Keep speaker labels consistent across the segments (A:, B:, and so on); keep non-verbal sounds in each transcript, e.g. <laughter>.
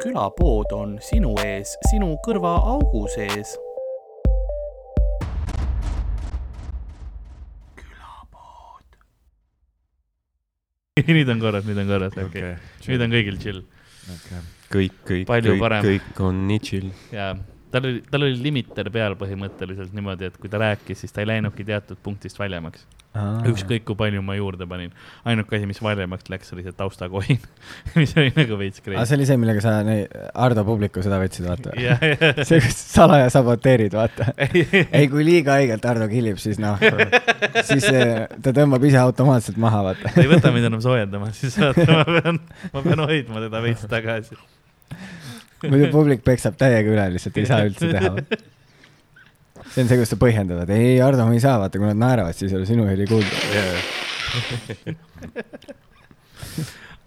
A: külapood on sinu ees, sinu kõrvaaugu sees.
B: <laughs> nüüd on korras , nüüd on korras , okei okay. . nüüd on kõigil chill
C: kõik , kõik ,
B: Palju
C: kõik
B: parem. ,
C: kõik on nii chill .
B: ja tal oli , tal oli limiter peal põhimõtteliselt niimoodi , et kui ta rääkis , siis ta ei läinudki teatud punktist väljamaks . ükskõik kui palju ma juurde panin . ainuke asi , mis valjemaks läks , oli see taustakohin , <laughs> mis oli nagu veits
D: aga
B: crazy .
D: see oli see , millega sa nii, Ardo publiku seda võtsid , vaata .
B: ja , ja ,
D: <laughs> see , kus salaja saboteerid , vaata . ei , kui liiga haigelt Ardo kilib , siis noh , siis eh, ta tõmbab ise automaatselt maha , vaata .
B: ta ei võta mind enam soojendama , siis vaata , ma pean , ma pean hoidma teda veits tagasi .
D: muidu publik peksab täiega üle , lihtsalt ei saa üldse teha . see on see , kus sa põhjendad , et ei , Ardo , ma ei saa , vaata , kui nad naeravad , siis ei ole sinu heli kuulda .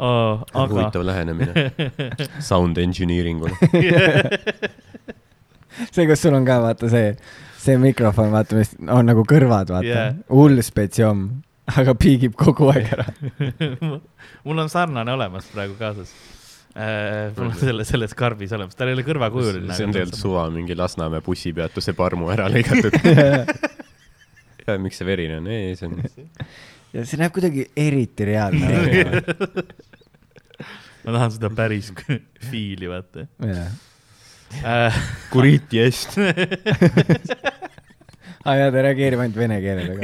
B: aga ,
C: huvitav
E: <laughs>
C: lähenemine sound engineeringule .
D: see , kus sul on ka , vaata see , see mikrofon , vaata , mis on nagu kõrvad , vaata
B: Jaa.
D: yeah. . hull spetsiom , aga piigib kogu aeg ära .
B: <laughs> mul on sarnane olemas praegu kaasas . mul on selle , selles karbis olemas , tal ei ole kõrvakujuline .
C: see on tegelikult suva , mingi Lasnamäe bussipeatuse parmu
E: <laughs>
C: ära lõigatud . miks see verine on ? ei , see on ,
D: ja see näeb kuidagi eriti reaalne välja .
B: ma tahan seda päris <laughs> fiili , vaata
D: jah .
B: äh, .
C: kuriti eest .
D: aa jaa , ta reageerib ainult vene keelega ka .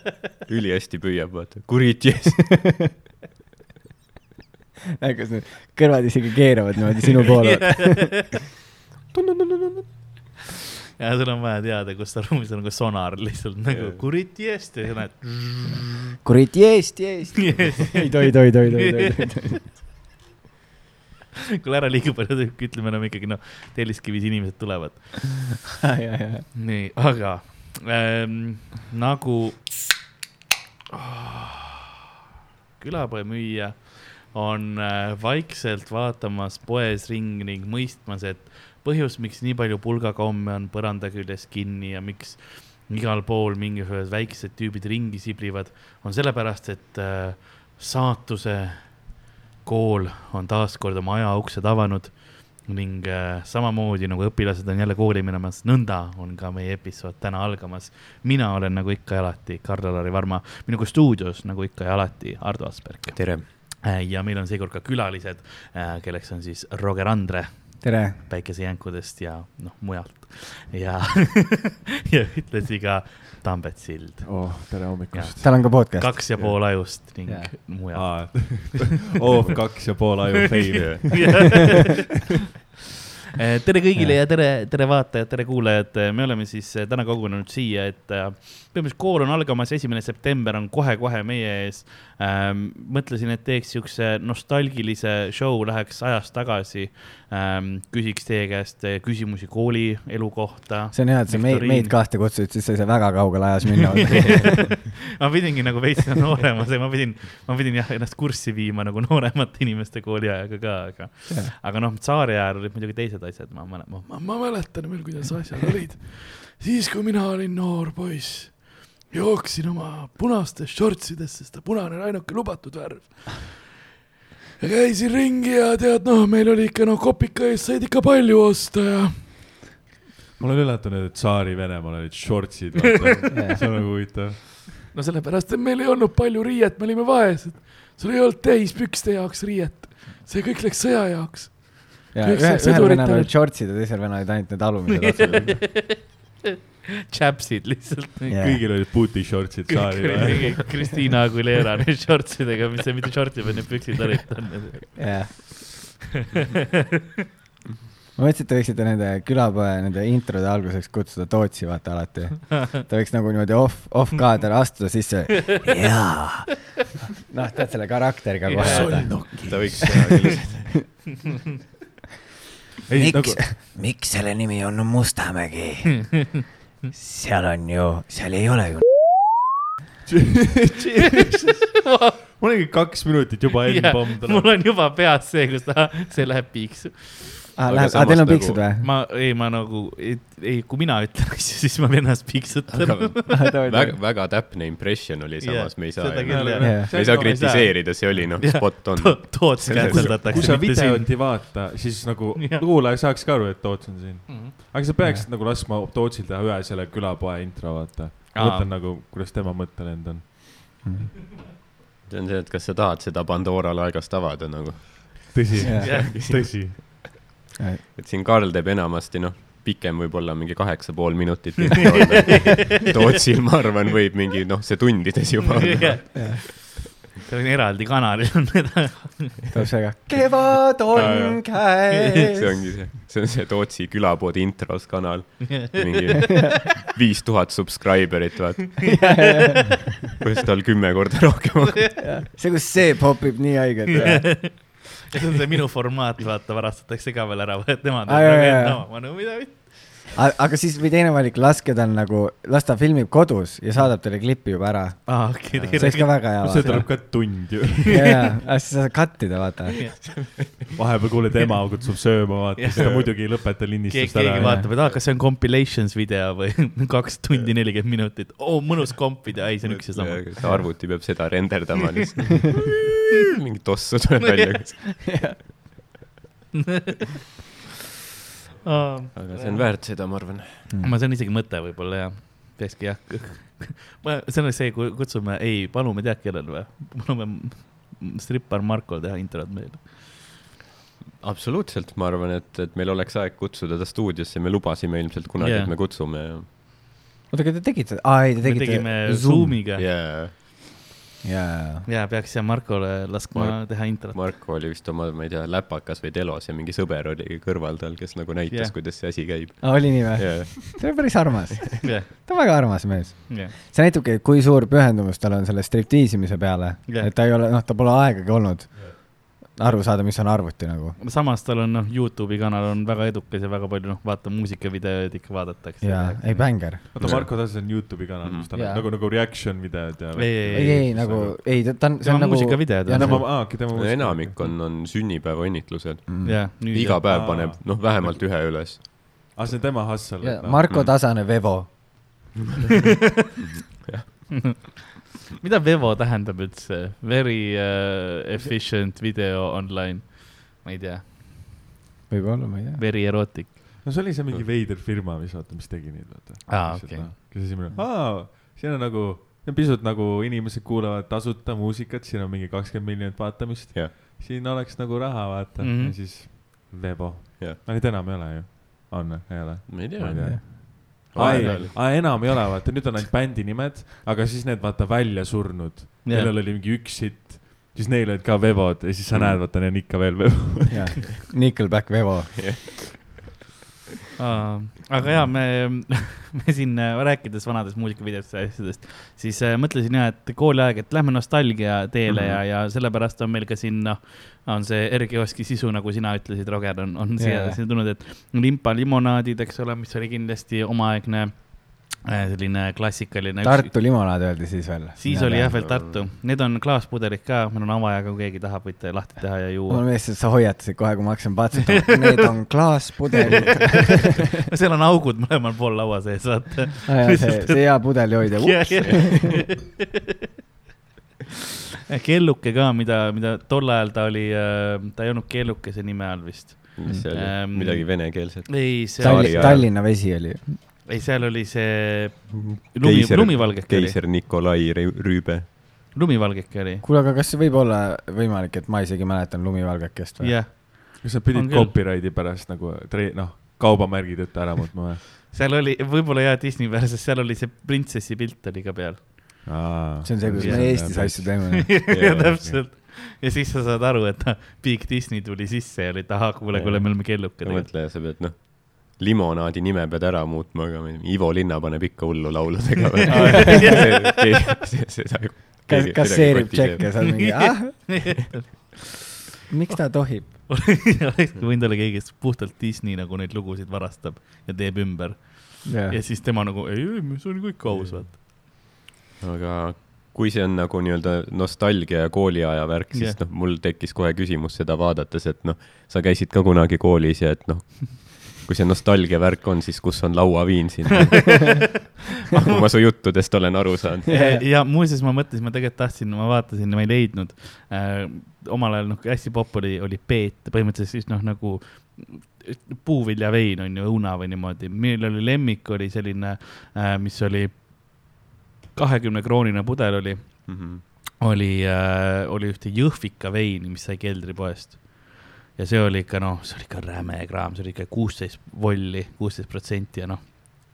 D: <laughs>
C: ülihästi püüab , vaata . kuriti eest .
D: näed , kas need kõrvad isegi keeravad niimoodi <laughs> sinu poole .
B: ja sul on vaja teada , kus ta ruumis on , kui sonar lihtsalt nagu kuriti eest ja sa näed .
D: kuradi Eesti , Eesti . <laughs> ei tohi , tohi , tohi , tohi , tohi .
B: <laughs> kuule ära liiga palju tükki , ütleme enam ikkagi noh , telliskivis inimesed tulevad .
D: aa <laughs> jaa , jaa .
B: nii , aga ähm, nagu külapoemüüja on äh, vaikselt vaatamas poes ringi ning mõistmas , et põhjus , miks nii palju pulgakomme on põranda küljes kinni ja miks igal pool mingisugused väiksed tüübid ringi siblivad , on sellepärast , et äh, saatuse kool on taas kord oma ajauksed avanud ning äh, samamoodi nagu õpilased on jälle kooli minemas , nõnda on ka meie episood täna algamas . mina olen nagu ikka ja alati Karl-Alari Varma , minuga stuudios nagu ikka ja alati Ardo Asperg .
C: tere .
B: ja meil on seekord ka külalised , kelleks on siis Roger Andre
D: tere .
B: Päikesejänkudest ja noh , mujalt ja <laughs> ja ühtlasi ka Tambet Sild .
E: oh , tere hommikust .
D: tal on ka podcast .
B: kaks ja pool ajust ning
D: Jaa.
B: yeah. mujalt .
C: <laughs>
E: oov kaks ja pool aju fail .
B: Eh, <laughs> tere kõigile ja tere , tere vaatajad , tere kuulajad , me oleme siis eh, täna kogunenud siia , et eh, põhimõtteliselt kool on algamas , esimene september on kohe-kohe meie ees . mõtlesin , et teeks siukse nostalgilise show , läheks ajas tagasi . küsiks teie käest eh, küsimusi koolielu kohta .
D: see on hea , et sa meid , meid kahte kutsusid , siis sa ei saa väga kaugele ajas <laughs> minna .
B: <laughs> ma pidingi nagu veits noorema , ma pidin , ma pidin jah ennast kurssi viima nagu nooremate inimeste kooliajaga ka , aga
D: Jah. ,
B: aga noh , tsaari ajal olid muidugi teised asjad , ma mäletan , ma, ma, ma mäletan veel , kuidas asjad olid . siis , kui mina olin noor poiss , jooksin oma punastes shortsides , sest ta punane on ainuke lubatud värv . ja käisin ringi ja tead , noh , meil oli ikka noh , kopika eest said ikka palju osta ja
E: ma olen üllatunud , et Tsaari-Venemaal olid shortsid ,
C: <laughs>
E: vaata . see on nagu huvitav .
B: no sellepärast , et meil ei olnud palju riiet , me olime vaesed . sul ei olnud täis pükste jaoks riiet . see kõik läks sõja jaoks .
D: ühel
B: Kõik see-
D: ühel
B: sõdurid
D: venel
B: tal-
D: olid shortsid ja teisel venel olid ainult need <laughs> alumised otsad .
B: Chapsid lihtsalt .
E: kõigil olid booty shortsid
B: kõik olid
E: Tsaari-Venemaal .
B: mingi Kristiina Aguilera <laughs> need shortsidega , mis see mitte shortsid , vaid need püksid olid
C: <laughs>
B: tal .
D: jah . <laughs> ma mõtlesin , et te võiksite nende külapoe nende introde alguseks kutsuda Tootsi , vaata alati . ta võiks nagu niimoodi off , off kaader astuda sisse . jaa . noh , tead selle karakteriga kohe .
C: ta võiks teha küll .
E: ei , nagu ,
D: miks selle nimi on No Mustamägi ? seal on ju , seal ei ole ju .
E: ma olengi kaks minutit juba
B: Jah,
E: N-pomm
B: mul
E: tuleb .
B: on juba peas see , kus ta , see läheb piiksu .
D: aa ,
C: Aga
D: Ah, läheb , aa
C: samas
D: teil on
C: nagu-
B: <laughs>
D: piksud või ?
B: ma , ei , ma nagu , ei , kui mina ütlen asju , siis ma ennast piksutan .
D: Ah,
C: väga , väga täpne impression oli samas , me ei saa ,
B: seda
C: me
B: küll
D: jah.
B: jah .
C: ei saa . kritiseerida , see oli noh ,
B: Jah.
C: spot on .
B: Toots kätseldatakse .
E: kui sa videot ei vaata , siis nagu
B: <laughs> Jah.
E: kuulaja saaks ka aru , et Toots on siin .
B: Mhm.
E: aga sa peaksid nagu laskma Tootsil teha ühe selle külapoe intro , vaata .
B: Aa.
E: mõtlen nagu , kuidas tema mõttelend on .
C: see on see , et kas sa tahad seda Pandora laegast avada nagu ,
E: tõsi
D: Jah.
E: tõsi .
C: et siin Karl teeb enamasti noh , pikem võib-olla mingi kaheksa pool minutit . Tootsil , ma arvan , võib mingi noh , see tundides
B: <laughs>
C: juba olla .
B: tal on eraldi <laughs> kanalil on need .
D: tuleb see ka . kevad on käes
C: see . ongi see , see on see Tootsi külapood intros
B: <laughs>
C: kanal , mingi viis tuhat subscriber'it , vaata . kuidas tal kümme korda rohkem on .
D: see , kus see popib nii haigelt .
B: see on see minu formaat , vaata varastatakse ka veel ära , tema
D: Aa,
B: teeb
D: jaa,
B: nagu
D: jaa,
B: enda
D: jaa.
B: oma , ma nagu mida mitte .
D: aga siis või teine valik , laske tal nagu , las ta filmib kodus ja saadab teile klippi juba ära .
B: aa , okei ,
D: see oleks ka väga hea
E: see tuleb
D: vaata .
E: ka tund ju .
D: jaa , aga siis sa saad cut ida , vaata .
E: <laughs> vahepeal kuuled , ema kutsub sööma , vaata , siis ta muidugi ei lõpeta
B: keegi ,
E: lindistust
B: keegi
E: ära .
B: vaatab , et aa , kas see on compilations video või <laughs> kaks tundi nelikümmend minutit , oo , mõnus kompida , ei , see on üks ja sama .
C: see arvuti peab seda renderdama lihtsalt . mingi tossu tuleb välja . aga see on väärt seda , ma arvan .
B: ma , see on isegi mõte võib-olla jah , peakski jah . <laughs> ma , see on see , kui kutsume , ei , palume tead kellel või , palume m- strippar Markol teha introt meile .
C: absoluutselt , ma arvan , et , et meil oleks aeg kutsuda ta stuudiosse , me lubasime ilmselt kunagi yeah. ,
B: Jah.
C: et me kutsume ja
D: oota , aga te tegite , aa ei , te
B: me
D: tegite .
B: tegime . Zoomiga ja,
C: yeah. .
D: jaa ,
B: ja peaks jah Markole laskma
C: Mark-
B: teha introt .
C: Marko oli vist oma , ma ei tea , läpakas või telos ja mingi sõber oli kõrval tal , kes nagu näitas
B: Jah.
C: yeah. , kuidas see asi
D: <laughs>
C: käib
D: oli nii või ?
C: yeah. .
D: ta on päris armas ,
B: <laughs> jah ,
D: ta on väga armas mees .
B: jah ,
D: see näitabki , et kui suur pühendumus tal on selle striptiisimise peale
B: Jah.
D: yeah. , et ta ei ole , noh , ta pole aegagi olnud aru saada , mis on arvuti nagu .
B: samas tal on noh , Youtube'i kanal on väga edukas ja väga palju noh , vaata muusikavideoid ikka vaadatakse .
D: jaa , ei bängar .
E: vaata , Marko Tassi on Youtube'i kanal , kus tal on
D: Jaa.
E: nagu , nagu reaction videod ja .
B: Mhm. Ei, ei,
D: ei , ei nagu , ei , ta on , see
B: tema
D: on nagu ,
B: muusikavideod
D: ja
B: on
D: nagu-
B: nagu, ,
E: aa , okei , tema
C: no . enamik . on , on sünnipäeva õnnitlused .
B: jah , nüüd
C: iga päev
E: Aa.
C: paneb , noh , vähemalt ühe üles .
E: aa , Ah, see on tema hustle . noh.
B: Mm.
D: Marko Tasane , Vevo .
B: jah. mida Vevo tähendab üldse ? Very uh, efficient video online , ma ei tea ,
D: võib-olla , ma ei tea .
B: very erotic .
E: no see oli see mingi veider firma , mis vaata , mis tegi neid , vaata .
B: Aa, Ah, okei. .
E: kes esimene , aa , siin on nagu , see on pisut nagu inimesed kuulavad tasuta muusikat , siin on mingi kakskümmend miljonit vaatamist
C: Jah. .
E: siin oleks nagu raha , vaata mm ,
B: Mhm.
E: -hmm. ja siis Vebo .
C: Jah.
E: aga neid enam ei ole ju . on , ei ole ?
C: ma ei
E: ma
C: tea
E: ei . tea .
C: Vahepeal.
E: aa , enam ei ole , vaata , nüüd on ainult bändi nimed , aga siis need , vaata , välja surnud .
B: jah ,
E: kellel oli mingi üks hitt , siis neil olid ka Vevod ja siis
D: Mm.
E: sa näed , vaata , neil on ikka veel Vevo .
D: Nickelback , Vevo .
B: aga ja me , <laughs> me siin äh, rääkides vanadest muusikavideost ja asjadest , siis äh, mõtlesin ja , et kooliaeg , et lähme nostalgia teele mm -hmm.
D: Mhm.
B: ja , ja sellepärast on meil ka siin noh , on see Erki Oski sisu , nagu sina ütlesid , Roger , on , on siia
D: Jaa.
B: yeah. tulnud , et limpa limonaadid , eks ole , mis oli kindlasti omaaegne äh, selline klassikaline .
D: Tartu limonaad öeldi siis veel .
B: siis oli jah veel Tartu , need on klaaspudelid ka , meil on avajaga , kui keegi tahab , võite lahti teha ja
D: mul <laughs>
B: juua . <laughs>
D: meeldis , et sa hoiatasid kohe , kui ma hakkasin patsutama , need on
B: <laughs>
D: klaaspudelid .
B: seal on augud mõlemal pool laua sees , vaata .
D: <laughs> see , see hea pudelihoidja .
C: <laughs>
B: Eh, kelluke ka , mida , mida tol ajal ta oli , ta ei olnud kellukese nime all vist .
C: mis see
B: Ähm,
C: oli , midagi venekeelset .
B: ei , seal ,
C: Tallinn-
D: Tallinna ,
C: ajal.
D: Tallinna vesi oli .
B: ei seal oli see lumi , lumivalgeke oli ,
C: keiser Nikolai Rü- Rüübe .
B: lumivalgeke oli ,
D: kuule , aga kas see võib olla võimalik , et ma isegi mäletan lumivalgakest või ?
B: jah .
E: kas <laughs> sa pidid
B: On küll.
E: copyrighti pärast nagu tre- , noh , kaubamärgid ette ära muutma või ?
B: seal oli , võib-olla jah , Disney versus , seal oli see printsessi pilt oli ka peal .
D: see on see , kuidas me Eestis asju
B: <laughs>
D: teeme .
B: ja
C: Jaa,
B: täpselt . ja siis sa saad aru , et noh, Big Disney tuli sisse ja oli , et ahah , kuule , kuule , me oleme kellukad .
C: mõtle , sa pead , noh , limonaadi nime pead ära muutma , aga ma ei tea, Ivo Linna paneb ikka hullu lauludega . <laughs>
D: kasseerib tšekke , sa oled mingi ,
B: <laughs>
D: ah , miks ta tohib ?
B: oleks võinud olla keegi , kes puhtalt Disney nagu neid lugusid varastab ja teeb ümber ja, ja siis tema nagu , ei , ei , see on kõik aus , vaata .
C: aga kui see on nagu nii-öelda nostalgia ja kooliaja värk , siis
B: Jah.
C: noh , mul tekkis kohe küsimus seda vaadates , et noh , sa käisid ka kunagi koolis ja et noh , kui see nostalgia värk on , siis kus on lauaviin siin ? kui ma su juttudest olen aru saanud .
B: ja muuseas , ma mõtlesin , ma tegelikult tahtsin , ma vaatasin , ma ei leidnud äh, . omal ajal noh , hästi popp oli , oli peet , põhimõtteliselt siis noh , nagu puuviljavein on ju , õuna või niimoodi . meil oli lemmik oli selline äh, , mis oli kahekümne kroonine pudel oli ,
C: Mhm.
B: oli äh, , oli ühte jõhvika veini , mis sai keldripoest ja see oli ikka noh , see oli ikka räme kraam , see oli ikka kuusteist volli , kuusteist protsenti ja noh ,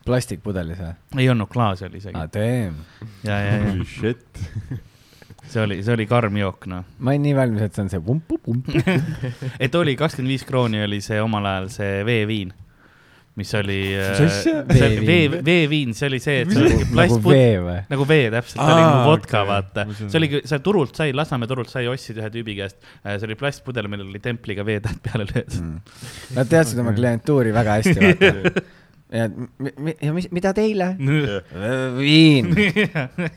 D: plastikpudelis või ? Ah,
B: ei olnud klaasi oli isegi
D: aa , damn .
B: ja , ja , ja
E: shit .
B: see oli , see oli karm jook , noh .
D: ma olin nii valmis , et see on see
B: <laughs>
D: vump-vump .
B: et oli kakskümmend viis krooni oli see omal ajal see veeviin , mis oli .
E: Mis asja?
B: see vee
D: Veeviin. ,
B: veeviin , see oli see , et see
E: Mis-
B: oli
D: nagu
B: plastpudel
D: vee või ?
B: nagu vee täpselt , see oli
E: Aa,
B: nagu vodka
E: okei.
B: okay. , vaata
E: Ma . saan
B: see oligi , sa turult sai , Lasnamäe turult sai , ostsid ühe tüübi käest . see oli plastpudel , millel oli templiga veetäht peale löödud .
D: Nad teadsid oma klientuuri väga hästi ,
B: <laughs>
D: vaata . ja , ja mis , mida teile ?
E: Mm.
D: viin .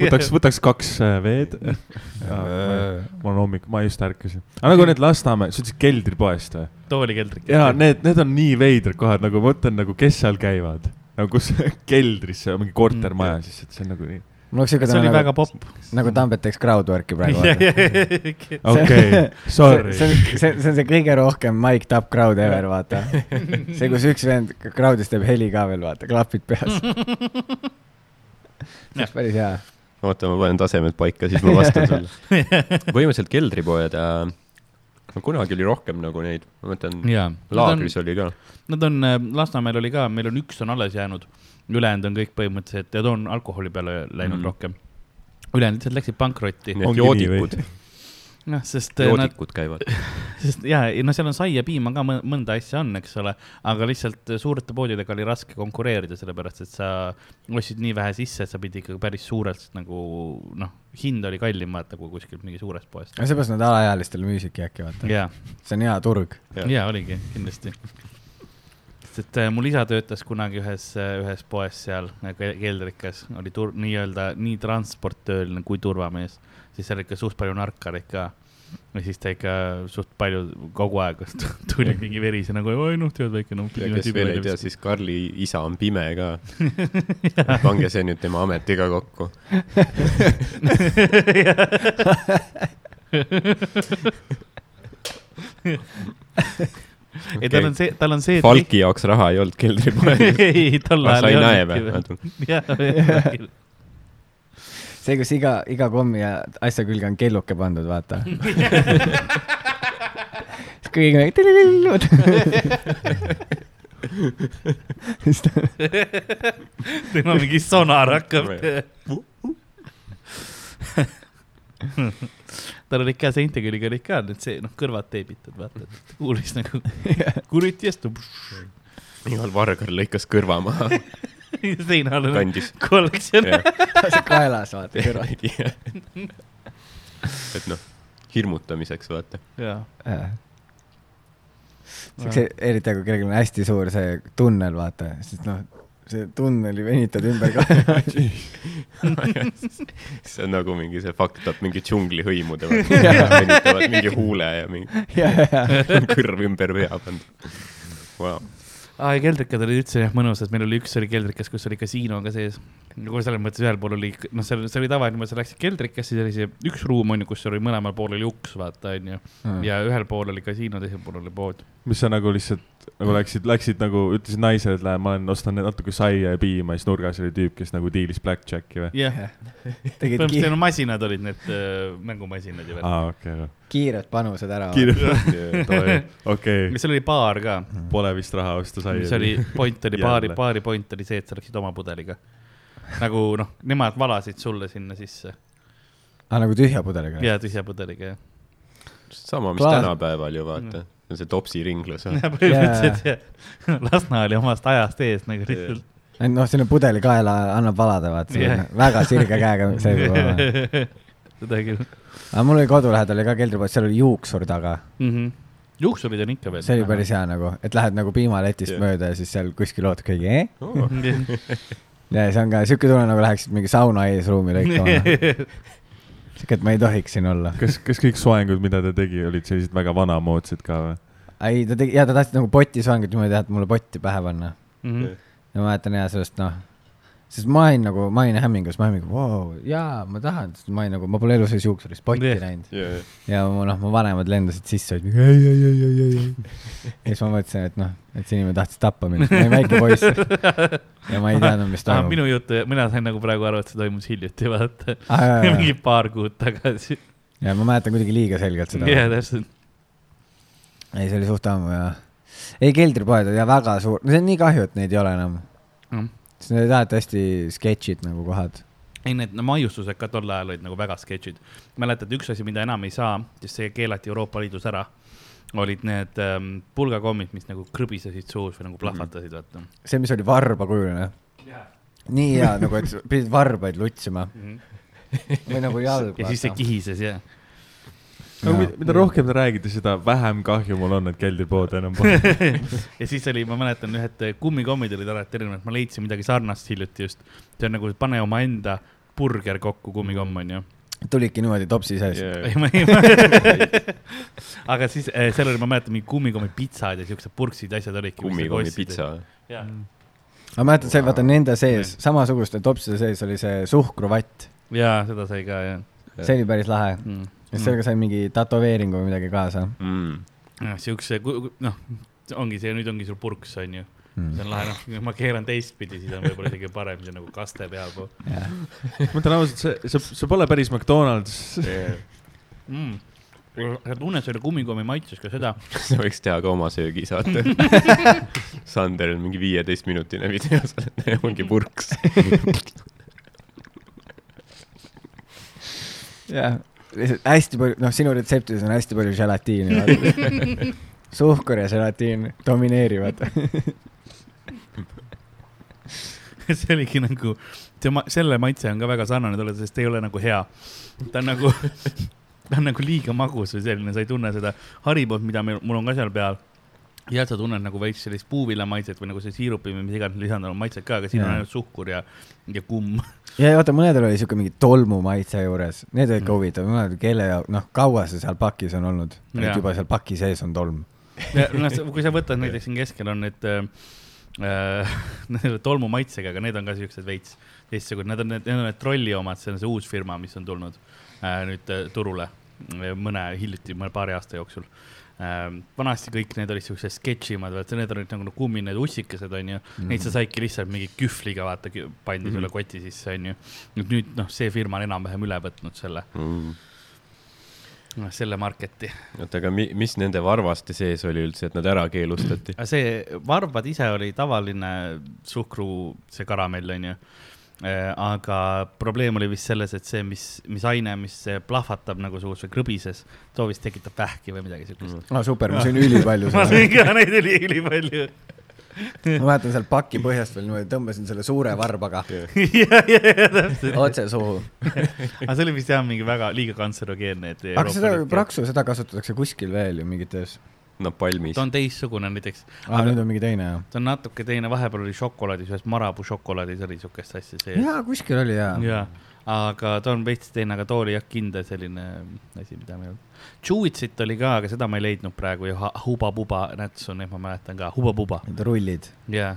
E: võtaks , võtaks kaks äh,
D: <laughs>
E: veed .
D: Äh.
E: ma olen hommik , ma just ärkasin . aga nagu need Lasnamäe , sa ütlesid keldripoest või ?
B: too oli keldrik .
E: ja need , need on nii veidrad kohad , nagu ma mõtlen nagu , kes seal käivad . nagu kus <laughs> keldris , mingi kortermaja siis , et see on nagu nii .
D: mul oleks siuke
B: see oli
D: tunne
B: väga
D: nagu ,
B: popp .
D: nagu Tambet teeks crowdwork'i
E: <laughs>
D: praegu . see ,
E: okei , <laughs> sorry .
D: see , see on see kõige rohkem mic top crowd ever ,
E: <laughs>
D: vaata . see , kus üks vend crowd'is teeb heli ka veel , vaata , klapid
E: <laughs>
D: peas . see oleks päris hea .
C: oota , ma panen tasemed paika , siis ma vastan sulle . põhimõtteliselt keldripoed äh, , no kunagi oli rohkem nagu neid , ma mõtlen ,
B: <laughs> jaa .
C: laagris oli ka .
B: Nad on , Lasnamäel oli ka , meil on üks on alles jäänud , ülejäänud on kõik põhimõtteliselt , need on alkoholi peale läinud
C: Mhm.
B: mm. rohkem . ülejäänud lihtsalt läksid pankrotti ,
C: Need
E: Ongi nii või?
C: joodikud ,
B: noh , sest eh, nad ,
C: joodikud käivad .
B: sest ja , no seal on sai ja piima ka mõ- mõnda asja on , eks ole , aga lihtsalt äh, suurte poodidega oli raske konkureerida , sellepärast et sa ostsid nii vähe sisse , et sa pidid ikkagi päris suurelt nagu noh , hind oli kallim vaata kui kuskilt mingi suurest poest .
D: seepärast nad alaealistele müüsidki äkki , vaata .
B: ja ,
D: see on hea turg .
C: Jah.
B: ja oligi kindlasti . sest et äh, mul isa töötas kunagi ühes , ühes poes seal äh, ke- keldrikas , oli tur- , nii-öelda nii transporttööline kui turvamees , siis seal ikka suht palju narkareid ka ja siis ta ikka suht palju kogu aeg <laughs> tuli mingi verisena nagu , oi noh , tead väike , noh .
C: ja kes veel ei tea , <laughs> siis Karli isa on pime ka . pange see nüüd tema ametiga kokku .
B: <laughs> ei , tal on see , tal on see .
C: Falki jaoks raha ei olnud keldripoes .
B: <laughs> ei , tol
C: aga
B: ajal
C: sa ei
B: ei
C: näe
B: olnudki <laughs>
C: või ? <laughs>
B: veel .
D: see , kus iga , iga kommi ja asja külge on kelluke pandud , vaata .
E: Mhm.
D: siis kõigi nagu tililillud . siis ta ,
B: tema mingi sonar hakkab . tal oli ka see integriga oli ka nüüd see noh , kõrvad teebitud , vaata , et kuulis nagu kuriti astub
C: igal vargal lõikas kõrva maha ,
B: <laughs> seina nagu all .
C: <laughs> kandis . <laughs>
B: kollektsioon .
D: <laughs> see kaelas , vaata , kõrval .
C: et noh , hirmutamiseks
B: <laughs>
C: vaata .
B: jaa .
D: siukse , eriti kui kellelgi on hästi suur see tunnel , vaata , siis noh , see tunneli venitad ümber ka .
C: see on nagu mingi see fakt , et mingi džungli
B: <laughs>
C: hõimude venitavad mingi huule ja mingi
D: ja , ja , ja .
C: kõrv ümber pea pandud wow. .
B: aa , ja keldrikad olid üldse jah mõnusad , meil oli üks oli keldrikas , kus oli kasiino ka sees . nagu selles mõttes ühel pool oli , noh , seal , see oli tavaline , sa läksid keldrikasse , siis oli see üks ruum onju , kus oli mõlemal pool oli uks , vaata onju .
D: Hmm.
B: ja ühel pool oli kasiino , teisel pool oli pood .
E: mis sa nagu lihtsalt nagu läksid , läksid nagu ütlesid naisele , et lähen , ma lähen ostan natuke saia ja piima , siis nurgas oli tüüp , kes nagu diilis blackjacki või ?
B: jah ,
D: tegid
B: põhimõtteliselt
D: ki
B: need masinad olid need öö, mängumasinad ju veel .
E: aa , okei , <laughs>
D: kiired panused ära .
E: kiire , okei ,
B: seal oli baar ka ,
E: pole vist raha osta saia .
B: mis oli , point
D: <laughs>
B: oli baari
E: Jälle. ,
B: baari point oli see , et sa läksid oma pudeliga . nagu noh , nemad valasid sulle sinna sisse
D: aa , nagu tühja pudeliga ?
B: ja tühja
D: <laughs>
B: pudeliga jah .
C: sama , mis
D: Klaas-
C: tänapäeval ju vaata ,
B: Mm.
C: see on see topsiringlus .
B: põhimõtteliselt jah , Lasna oli omast ajast ees nagu lihtsalt .
D: noh , selline pudeli kaela annab valada ,
B: Jah.
D: vaata , väga sirge käega see peab olema .
B: <laughs> seda küll
D: aga mul oli kodu lähedal oli ka keldripood , seal oli juuksur taga .
B: mm -hmm. . juuksurid on ikka veel .
D: see oli päris hea nagu , et lähed nagu piimaletist
C: Jah.
D: mööda ja siis seal kuskil ootad keegi , eh ?
B: hea .
C: <laughs>
D: ja see on ka siuke tunne , nagu läheksid mingi sauna eesruumi lõikama . sihuke , et ma ei tohiks siin olla .
E: kas , kas kõik soengud , mida ta tegi , olid sellised väga vanamoodsad ka või ?
D: ei , ta tegi , jaa , ta tahtis nagu poti soengut niimoodi teha , et mulle potti pähe panna .
B: -hmm.
D: ja ma mäletan jaa sellest , noh , sest ma olin nagu , ma olin hämmingus , ma olin nagu , vau , jaa , ma tahan , sest ma olin nagu , ma pole elu sees juuksurist potti
B: Jah.
D: näinud .
C: yeah. .
D: ja mu noh , mu vanemad lendasid sisse , olid nagu ei , ei , ei , ei ,
B: <laughs>
D: ei , ei . ja siis ma mõtlesin , et noh , et see inimene tahtis tappa mind , ma olin väike poiss . ja ma ei teadnud , mis
B: ah, .
D: toimub .
B: minu jutu , mina sain nagu praegu aru , et see toimus hiljuti , vaata .
D: Ah, jaa, jaa,
B: <laughs> mingi
D: jaa.
B: paar kuud tagasi .
D: ja ma mäletan kuidagi liiga selgelt seda .
B: jah , täpselt .
D: ei , see oli suht ammu ja . ei , keldripoed on ja väga suur , no see on nii kahju , et neid ei ole enam .
B: Mhm.
D: sest need olid alati hästi sketšid nagu kohad .
B: ei , need no, maiustused ka tol ajal olid nagu väga sketšid . mäletad , üks asi , mida enam ei saa , sest see keelati Euroopa Liidus ära , olid need ähm, pulgakommid , mis nagu krõbisesid suus või nagu plahvatasid , vaata
D: see , mis oli varbakujuline . nii hea nagu , et sa pidid varbaid lutsima
B: mm .
D: või nagu
B: -hmm.
D: jalg
B: ja siis see . kihises ja .
E: aga mida, mida rohkem te räägite , seda vähem kahju mul on , et keldripood enam pole .
B: ja siis oli , ma mäletan , ühed äh, kummikommid olid alati erinevad , ma leidsin midagi sarnast hiljuti just . see on nagu , pane omaenda burger kokku , kummikomm on ju .
D: tulidki niimoodi topsi sees .
B: ei , ma ei , ma aga siis eh, seal oli , ma mäletan , mingi kummikommitpitsad ja siuksed purksid asjad olidki . nagu
C: kummikommi . pitsa .
B: jah ,
D: ma mäletan , see , vaata nende sees , samasuguste topside sees oli see suhkruvatt .
B: ja seda sai ka jah
D: see oli päris lahe .
B: mm. .
D: ja sellega sai mingi tätoveeringu või midagi kaasa
C: mm. .
B: noh , siukse , noh , ongi see , nüüd ongi sul purks , onju . see
D: mm. .
B: on lahe , noh , ma keeran teistpidi , siis on võib-olla isegi parem , see on nagu kaste peal pool
E: ma ütlen ausalt , see , see , see pole päris McDonalds .
C: <laughs>
B: mm. . sa tunned selle kummikommi maitses ka seda , <laughs>
C: sa võiks teha ka oma söögisaate . Sander on mingi viieteistminutine video , <laughs> seal ongi purks .
D: jah , lihtsalt hästi palju , noh , sinu retseptides on hästi palju želatiini .
B: <laughs>
D: suhkur ja želatiin domineerivad .
B: see oligi nagu , see ma- , selle maitse on ka väga sarnane talle , sest ei ole nagu hea . ta on nagu , <laughs> ta on nagu liiga magus või selline , sa ei tunne seda haribot , mida meil , mul on ka seal peal ja sa tunned nagu veits sellist puuviljamaiset või nagu see siirupi või mis iganes lisandunud maitset ka , aga siin on
D: Jaa.
B: ainult suhkur ja , ja kumm . <laughs>
D: ja vaata , mõnedel oli siuke mingi tolmu maitse juures , need
B: Mm.
D: olid ka huvitavad , mõned kelle jaoks , noh , kaua see seal pakis on olnud ,
B: Jaa.
D: et juba seal paki sees on tolm .
B: Ja, noh , kui sa võtad näiteks siin keskel on need äh, äh, <laughs> tolmu maitsega , aga need on ka siuksed veits teistsugused , need on need , need on need trolli omad , see on see uus firma , mis on tulnud äh, nüüd äh, turule äh, mõne hiljuti , mõne paari aasta jooksul äh, . vanasti kõik need olid siuksed sketšimad , vaata need olid nagu need kummi , need ussikesed onju mm. , neid sa saidki lihtsalt mingi kühvliga vaata , pandi mm. sulle koti sisse onju . nüüd , nüüd noh , see firma on enam-vähem üle võtnud selle , selle marketi .
C: Mm. oota , aga mi- , mis nende varvaste sees oli üldse , et nad ära keelustati ?
B: Aga see varvad ise oli tavaline suhkru , see karamell onju . aga probleem oli vist selles , et see , mis , mis aine , mis plahvatab nagu suus või krõbises , too vist tekitab vähki või midagi siukest .
D: aa , Ah, super , ma sõin
B: <laughs>
D: ülipalju
B: Mm. ma
D: seda .
B: sõin ka neid oli ülipalju .
D: ma mäletan seal paki põhjast veel niimoodi tõmbasin selle suure
B: <laughs>
D: varbaga
B: <laughs> ja , ja , ja täpselt .
D: otse suhu .
B: aga see oli vist jah mingi väga liiga kantserogeenne , et .
D: aga seda praksu , seda kasutatakse kuskil veel ju mingites .
C: napalmis
B: ta . on teistsugune näiteks ,
D: aa , nüüd on mingi teine jah ?
B: ta on natuke teine , vahepeal oli šokolaadis , ühes Marabu šokolaadis oli siukest asja sees .
D: jaa , kuskil oli jaa .
B: jaa , aga ta on veits teine , aga too oli jah kindel selline asi , mida me ei olnud . Chewitsit oli ka , aga seda ma ei leidnud praegu ja ha- Huba-Buba nätsu , neid ma mäletan ka , Huba-Buba ,
D: Need rullid .
B: jaa .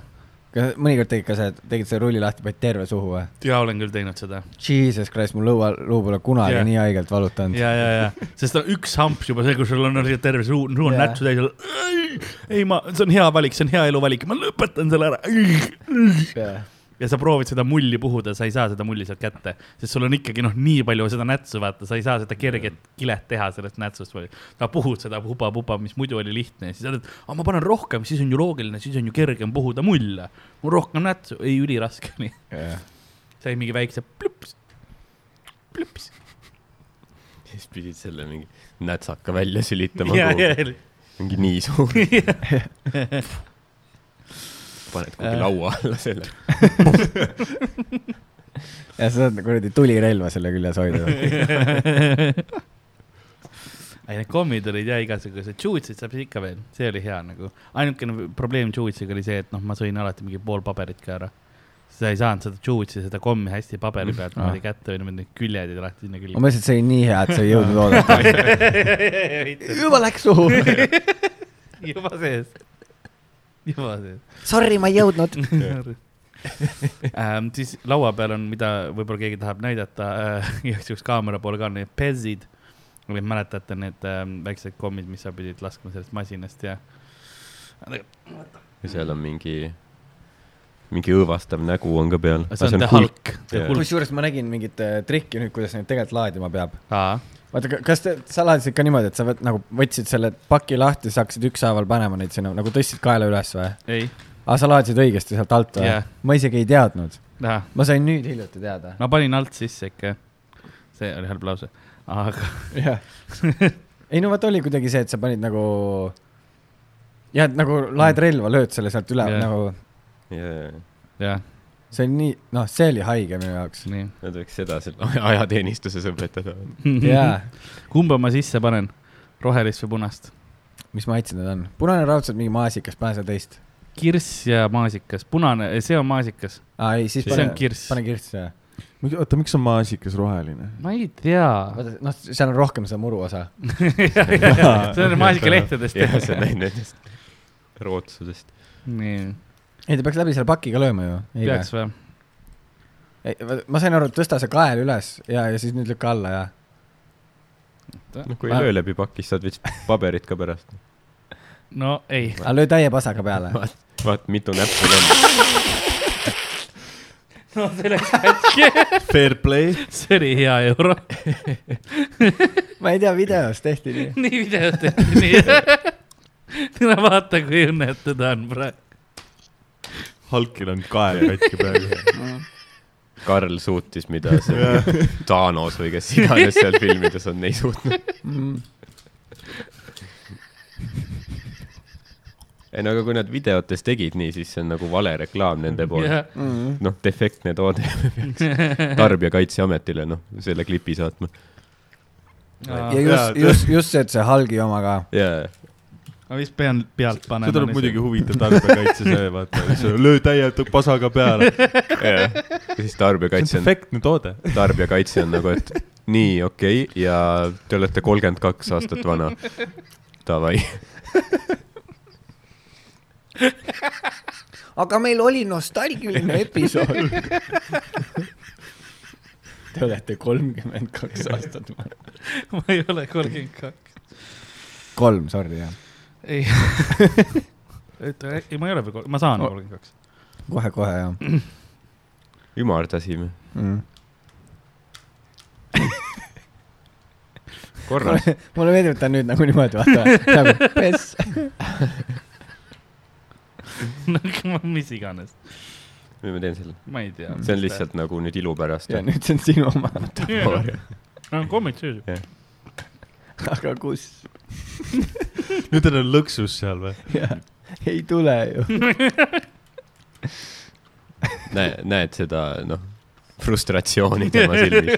D: kas mõnikord tegid ka see , tegid selle rulli lahti , panid terve suhu või ?
B: jaa , olen küll teinud seda .
D: Jesus Christ , mul lõua , luu pole kunagi
B: Jah.
D: yeah. nii haigelt valutanud yeah. .
B: ja , ja , ja , sest ta üks hamps juba see , kui sul on lihtsalt terve suu , suu on
D: Jaa.
B: nätsu täis , ei ma , see on hea valik , see on hea eluvalik , ma lõpetan selle ära .
D: Yeah.
B: ja sa proovid seda mulli puhuda , sa ei saa seda mulli sealt kätte , sest sul on ikkagi noh , nii palju seda nätsu , vaata , sa ei saa seda kerget kilet teha sellest nätsust või . sa puhud seda puba-puba , mis muidu oli lihtne ja siis sa ütled , aga ma panen rohkem , siis on ju loogiline , siis on ju kergem puhuda mulle . mul rohkem nätsu , ei üliraske nii .
D: Yeah.
B: <laughs> sai mingi väikse plõps , plõps .
C: siis pidid selle mingi nätsaka välja
B: <laughs>
C: sülitama
B: ja , ja
C: kuhugi ,, mingi
B: <laughs>
C: nii suur ,
B: ja ,
C: paned kuhugi laua alla selle .
D: ja sa saad kuradi tulirelva selle küljes hoida .
B: <laughs> ei need kommid olid jah igasugused , juutsid saab ikka veel , see oli hea nagu . ainukene probleem juutsiga oli see , et noh , ma sõin alati mingi pool paberit ka ära . sa ei saanud seda juutsi , seda kommi hästi paberi pealt
D: Ah.
B: niimoodi kätte või niimoodi need küljed ei lähe sinna
D: ma mõtlesin , et see oli nii hea , et sa ei jõudnud
B: <laughs>
D: oodata .
B: külge .
D: juba läks suhu .
B: juba sees , juba sees .
D: Sorry , ma ei jõudnud .
B: <laughs> ähm, siis laua peal on , mida võib-olla keegi tahab näidata äh, , <laughs> igaks juhuks kaamera poole ka on need pezid . või mäletate need ähm, väiksed kommid , mis sa pidid laskma sellest masinast ja .
C: ja seal on mingi , mingi õõvastav nägu on ka peal .
B: see on The Hulk .
C: Jaa.
D: kusjuures ma nägin mingit äh, trikki nüüd , kuidas neid tegelikult laadima peab .
B: aa ,
D: vaata , kas te , sa laadisid ka niimoodi , et sa võt, nagu võtsid selle paki lahti , siis hakkasid ükshaaval panema neid sinna , nagu tõstsid kaela üles või ?
B: ei ,
D: aa , sa laadisid õigesti sealt alt või
B: Jah.
D: yeah. ? ma isegi ei teadnud .
B: aa ,
D: ma sain nüüd hiljuti teada .
B: ma panin alt sisse ikka . see oli halb lause , aga
D: <laughs> jah . ei no vaata , oli kuidagi see , et sa panid nagu , jah , et nagu laed relva , lööd selle sealt üle
B: Jah.
D: yeah. nagu ,
C: jaa ,
B: jah ,
D: see oli nii , noh , see oli haige minu
B: <laughs>
D: jaoks .
B: nii .
C: nad võiks seda seal <laughs> ajateenistuses
B: <laughs>
C: õpetada .
D: jaa ,
B: kumba ma sisse panen , rohelist või punast ?
D: mis maitsed need on ? punane raudselt mingi maasikas , pane seda teist .
B: kirss ja maasikas , punane , see on maasikas ,
D: aa , ei , siis
B: see
D: pane
B: on , kirss .
D: pane kirss ja .
E: oota , miks on maasikas roheline ?
B: ma ei tea .
D: vaata , noh , seal on rohkem seda muru osa .
B: see on maasikalehtedest
C: jah , see
B: tehtud
C: on . näinud nendest rootsusest .
B: nii ,
D: ei , ta peaks läbi selle pakiga lööma ju .
B: peaks või ?
D: ma sain aru , et tõsta see kael üles ja , ja siis nüüd lükka alla ja .
C: noh , kui
D: Ma-
C: ei löö läbi pakist , saad vist paberit ka pärast .
B: no ei ,
D: aga löö täie pasaga <laughs> peale .
C: vaat mitu näppu on .
E: Fair play .
B: <laughs> see oli hea euro .
D: ma ei tea , videos tehti nii .
B: <laughs> nii videot tehti , nii . <laughs> tule vaata , kui õnnetu ta on praegu .
E: Hulkil on kael katki <laughs> peal .
C: Karl suutis ,
E: <laughs>
C: mida see Thanos või kes iganes seal filmides on , ei suutnud .
E: Mm.
C: ei no aga kui nad videotes tegid nii , siis see on nagu vale reklaam nende poolt . noh , defektne toode peaks Tarbijakaitseametile , noh , selle klipi saatma .
D: ja
B: aga
D: just , just , just see , et see halgi oma ka .
C: jaa ,
B: vist pean pealt panema .
E: see tuleb muidugi huvitav tarbijakaitse see , vaata , löö täie pasaga peale .
C: jaa . ja siis tarbijakaitse on ,
E: efektne toode .
C: tarbijakaitse on nagu , et nii , okei okay, , ja te olete kolmkümmend kaks aastat vana . Davai .
D: aga meil oli <laughs> nostalgiline episood . Te olete kolmkümmend kaks aastat vana .
B: ma ei ole kolmkümmend kaks .
D: kolm , sorry jah .
B: ei , ei ma ei ole veel kolm , ma saan kolmkümmend kaks . <laughs>
D: kohe-kohe jah
C: ümardasime .
D: mm. .
C: korras .
D: mulle meeldib , et ta on nüüd nagu niimoodi , vaata , nagu pess .
B: mis iganes ,
C: või ma teen selle ?
B: ma ei tea .
C: see on . lihtsalt nagu nüüd ilu pärast .
D: ja nüüd see on sinu oma .
B: kommid söösid .
D: aga kus ?
E: nüüd on lõksus seal või ?
D: ei tule ju .
C: näe , näed seda , noh , frustratsiooni tema silmis .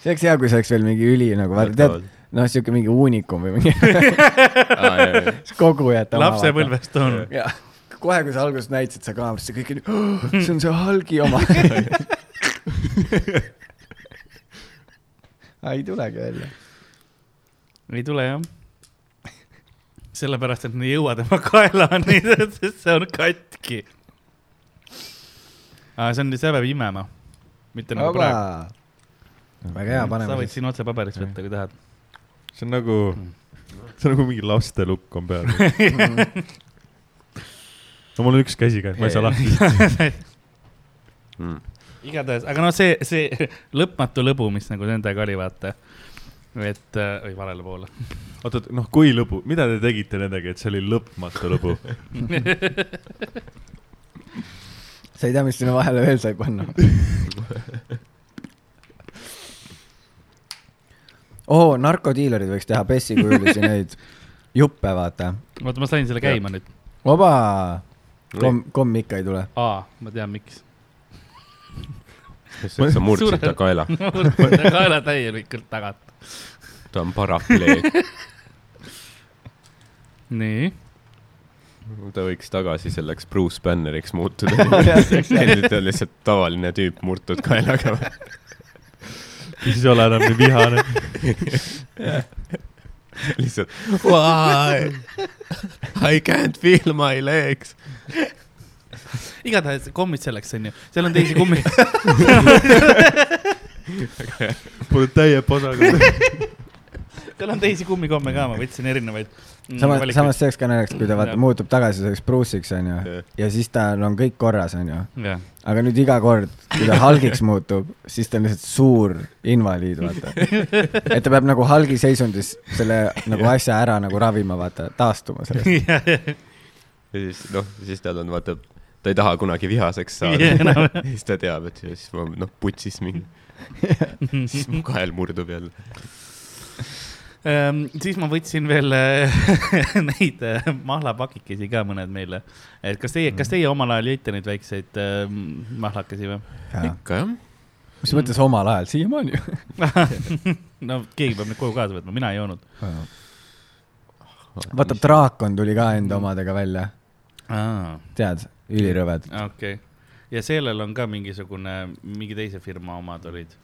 D: see oleks hea , kui see oleks veel mingi üli nagu , vaata , tead , noh , siuke mingi uunikum või mingi <laughs> kogujad .
B: lapsepõlvest on .
D: jah , kohe , kui sa alguses näitasid seda kaamerasse , kõik olid oh, , see on see Hulgi oma . ei tulegi välja .
B: ei tule jah . sellepärast , et nad ei jõua tema kaelani , <laughs> sest see on katki . see on , see peab imema , mitte nagu
D: väga
B: praegu .
D: hea ,
B: sa
D: paneme
B: võid
D: siis .
B: siin otse paberiks võtta , kui tahad .
E: see on nagu , see on nagu mingi laste lukk on peal . no mul on üks käsi käes , ma ei saa lahti .
B: <laughs>
C: Hmm.
B: igatahes , aga no see , see lõpmatu lõbu , mis nagu nendega oli , vaata . et , oi valele poole .
E: oota , noh , kui lõbu , mida te tegite nendega , et see oli lõpmatu lõbu ?
D: sa ei tea , mis sinna vahele veel sai <laughs> panna . oo , Oh, narkodiilerid võiks teha <laughs> pessikujulisi neid juppe , vaata .
B: oota , ma sain selle käima nüüd .
D: vaba , komm , komm ikka ei tule .
B: aa , ma tean , miks .
C: sest sa murdsid ta kaela ,
B: <laughs> ma võtan kaela täielikult tagant .
C: ta on parapleeg .
B: nii .
C: ta võiks tagasi selleks Bruce Banneriks muutuda . nüüd on lihtsalt tavaline tüüp murtud kaelaga .
E: <laughs> siis ei ole enam nii vihane .
C: lihtsalt why I can't feel my legs .
B: igatahes kommid selleks onju , seal on teisi kummi .
E: Pole täie padaga .
B: seal on teisi kummikomme ka , ma võtsin erinevaid .
D: samas , samas . see oleks ka naljakas , kui ta vaata
B: Mm, Jah.
D: muutub tagasi selleks Bruce'iks onju
C: Jah.
D: ja siis tal on kõik korras onju ,
B: <laughs> jah ,
D: aga nüüd iga kord , kui ta Hulgiks muutub , siis ta on lihtsalt suur invaliid , vaata . et ta peab nagu Hulgi seisundis selle nagu asja ära nagu ravima , vaata , taastuma
B: <laughs>
D: sellest .
C: <laughs> ja siis noh , siis tal on vaata , ta ei taha kunagi vihaseks saada
B: Jah, enam-
C: yeah, . <laughs> siis ta teab , et siis ma noh , putsis
B: <laughs>
C: mingi , siis mu kael murdub jälle .
B: Ehm, siis ma võtsin veel äh, <laughs> neid äh, mahlapakikesi ka mõned meile . et kas teie , kas teie omal ajal jõite neid väikseid ähm, mahlakesi või ? <laughs>
C: ikka jah .
D: mis mõttes omal ajal , <laughs> siiamaani ju .
B: no keegi peab need koju kaasa võtma , mina ei joonud .
D: vaata , draakon tuli ka enda omadega välja ,
B: okei
D: tead , ülirõved .
B: okay. . ja sellel on ka mingisugune , mingi teise firma omad olid .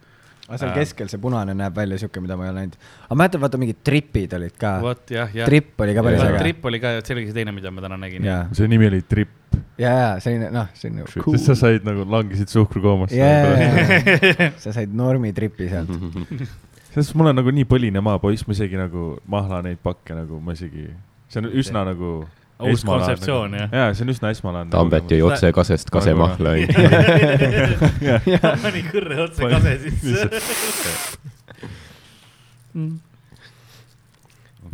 D: aga seal
B: Aa.
D: keskel see punane näeb välja siuke , mida ma ei ole näinud . Äh. aga mäletan , vaata mingid tripid olid ka .
B: vot jah , jah .
D: tripp Ah. oli ka päris äge .
B: tripp oli ka , see oli see teine , mida ma täna nägin .
D: ja ,
E: see nimi oli Trip ,
D: ja , ja selline , noh , selline cool
E: sest . sa said nagu , langesid suhkrukoomasse yeah. .
D: jaa , sa said normi tripi sealt .
E: sest mul on nagu nii põline maapoiss , ma isegi nagu mahla neid pakke nagu ma isegi , see on üsna nagu .
B: Uus kontseptsioon, jah.
E: jaa , see on üsna esmalane .
C: Tambet jõi otse kasest kasemahla .
B: pani <laughs> kõrre otse kase sisse .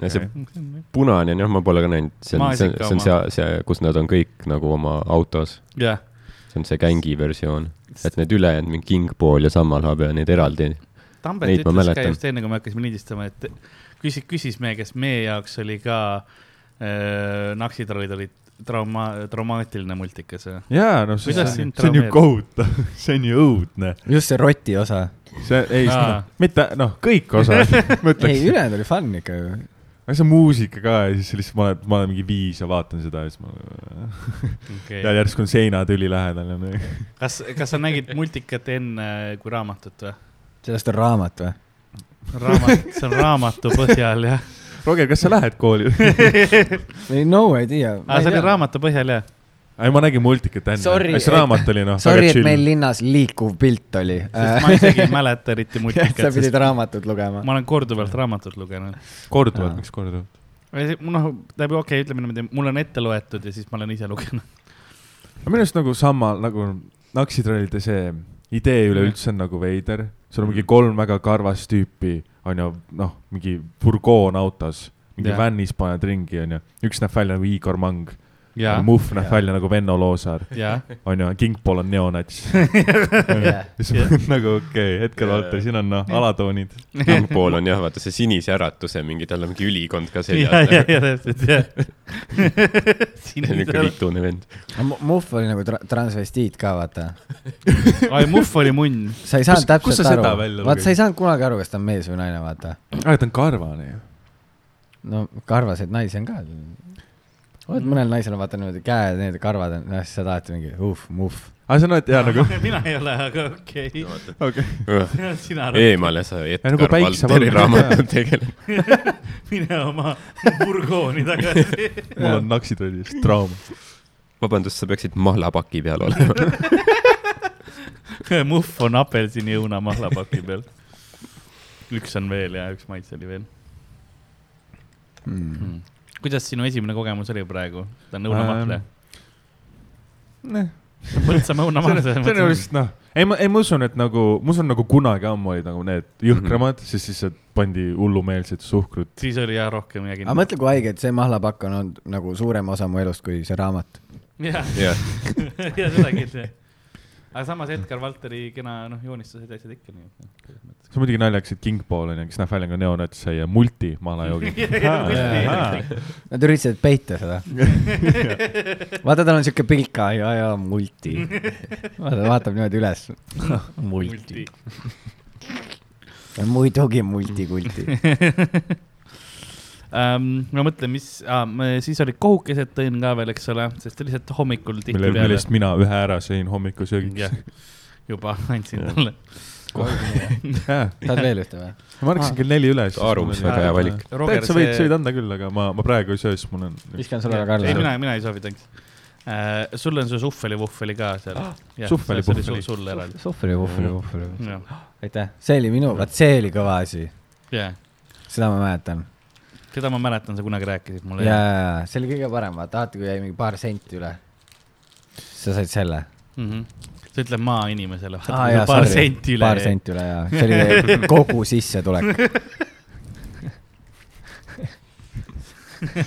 C: see <laughs> punane on jah , ma pole ka näinud , see on , see on ,
B: Maasika
C: see on
B: oma.
C: see , see , kus nad on kõik nagu oma autos .
B: jah ,
C: see on see gängi versioon , et need ülejäänud , mingi Kingpool ja Sammalhab ja need
B: <laughs>
C: eraldi .
B: Tambet
C: Neid ma
B: ütles ka
C: mäletan.
B: just enne , kui me hakkasime lindistama , et küsis , küsis meie , kes meie jaoks oli ka äh, , Naksitrollid olid trauma , traumaatiline multikas .
E: jaa , noh , see
B: Kuidas
E: on
B: sind
E: see on ju
B: traumeerib?
E: kohutav , <laughs> see on ju õudne .
D: just see roti osa .
E: see , ei
B: Aa. ,
E: mitte , noh , kõik
B: <laughs>
E: osad , ma
D: ei ,
E: ütleks .
D: ülejäänud oli fun ikka ju .
E: aga see muusika ka ja siis lihtsalt ma olen , ma olen mingi viis ja vaatan seda ja siis ma , ja
B: Okay.
E: järsku on seinad ülilähedal ja nii .
B: kas , kas sa nägid multikat enne äh, kui raamatut või ?
D: sellest on raamat või ?
B: raamat , see on raamatu põhjal jah .
E: Roger , kas sa lähed kooli ? <laughs>
D: ei , no idea .
B: aa , Ah, see oli . raamatu põhjal jah ?
E: ei , ma nägin multikat
D: Sorry,
E: enne , see raamat oli noh ,
D: Sorry ,
E: väga
D: et meil
E: chill .
D: linnas liikuv pilt oli .
B: sest ma isegi
D: <laughs>
B: ei mäleta eriti multikat ,
D: Äh. sa
B: sest
D: pidid raamatut lugema .
B: ma olen korduvalt raamatut lugenud .
E: korduvalt ,
D: Aa.
E: miks korduvalt ?
B: noh , läbi okei okay, , ütleme niimoodi , mul on ette loetud ja siis ma olen ise lugenud .
E: aga minu arust nagu sama nagu Naksitrollide see idee üleüldse on nagu veider , sul on mingi kolm väga karvast tüüpi , onju , noh , mingi furgoon autos , mingi
B: Jah.
E: vännis paned ringi , onju , üks näeb välja nagu Igor Mang ,
B: ja ,
E: Muhv näeb
D: Jaa.
E: välja nagu Venno Loosaar ,
B: ja ,
E: onju , Kingpool on neonats .
D: Jah.
E: siis ma olen nagu okei okay, , hetkel vaata , siin on noh , alatoonid .
C: Kingpool on jah , vaata see sinise äratuse mingi , tal on mingi ülikond
B: <laughs>
C: ka nagu.
B: ja ,
C: seljas <laughs>
B: ja ,. ja täpselt jah . <laughs> siin on
C: niisugune
B: seal ,
C: vitune vend .
D: Muhv oli nagu tra- transvestiit ka , vaata .
B: ai Muhv oli munn .
D: sa ei saanud
E: Kus- kus sa
D: täpselt
E: seda
D: aru
E: välja .
D: vaat sa
E: lugesid?
D: ei saanud kunagi aru , kas ta on mees või naine , vaata .
E: aa , ta on karvane ju .
D: no karvaseid naisi on ka . oled mõnel naisel on vaata niimoodi käed , need karvad on , noh , siis sa tahad mingi uh , muhv .
E: aa , see on , et jaa nagu , <laughs>
B: <laughs> mina ei ole , aga okei okay.
E: okei .
B: no, . sina arvad ,
C: eemale sa
E: Ja nagu
C: Edgar Valteri
E: päiksevalgel ka.
C: raamatut tegeled .
B: mine oma burgooni <laughs> tagasi .
E: mul on Naksitrollidest trauma .
C: vabandust , sa peaksid mahlapaki peal
D: <laughs>
C: olema .
B: Muhv on apelsiniõuna mahlapaki peal . üks on veel ja üks maitse oli veel
D: Mm.
B: hmm. . kuidas sinu esimene kogemus oli praegu ? ta on õunamahle . Põltsamaa õunamahle .
E: <laughs> see on , see on ju vist noh , ei ma , ei ma usun , et nagu , ma usun nagu kunagi ammu olid nagu need jõhkramad mm , -hmm. siis lihtsalt pandi hullumeelsed suhkrut .
B: siis oli jah rohkem ja
D: aga mõtle , kui haige , et see mahlapakk on olnud nagu suurem osa mu elust kui see raamat .
B: jah , <laughs>
C: jah ,
B: ja seda kindlasti . aga samas Edgar Valteri kena noh , joonistused ja asjad ikka nii . noh,
E: see on muidugi naljakas , et Kingpool on ju , kes näeb välja nagu neonats sai multi <laughs> mahlajoogi .
D: Nad üritasid peita
E: <laughs>
D: seda . vaata , tal on siuke pilk ka , ja , ja multi . vaata , vaatab niimoodi üles .
E: <laughs>
D: multi .
E: <laughs>
D: muidugi multikulti .
B: <laughs> ähm, . ma mõtlen , mis ah, , siis olid kohukesed tõin ka veel , eks ole , sest lihtsalt hommikul
E: mille ,
B: tihtipeale
E: millest mina ühe ära sõin hommikusöögiks
B: <laughs>
E: <laughs>
B: Jah. . juba andsin talle .
E: ma
D: tahad veel ühte või ?
E: maksin kell neli üle .
C: Aarumis väga hea valik. .
B: Roger,
E: täitsa võid ,
B: see-
E: sa võid anda küll , aga ma , ma praegu ei söö , sest <laughs> mul on .
D: viskan sulle ka
B: ei ,
D: alla .
B: mina , mina ei soovitaks äh, . sul on see suhveli-vuhveli ka
E: <gasps>
B: seal .
E: Suhveli- puhveli.
B: sul eraldi .
D: sohvri , vuhvri , vuhvri .
B: jah ,
D: aitäh , Mm. see oli minu , vot see oli kõva asi ,
B: jah ,
D: seda ma mäletan .
B: seda ma mäletan , sa kunagi rääkisid mulle .
D: ja , ja , see oli kõige parem , vaata , alati kui jäi mingi paar senti üle . sa said selle .
B: mm . -hmm. sa ütled maainimesele ,
D: Aa, jaa,
B: paar
D: sorry.
B: senti üle
D: paar . senti üle ja , see oli
B: <laughs>
D: <laughs> teie kogu <laughs> sissetulek .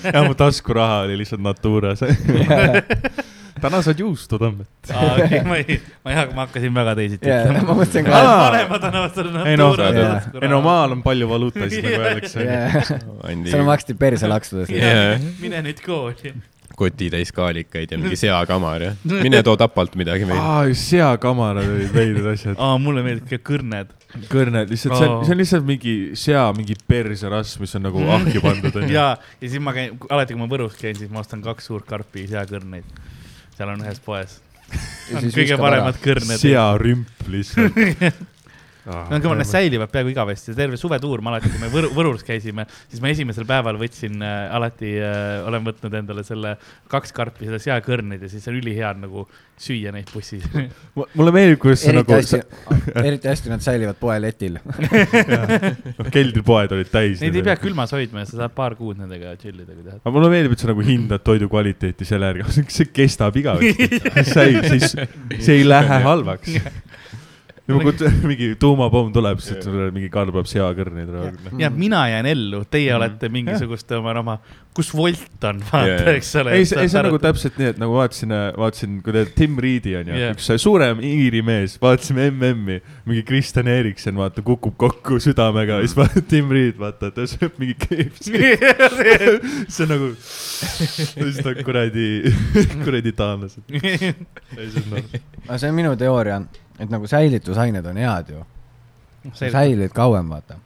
E: jah , mu taskuraha oli lihtsalt Naturas . <laughs> täna saad juustu tõmmata .
B: aa ,
D: <laughs>
B: okei , ma ei , ma ei hakka , ma hakkasin väga teisiti
D: ja
B: ütlema . <laughs>
D: ma mõtlesin
E: Aa,
D: kohe .
B: panema tänavad selle
E: ei noh ,
B: Natura
D: jaa.
E: ei no . maal on palju valuutasid , nagu öeldakse .
B: <laughs>
D: seal maksti perse laksudes .
C: Jaa.
B: mine nüüd kooli .
C: kotitäis kaalikaid ja mingi seakamar ja mine too Tapalt midagi meile .
E: aa , seakamarad olid veidrad asjad .
B: aa , mulle meeldib ka kõrned .
E: kõrned , lihtsalt see on ,
B: Aa. Mhm.
E: see on lihtsalt mingi sea mingi perseras , mis on nagu ahju pandud onju .
B: ja , ja siis ma käin , alati kui ma Võrus käin , siis ma ostan kaks suurt karpi seakõrneid . seal on ühes poes . kõige paremad . kõrned .
E: searümp
B: <laughs>
E: lihtsalt .
B: no kõva , need säilivad peaaegu igavesti , terve suvetuur ma alati , kui me Võru , Võrus käisime , siis ma esimesel päeval võtsin äh, alati äh, , olen võtnud endale selle kaks karpi , seda seakõrneid ja siis on ülihea on nagu süüa neid bussis .
E: Mu- mulle meeldib , kuidas see
D: eriti
E: nagu ,
D: hästi , eriti hästi nad säilivad <laughs> poeletil .
E: keldripoed olid
B: <laughs>
E: täis .
B: Neid ei pea külmas hoidma ja sa saad paar kuud nendega chill ida , kui tahad .
E: aga mulle meeldib , et sa nagu hindad toidu kvaliteeti selle järgi , <laughs> see kestab igavesti , see ei , see ei , see ei lähe
B: <laughs>
E: halvaks . ja kui t- <laughs> mingi tuumapomm tuleb , siis tuleb mingi Karl peab seakõrneid rõõmima .
B: ja mina jään ellu ,
E: Mm.
B: teie olete mingisuguste oma , oma , kus Volt on , vaata
C: Jaa.
B: yeah. , eks ole .
E: ei , see , see on
B: <laughs>
E: nagu täpselt nii , et nagu vaatasin , vaatasin , kui tead Tim Reedi on ju
B: Jah.
E: yeah. , üks äh, suurem Iiri mees , vaatasime MM-i , mingi Kristjan Eriksen , vaata , kukub kokku südamega ja siis vaatad Tim Reed , vaata , ta sööb mingi keepsi . see on nagu , siis ta kuradi , <laughs> kuradi taanlased .
D: aga see on minu teooria , et nagu säilitusained on head ju .
B: täpselt .
D: säilid kauem , vaata .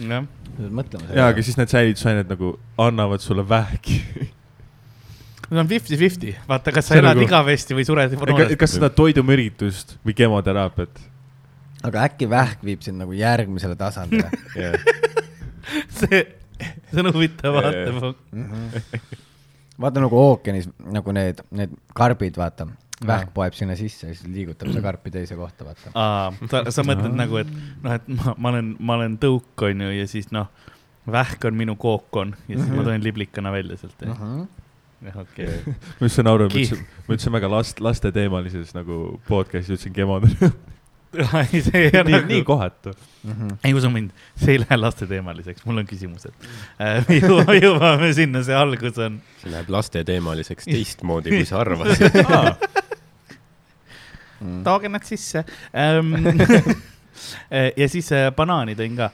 B: jah ,
D: mõtleme
E: jaa , aga . siis need säilitusained nagu annavad sulle vähki .
B: see on fifty-fifty , vaata , kas
E: See
B: sa elad
E: nagu-
B: igavesti või sured noorest .
E: kas seda toidumüritust või kemoteraapiat ?
D: aga äkki vähk viib sind nagu järgmisele tasandile
B: see , see on huvitav
C: Jaa, jaa.
B: vaatepunkt .
D: mm . -hmm. vaata nagu ookeanis nagu need , need karbid , vaata , vähk poeb sinna sisse ja siis liigutab seda karpi teise kohta , vaata .
B: aa , sa , sa mõtled nagu , et noh , et ma , ma olen , ma olen tõuk , onju , ja siis noh , vähk on minu kookon ja siis ma tulen liblikana välja sealt . jah , okei .
E: ma just sain aru , ma
B: Ki-
E: ütlesin , ma ütlesin väga last , lasteteemalises nagu podcast'is ütlesin kemoteraapiat .
B: <laughs> see ei ole
E: nii , nii
B: nagu ,
E: kohatu .
B: ei usu mind , see ei lähe lasteteemaliseks , mul on küsimused . me jõuame , jõuame sinna , see algus on .
C: see läheb lasteteemaliseks teistmoodi , kui sa arvasid .
B: tooge nad sisse . ja siis Ähm, <laughs> äh, banaani tõin ka ,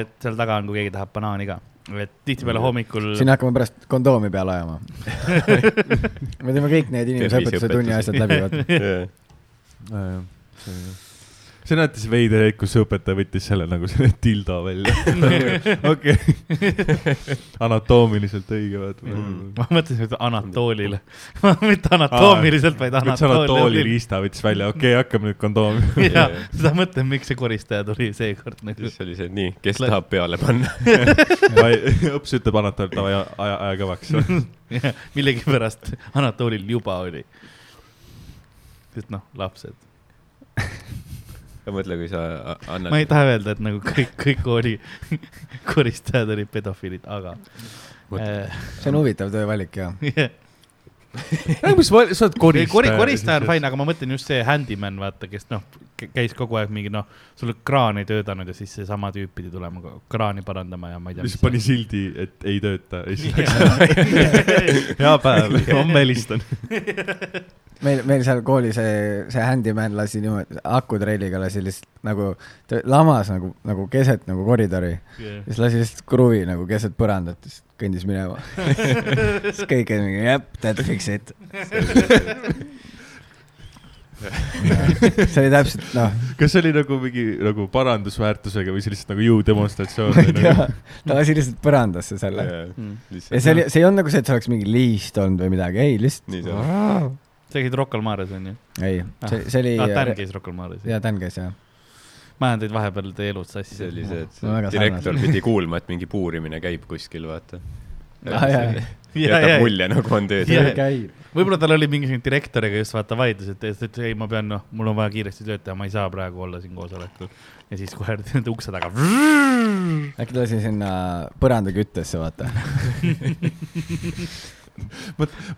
B: et seal taga on , kui keegi tahab banaani ka , et tihtipeale hommikul .
D: siin hakkame pärast kondoomi peale ajama . me teeme kõik need inimeseõpetuse tunni asjad läbi , vaata .
E: see on alati see veider hetk , kus õpetaja võttis selle nagu selle tilda välja .
B: <laughs>
E: okei , anatoomiliselt õige vaata .
B: ma mõtlesin , et
E: <laughs>
B: Anatoolile , mitte anatoomiliselt , vaid
E: üks Ah, Anatooli
B: Anatoolile .
E: riista võttis välja , okei okay, , hakkame nüüd kondoomi .
B: ja seda mõtlen , miks see koristaja tuli seekord nagu .
C: siis oli see , et nii , kes tahab peale panna .
E: <laughs> õps ütleb Anatol , et davai , aja , aja kõvaks .
B: millegipärast Anatoolil juba oli . sest noh , lapsed ,
C: mõtle , kui sa
B: ma ei
C: annad ,
B: taha öelda , et nagu kõik , kõik kooli <laughs> koristajad olid pedofiilid , aga . äh,
D: see on huvitav töövalik ja .
E: sa oled
B: <laughs> kori ,
E: koristaja .
B: koristaja on fine , aga ma mõtlen just see handyman , vaata , kes noh , käis kogu aeg mingi noh , sul kraan ei töötanud ja siis seesama tüüp pidi tulema ko- kraani parandama ja ma ei tea .
E: siis pani sildi , et ei tööta ja siis läks . <laughs>
B: läks .
E: hea päev ,
B: <laughs>
E: homme helistan .
D: meil , meil seal kooli see , see handyman lasi niimoodi , akutrelliga lasi lihtsalt nagu , ta lamas nagu , nagu keset nagu koridori . siis lasi lihtsalt kruvi nagu keset põrandat , siis kõndis
B: <laughs>
D: minema . siis kõik olid mingi , jep , that fix it . see oli täpselt , noh ,
E: kas see oli nagu mingi nagu parandusväärtusega või see lihtsalt nagu jõudemonstratsioon
D: <laughs> ma ei tea , ta lasi lihtsalt põrandasse selle . ja see oli , see ei olnud nagu see , et see oleks mingi liist olnud või midagi , ei , lihtsalt ,
C: nii see on .
E: nagu... ?
B: sa käid Rocca al Mares onju ?
D: ei , see , see oli äh,
B: ah ,. Dan käis Rocca al Mares .
D: jaa , Dan käis jah .
B: ma ajan teid vahepeal teie elud sassi .
C: see oli see , et
D: No väga
C: see direktor pidi kuulma , et mingi puurimine käib kuskil , vaata .
D: Ah, jaa.
C: jätab mulje , nagu on töös .
B: Jah.
D: käib .
B: võib-olla tal oli mingisugune direktoriga just vaata vaidlus , et ta ütles , et ei , ma pean , noh , mul on vaja kiiresti tööd teha , ma ei saa praegu olla siin koosolekul . ja siis kohe <laughs> nende ukse
C: <laughs>
B: taga .
D: äkki ta lasi sinna põrandaküttesse , vaata .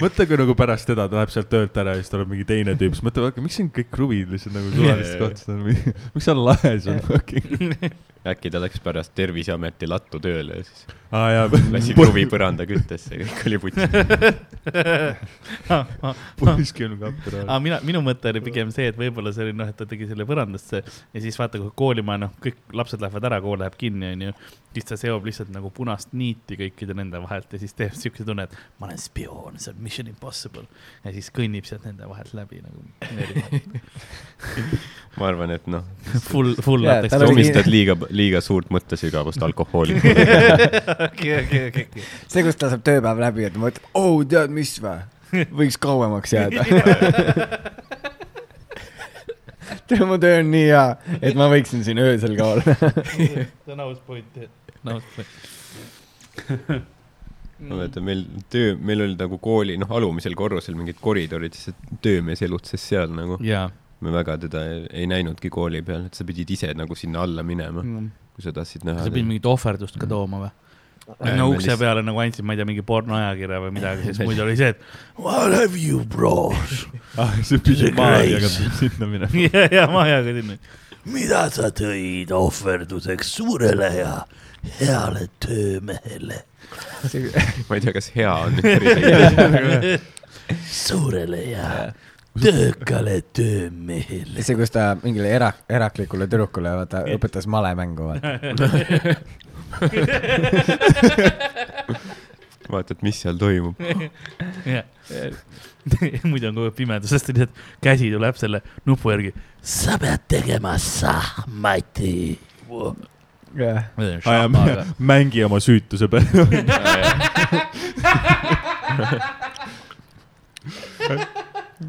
E: mõtle , kui nagu pärast teda ta läheb sealt töölt ära ja siis tuleb mingi teine tüüp , siis mõtleb , aga miks siin kõik kruvid lihtsalt nagu suvalistes kohtades on , <laughs> miks seal laes on fucking .
C: äkki ta läks pärast Terviseameti lattu tööle ja siis
E: aa jaa ,
C: lasi kruvi põranda küttesse ja kõik oli putsi .
B: Ah,
E: puiskilm kapper
B: aga . mina , minu mõte oli pigem see , et võib-olla see oli noh , et ta tegi selle põrandasse ja siis vaata , kui koolimaja , noh , kõik lapsed lähevad ära , kool läheb kinni , onju . siis ta seob lihtsalt nagu punast niiti kõikide nende vahelt ja siis teeb siukse tunne , et ma olen spioon , see on mission impossible . ja siis kõnnib sealt nende vahelt läbi nagu .
C: ma arvan , et noh ,
B: <laughs> Full , full
D: Jaa,
B: latex
D: tal
C: sa
D: oli-
C: omistad liiga , liiga suurt mõttesügavust alkohoolikule .
B: okei , okei , okei , okei .
D: see , kus ta saab tööpäev läbi ja ta mõtleb , oo , "Oh, tead mis vä , võiks kauemaks jääda . <laughs> tead , mu töö on nii hea , et ma võiksin siin öösel ka olla .
B: see on aus point , aus
C: ma
B: point .
C: mäletan , meil töö , meil oli nagu kooli , noh , alumisel korrusel mingid koridorid , siis et töömees elutses seal nagu .
B: jaa .
C: me väga teda ei, ei näinudki kooli peal , et sa pidid ise nagu sinna alla minema ,
B: kas
C: kui sa tahtsid näha
B: Mm. sa . pidid mingit ohverdust ka tooma või ?
C: Ei,
B: no
C: me
B: ukse
C: lihtsalt-
B: peale nagu andsid , ma ei tea , mingi pornoajakirja või midagi , siis muidu oli see , et what have you brought ?
E: aa , see pidi maha jagama sinna
B: <laughs>
E: minema .
B: ja , ja ma ei hakka sinna .
F: mida sa tõid ohverduseks suurele ja heale töömehele ,
C: ma ei tea , kas hea
B: <laughs>
C: on nüüd päris õige .
F: <laughs> suurele ja töökale
B: <laughs>
F: töömehele .
D: see , kus ta mingile era- , eraklikule tüdrukule , vaata , õpetas malemängu , vaata .
C: vaata , et mis seal
B: <laughs>
C: toimub .
B: muidu on kogu aeg pimedusest , lihtsalt käsi tuleb selle nupu järgi .
F: sa pead tegema sahmati .
D: jah ,
E: aa jaa , mängi oma süütuse peale .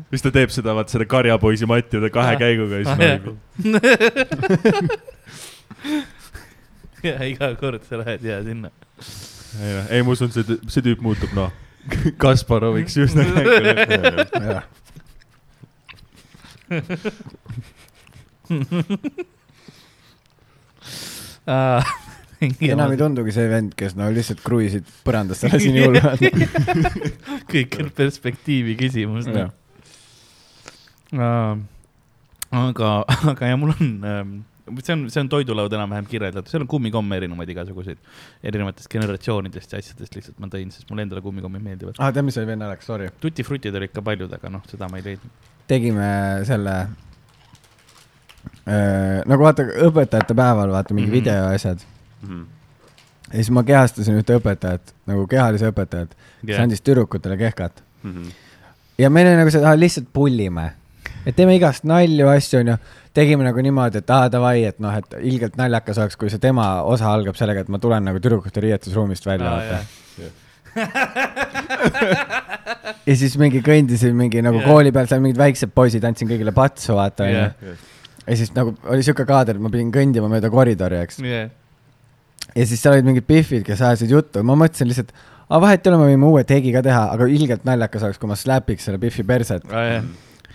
E: siis ta teeb seda , vaat selle karjapoisi matti üle kahe käiguga ja siis nagu
B: <laughs> ja iga kord sa lähed ja sinna .
E: ei noh , ei ma usun , see , see tüüp muutub noh , Kasparoviks üsna käiguga .
D: jah .
B: <laughs>
D: enam ei tundugi see vend , kes no lihtsalt kruiisid põrandast selle siin juurde .
B: kõik on perspektiivi küsimus . noh.
D: Jah.
B: aga , aga ja mul on , see on , see on toidulaud enam-vähem kirjeldatud , seal on kummikomme erinevaid igasuguseid , erinevatest generatsioonidest ja asjadest lihtsalt ma tõin , sest mulle endale kummikommid meeldivad .
D: aa , Ah, tead , mis oli veel naljakas , sorry .
B: tutifrutid olid ka paljud , aga noh , seda ma ei leidnud .
D: tegime selle , nagu vaata , õpetajate päeval vaata mingi
B: Mhm.
D: mm -hmm. video ja asjad . ja siis ma kehastasin ühte õpetajat , nagu kehalise õpetajat yeah. , kes andis tüdrukutele kehkat . ja meil oli nagu see , et lihtsalt pullime . et teeme igast nalju , asju , onju . tegime nagu niimoodi , et aa , davai , et noh , et ilgelt naljakas oleks , kui see tema osa algab sellega , et ma tulen nagu tüdrukute riietusruumist
B: Ah,
D: välja , vaata . ja siis mingi kõndisin mingi nagu
B: Jah.
D: yeah. kooli peal , seal mingid väiksed poisid , andsin kõigile patsu , vaata
B: Jah.
D: onju . ja siis nagu oli siuke kaader , et ma pidin kõndima mööda koridori , eks . ja siis seal olid mingid pihvid , kes ajasid juttu , ma mõtlesin lihtsalt , aga vahet ei ole , me võime uue tegi ka teha , aga ilgelt naljakas oleks , kui ma slapiks selle pihvi perset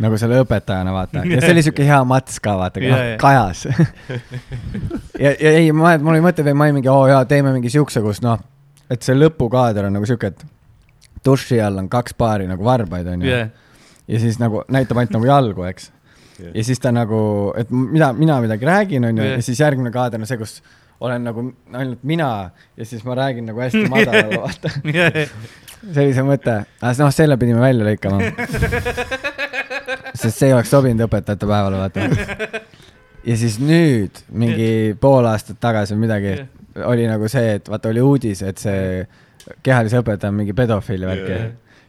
D: nagu selle õpetajana , vaata . ja see oli siuke hea mats ka , vaata noh,
B: Jaa, , jaa.
D: kajas . ja , ja ei , ma , mul oli mõte veel , ma olin mingi , oo jaa , teeme mingi siukse , kus noh , et see lõpukaader on nagu siuke , et duši all on kaks paari nagu varbaid , onju . ja siis nagu näitab ainult nagu jalgu , eks . ja siis ta nagu , et m- mina , mina midagi räägin , onju ,
B: Jah.
D: ja siis järgmine kaader on see , kus olen nagu ainult mina ja siis ma räägin nagu hästi madalal , vaata . see oli see mõte , aga noh , selle pidime välja lõikama . sest see ei oleks sobinud õpetajate päevale , vaata . ja siis nüüd mingi pool aastat tagasi või midagi
B: Jah.
D: oli nagu see , et vaata oli uudis , et see kehalise õpetaja on mingi pedofiili värk ja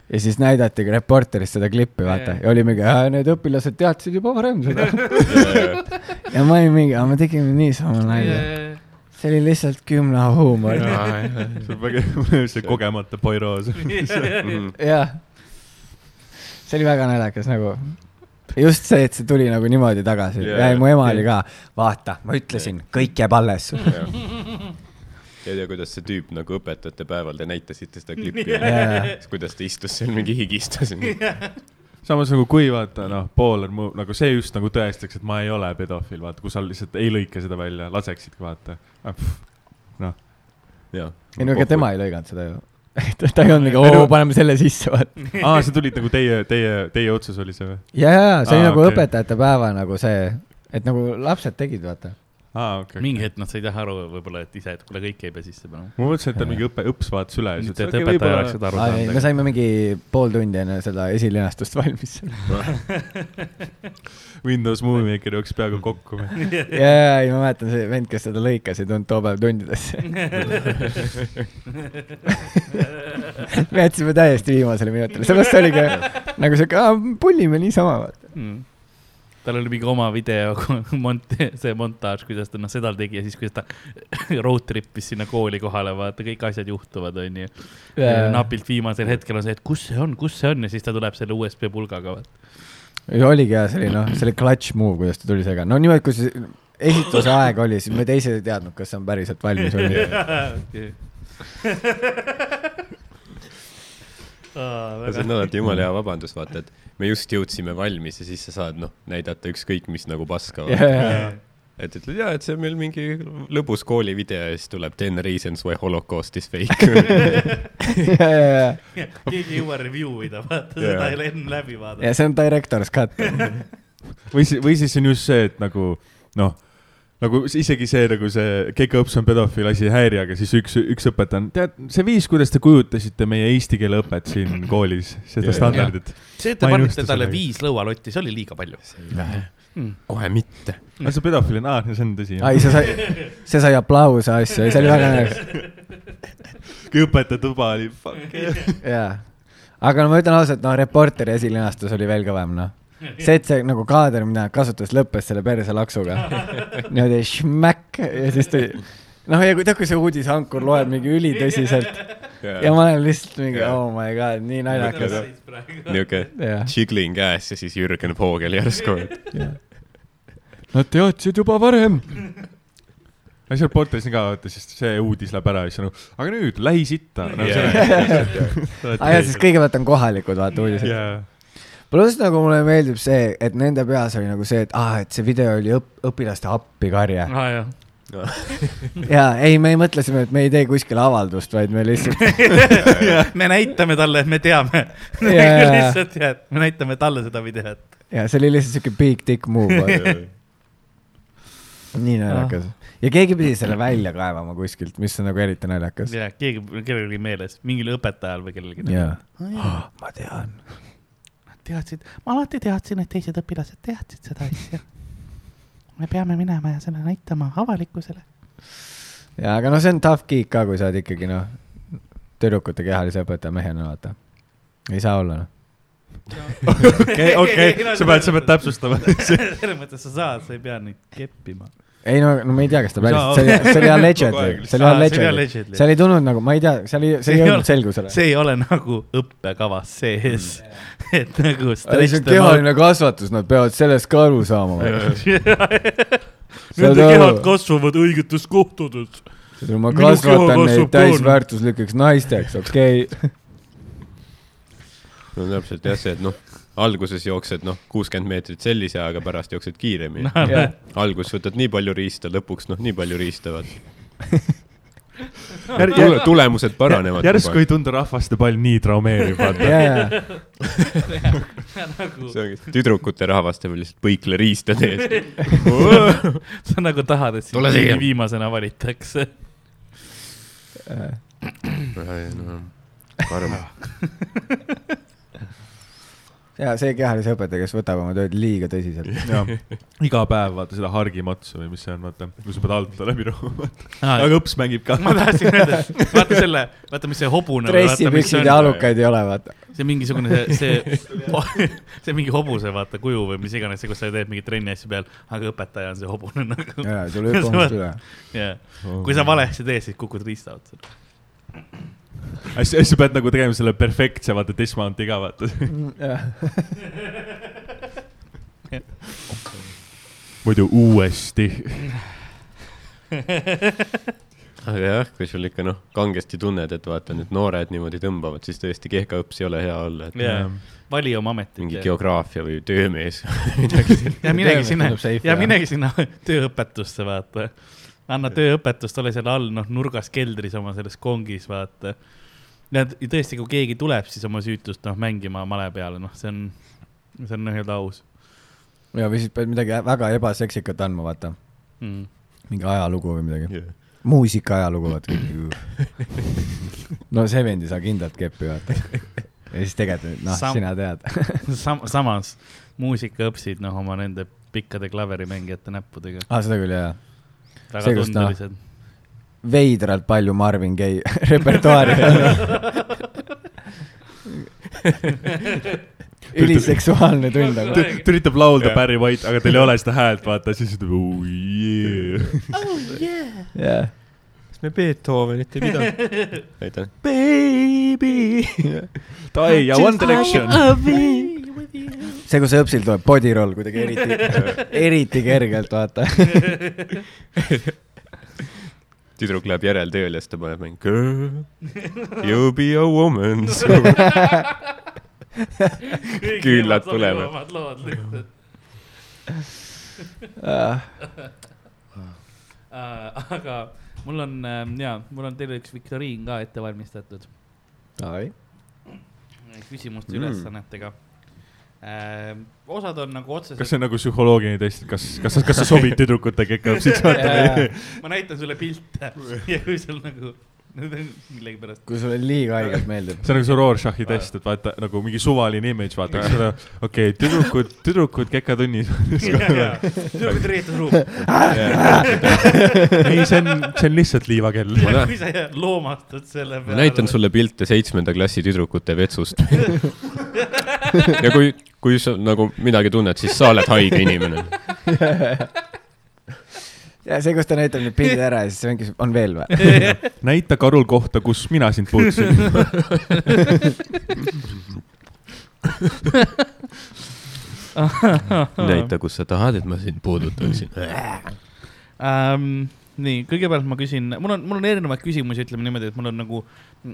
D: ja siis näidatigi Reporteris seda klippi , vaata
B: Jaa. ,
D: ja oli mingi , need õpilased teadsid juba varem seda ja ma olin mingi , aga me tegime niisama nalja . see oli lihtsalt kümne huumor .
E: see on väga , see kogemata Poirot .
D: jah . see oli väga naljakas nagu . just see , et see tuli nagu niimoodi tagasi
C: Jaa,
D: ja mu ema
C: jaa.
D: oli ka , vaata , ma ütlesin , kõik jääb alles .
C: ei tea , kuidas see tüüp nagu õpetajate päeval , te näitasite seda klippi ,
D: Jaa.
C: kuidas ta istus seal mingi higistas .
E: samas nagu kui vaata noh , pool on mu nagu see just nagu tõestaks , et ma ei ole pedofiil , vaata , kui sa lihtsalt ei lõika seda välja , laseksidki vaata . Ah,
D: ei no ega tema ei lõiganud seda ju . <laughs> ta ei olnud nagu , oo , paneme selle sisse , vaata .
E: aa , see tulid nagu teie , teie , teie otsus oli see või ?
D: ja , ja , ja see oli
E: Aa,
D: nagu
E: okei.
D: õpetajate päeva nagu see , et nagu lapsed tegid , vaata .
E: aa , Ah, okei okay. .
B: mingi hetk nad said jah aru võib-olla , et ise , et kuule , kõike ei pea sisse panema .
E: ma mõtlesin , et ta on mingi õpe , õps vaatas üle ja siis
B: et
E: ütles ,
B: et
E: et okei ,
B: õpetaja
E: võib-olla
B: oleks . seda aru <laughs>
E: <laughs>
D: ei , me
B: saanud .
D: saime mingi pool tundi enne seda esilinastust valmis .
E: Windows Movie Maker jooksis peaaegu kokku või ?
D: ja , ja , ei ma mäletan , see vend , kes seda lõikas , ei tulnud too päev tundidesse . <laughs> me jätsime täiesti viimasele minutile , sellepärast see oli ka nagu siuke , pullime niisama , vaata .
B: Mm. tal oli mingi oma video <laughs> mont- , see montaaž , kuidas ta noh , seda tegi ja siis , kuidas ta <laughs> road trip is sinna kooli kohale , vaata , kõik asjad juhtuvad , onju . napilt viimasel hetkel on see , et kus see on , kus see on ja siis ta tuleb selle USB pulgaga , <laughs> vaata .
D: oligi jah , see oli noh , see oli clutch move , kuidas ta tuli sega , no niimoodi , kui see esituse aeg oli , siis me teised ei teadnud , kas see on päriselt valmis või
B: <laughs>
D: mitte .
C: see on alati jumala hea vabandus , vaata , et me just jõudsime valmis ja siis sa saad , noh , näidata ükskõik mis nagu paska . et ütled jaa , et see on meil mingi lõbus koolivideo ja siis tuleb ten reasons why holocaust is fake .
D: ja
B: keegi ei jõua review ida , vaata ,
C: Jaa.
B: seda ei ole enne läbi vaadata .
D: see on director's cut . noh.
E: või siis , või siis on just see , et nagu noh , nagu s- isegi see nagu see Keiko Õps on pedofiil asi ei häiri , aga siis üks , üks õpetaja on , tead , see viis , kuidas te kujutasite meie eesti keele õpet siin koolis , seda
C: Jaa.
E: standardit .
B: see , et
E: Ma
B: te
E: ei
B: panite
E: nõustu
B: talle
E: sellega.
B: viis lõualotti , see oli liiga palju .
C: kohe mitte .
E: aga "Ah, see pedofiil on , aa , see on tõsi .
D: ai , see sai , see sai aplause asju , see oli väga naljakas .
E: <laughs> kui õpetaja tuba oli , fuck yeah. .
D: jaa , aga no ma ütlen ausalt , no Reporteri esilinastus oli veel kõvem , noh . see , et see nagu kaader , mida nad kasutas , lõppes selle perse laksuga . niimoodi šmäkk ja siis tuli , noh ja kui tead , kui see uudisankur loeb mingi ülitõsiselt ja ma olen lihtsalt mingi
C: Jaa.
D: oh my god , nii naljakas .
C: niuke
D: jah ,
C: jiggling ass ja siis Jürgen Voogel järsku .
D: nad teadsid juba varem .
E: no seal portalis on ka , vaata siis see uudis läheb ära ja siis on nagu , aga nüüd lähisitta no, .
D: aa ja siis kõigepealt on kohalikud , vaata uudised .
E: yeah. .
D: pluss nagu mulle meeldib see , et nende peas oli nagu see , et aa , et see video oli õp- , õpilaste appikarje .
B: aa jah .
D: jaa , ei , me mõtlesime , et me ei tee kuskile avaldust , vaid me lihtsalt
B: me näitame talle , et me teame .
D: Jaa.
B: lihtsalt jah , me näitame talle seda videot .
D: ja see oli lihtsalt siuke big dick move , vaata . nii naljakas . ja keegi pidi selle välja kaevama kuskilt , mis on nagu eriti naljakas .
B: ja keegi , kellelgi oli meeles , mingil õpetajal või kellelgi .
D: jaa . <gasps> ma tean .
G: teadsid , ma alati teadsin , et teised õpilased teadsid seda asja . me peame minema ja selle näitama avalikkusele .
D: jaa , aga no see on tough kiik ka , kui sa oled ikkagi noh , tüdrukute kehalise õpetaja mehena , vaata . ei saa olla noh .
E: okei , okei , sa pead , sa pead <laughs> täpsustama .
B: selles mõttes sa saad , sa ei pea neid keppima .
D: ei no , no me ei tea , kas ta
E: Ei
D: päriselt ,
E: saa
D: see oli , see
B: Aa, see
D: oli allegedly , see oli
E: Kogu aeg
B: oli
D: allegedly ,
B: allegedly.
D: seal ei tulnud nagu , ma ei tea , seal ei , see
B: See ei
D: ei
B: ole-
D: olnud selgusele .
B: see ei ole nagu õppekavas sees , et nagu .
D: ei , see on kehaline kasvatus , nad peavad sellest ka aru saama . <laughs> Saad
B: Nende
D: aru?
B: kehad kasvavad õigetes kohtades .
D: ma
B: Minu keha
D: kasvatan
B: kasvab
D: neid
B: ka, noh.
D: täisväärtuslikeks naisteks , okei okay. .
C: no täpselt jah , see , et noh , alguses jooksed noh , kuuskümmend meetrit sellise ajaga , pärast jooksed kiiremini . alguses võtad nii palju riista , lõpuks noh , nii palju riista , vaata . tulemused paranevad .
E: järsku ei tundu rahvastepall nii traumeeriv , vaata .
D: ja , ja ,
C: see ongi , tüdrukute rahvaste peal lihtsalt põikle riistade ees .
B: sa nagu tahad , et
C: Tule siia.
B: sind viimasena valitakse .
C: karm .
D: ja see kehalise õpetaja , kes võtab oma tööd liiga tõsiselt .
E: jah , iga päev vaata seda hargimatsu või mis see on , vaata , kui sa pead alt läbi rohuma , aga õps mängib ka .
B: ma tahtsin öelda , vaata selle , vaata , mis see hobune .
D: dressipüksid ja alukaid ei ole , vaata .
B: see mingisugune see , see , <laughs> see mingi hobuse vaata kuju või mis iganes , kus sa teed mingit trenni asju peal , aga õpetaja on see hobune <laughs> nagu .
D: jaa , <laughs> sul hüppab hommikul üle .
B: jaa ,
E: Oh.
B: kui sa valesti teed , siis kukud riista otsa .
E: sa pead nagu tegema selle perfektse , vaata , dismounti ka , vaata . <laughs> muidu uuesti .
C: aga jah , kui sul ikka noh , kangesti tunned , et vaata nüüd noored niimoodi tõmbavad , siis tõesti kehka õps ei ole hea olla , et
B: jaa , vali oma ametit .
C: mingi geograafia või töömees .
B: ja minegi
D: Töömees
B: sinna
D: tundub , safe,
B: ja
D: jah.
B: minegi sinna <laughs> tööõpetusse , vaata . anna tööõpetust , ole seal all , noh , nurgas keldris oma selles kongis , vaata . ja t- ja tõesti , kui keegi tuleb , siis oma süütust , noh , mängima male peale , noh , see on , see on noh, nii-öelda aus
D: ja , või siis pead midagi väga ebaseksikat andma , vaata .
B: mm. .
D: mingi ajalugu või midagi . muusika ajalugu , vaata . <laughs> no see vend ei saa kindlalt keppi , vaata . ja siis tegelikult , noh ,
B: Sam-
D: sina tead .
B: <laughs> Sam samas muusikaõpsid , noh , oma nende pikkade klaverimängijate näppudega .
D: aa , Ah, seda küll , jaa .
B: väga
D: See, kus, noh,
B: tundelised .
D: veidralt palju Marvin Gaye <laughs> repertuaari <laughs> on . üliseksuaalne tund , aga
E: ta üritab laulda Barry White , aga tal ei ole seda häält , vaata , siis ütleb oo jee .
D: jah .
C: kas me Beethovenit ei pidanud ? aitäh .
E: Die ja One Direction .
D: see , kus õpsil tuleb body roll kuidagi <laughs> eriti , eriti kergelt , vaata .
C: tüdruk läheb järeltööle ja siis ta paneb mingi girl , you be a woman . küünlad tulevad. .
B: lood lihtsalt . Äh, aga mul on , jaa , mul on teile üks viktoriin ka ette valmistatud küsimuste
C: Mm.
B: mm. ülesannetega . osad on nagu
E: kas
B: otseselt ,
E: see on nagu psühholoogiline test , kas , kas , kas sa sobid tüdrukutega ikka , siis vaata
D: Jaa.
B: ma näitan sulle
E: <laughs>
B: pilte ja kui sul nagu , need on millegipärast .
D: kui sulle liiga haigelt meeldib .
E: see on nagu see Rorschach'i test , et vaata nagu mingi suvaline image , vaata , eks ole . okei okay, , tüdrukud , tüdrukud kekatunnis .
B: tüdrukud riietusruum .
E: ei , see on , see on lihtsalt liivakell .
B: ja kui sa loomastad selle
C: ma
B: peale .
C: näitan sulle pilte seitsmenda klassi tüdrukute vetsust . <laughs> ja kui , kui sa nagu midagi tunned , siis sa oled haige inimene .
D: ja see , kus ta näitab need pildid ära ja siis mingi , on veel või ?
E: näita Karul kohta , kus mina sind puutusin .
C: näita , kus sa tahad , et ma sind puudutaksin .
B: ähm, . nii , kõigepealt ma küsin , mul on , mul on erinevaid küsimusi , ütleme niimoodi , et mul on nagu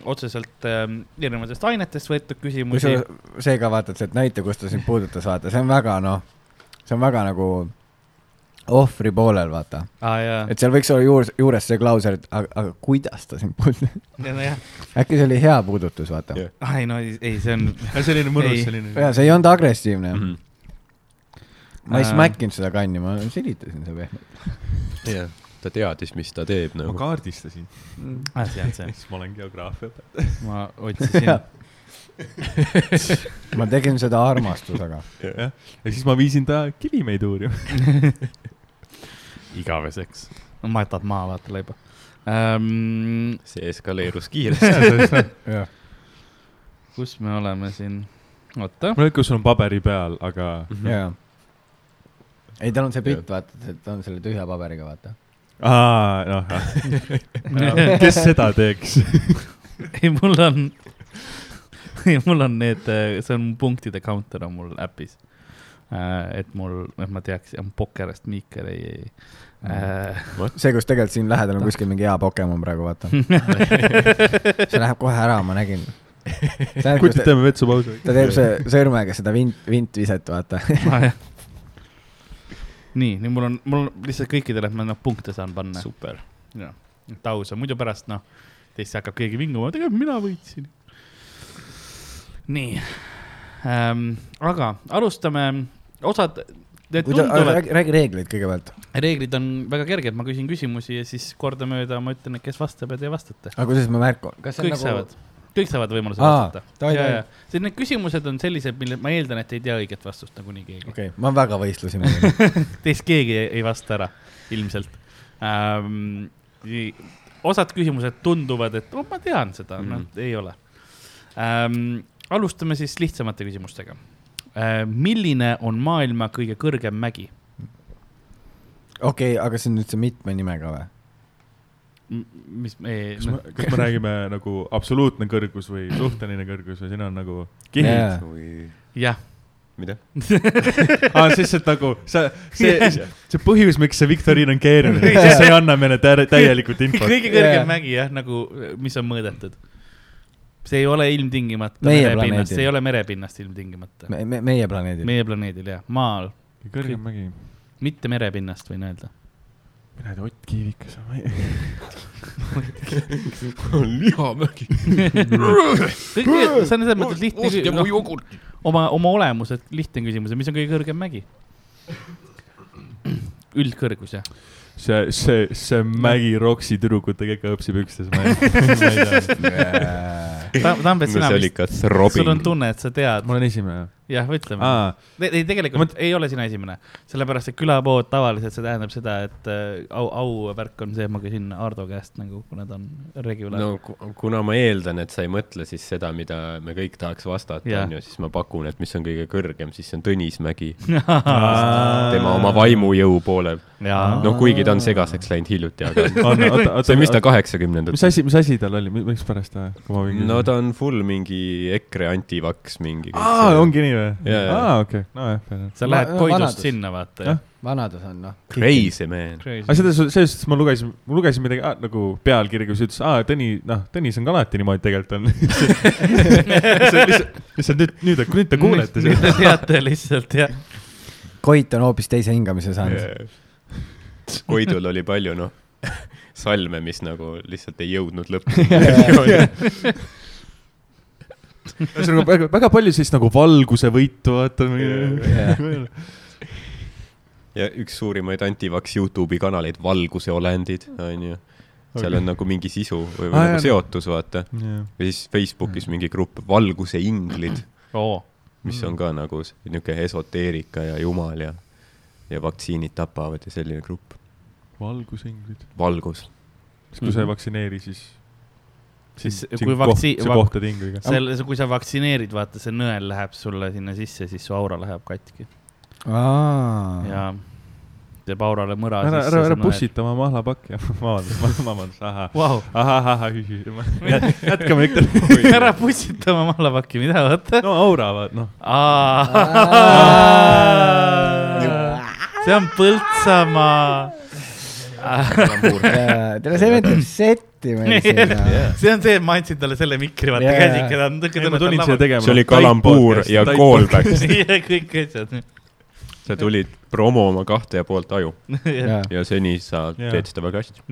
B: otseselt ähm, erinevatest ainetest võetud
D: kui
B: küsimusi
D: sa . seega vaatad sealt näite , kus ta sind puudutas , vaata , see on väga noh , see on väga nagu ohvri poolel , vaata .
B: aa Ah, jaa ,
D: et seal võiks olla juures , juures see klausel , et aga , aga kuidas ta sind puudutas . <laughs>
B: ja nojah ,
D: äkki see oli hea puudutus , vaata
C: Jah.
D: yeah. .
B: ei no ei, ei , see on ,
D: <laughs>
E: selline mõnus
B: Ei. ,
E: selline .
D: ja see ei olnud agressiivne mm .
C: jah .
D: -hmm. ma ei
B: Äh.
D: smäkkinud seda kanni , ma silitasin seda pehmelt .
C: ta teadis , mis ta teeb
E: ma
C: nagu .
E: kaardistasin ,
B: asi on Ah, see ,
E: siis ma olen geograafiaõpetaja .
B: ma otsisin
D: Jah. <laughs> ma tegin seda armastusega .
E: ja siis ma viisin ta Kivimeid uurima . <laughs>
B: igaveseks . matad maha , vaata leiba ähm, .
C: see eskaleerus kiiresti .
B: kus me oleme siin ? oota , <laughs>
E: ma ei tea , kas sul on paberi peal , aga
D: jaa . ei , tal on see pilt , vaata , ta on selle tühja paberiga , vaata .
E: aa , <laughs> noh , kes seda <laughs> teeks ?
B: ei mul on , <laughs> ei mul on need , see on punktide counter on mul äpis . et mul , et ma teaks , on Pokerist Miiker ei , ei äh, .
D: see , kus tegelikult siin lähedal on kuskil mingi hea Pokemon praegu , vaata . <laughs> see läheb kohe ära , ma
B: <laughs>
D: nägin .
E: kutid
D: ta
E: teeme vetsupausi .
D: ta teeb see sõrmega seda vint , vintviset , vaata . <laughs>
B: nii , nüüd mul on , mul on lihtsalt kõikidele , et ma noh punkte saan panna .
C: super .
B: jah , et aus on , muidu pärast noh , teist hakkab keegi vinguma , tegelikult mina võitsin . nii ähm, , aga alustame , osad , need tunduvad ,
D: räägi , räägi reegleid kõigepealt .
B: reeglid on väga kerged , ma küsin küsimusi ja siis kordamööda ma ütlen , et kes vastab ja te vastate .
D: aga kuidas ma märku , kas see on
B: kõik
D: nagu
B: saavad , kõik saavad võimaluse
D: Aa,
B: vastata
D: davai, davai. .
B: siis need küsimused on sellised , mille ma eeldan , et ei tea õiget vastust nagunii keegi .
D: okei , ma väga võistlusin muidugi .
B: <laughs> Teist keegi ei- ei vasta ära , ilmselt ähm, . osad küsimused tunduvad , et oh, ma tean seda mm. ,
E: Mhm.
B: noh , ei ole ähm, . alustame siis lihtsamate küsimustega äh, . milline on maailma kõige kõrgem mägi ?
D: okei , aga see on nüüd see mitme nimega või ?
B: mis me ,
E: kas me , kas me räägime nagu absoluutne kõrgus või suhteline kõrgus või siin on nagu kihid ?
D: jaa ,
B: jah ,
C: mida ?
E: aa , siis see nagu , see ,
B: <laughs>
E: see , see põhjus , miks see viktoriin on keeruline , siis see ei anna meile tä- täielikult infot .
B: kõige kõrgem
D: Jaa.
B: yeah. mägi jah , nagu , mis on mõõdetud . see ei ole ilmtingimata
D: Meie
B: merepinnast , see
D: planeedil.
B: ei ole merepinnast ilmtingimata .
D: me , me , meie planeedil .
B: meie planeedil jah , maal ,
E: kõrgem mägi ,
B: mitte merepinnast võin öelda .
E: mina ei tea , Ott Kiivikas või ?
C: lihamägi .
B: kõik , see on selles mõttes lihtne ,
C: ostke mu
B: noh ,
C: jogurtit .
B: oma , oma olemuselt lihtne küsimus , et mis on kõige kõrgem mägi ? üldkõrgus jah ,
E: see , see , see mägi roksi tüdrukutega ikka õpsib üksteise mägi .
B: <laughs> Tambet ,
C: no
B: sina
C: see oli
B: vist ,
C: kas
B: sul on
C: Robin .
B: tunne , et sa tead ,
E: <laughs> ma olen esimene .
B: jah , ütleme .
E: aa ,
B: ei , tegelikult ei ole sina esimene , sellepärast et külapood tavaliselt see tähendab seda , et äh, au , auvärk on see , ma küsin Ardo käest nagu , kuna ta on regulaar no. .
C: no ku- kuna ma eeldan , et sa ei mõtle siis seda , mida me kõik tahaks vastata ,
B: Jah.
C: onju , siis ma pakun , et mis on kõige kõrgem , siis see on Tõnis Mägi .
E: <laughs> Aa.
C: tema oma vaimujõu poole .
B: jaa ,
C: no kuigi ta on segaseks läinud hiljuti , aga
E: on ,
C: see
E: oota , oota ,
C: on , mis ta
E: mis
C: kaheksakümnendatel .
E: asi , mis asi tal oli , mikspärast ta , kui ma võin
C: no ta on full mingi EKRE antivaks mingi .
E: aa , ongi nii või
C: Jaa, ? jaa.
E: aa , okei , nojah , fair .
B: sa lähed
D: Va- vanadus.
B: Koidust sinna vaata
E: Jah.
B: jah .
D: vanadus on noh .
C: Crazy man .
E: aga seda , selles suhtes ma lugesin , ma lugesin midagi ah, nagu pealkirja , kus ütles , aa , Tõni , noh , Tõnis on ka alati niimoodi tegelikult on . lihtsalt , lihtsalt nüüd , nüüd , nüüd te kuulete
B: seda .
E: seda .
B: Te <laughs> teate lihtsalt jah ,
D: Koit on hoopis teise hingamise saanud .
C: Koidul oli palju , noh , <laughs> salme , mis nagu lihtsalt ei jõudnud
E: <laughs>
C: lõpuni . <laughs>
E: ühesõnaga väga , väga palju siis nagu valguse võitu , vaata .
C: ja üks suurimaid antivaks Youtube'i kanaleid , Valguse olendid , onju . seal on nagu mingi sisu või, või
E: Aa,
C: nagu
E: jaa.
C: seotus , vaata .
E: jah .
C: või siis Facebookis mingi grupp Valguse inglid ,
B: oo ,
C: mis on ka nagu s- niuke esoteerika ja jumal ja , ja vaktsiinid tapavad ja selline grupp .
E: valgusinglid .
C: valgus .
E: siis kui sa ei vaktsineeri , siis .
B: Siis kui vaktsi-
E: sa
B: vak-
E: kohtad ingliga .
B: selle , kui sa vaktsineerid , vaata see nõel läheb sulle sinna sisse , siis su aura läheb katki
D: aa ,
B: ja teeb aurale mõra
E: ära ,
B: sisse .
E: ära , ära . pussita oma mahlapakki , vabandust , vabandust , ahah . <laughs>
B: Vau ,
E: ahah , jätkame ikka .
B: <laughs> ära pussita oma mahlapakki , mida vaata .
E: no aura , vaat noh . Ah.
B: Aa. see on Põltsamaa .
D: teile see meeldib settimine sinna .
B: see on see , et ma andsin talle selle mikri , vaata
D: Jaa.
B: käsike , ta on
E: ei , ma tulin siia . tegema .
C: see oli kalambuur ja . callback .
B: <laughs> kõik asjad .
C: sa tulid promoma kahte ja poolt aju ja seni sa
E: Jaa.
C: teed seda väga hästi .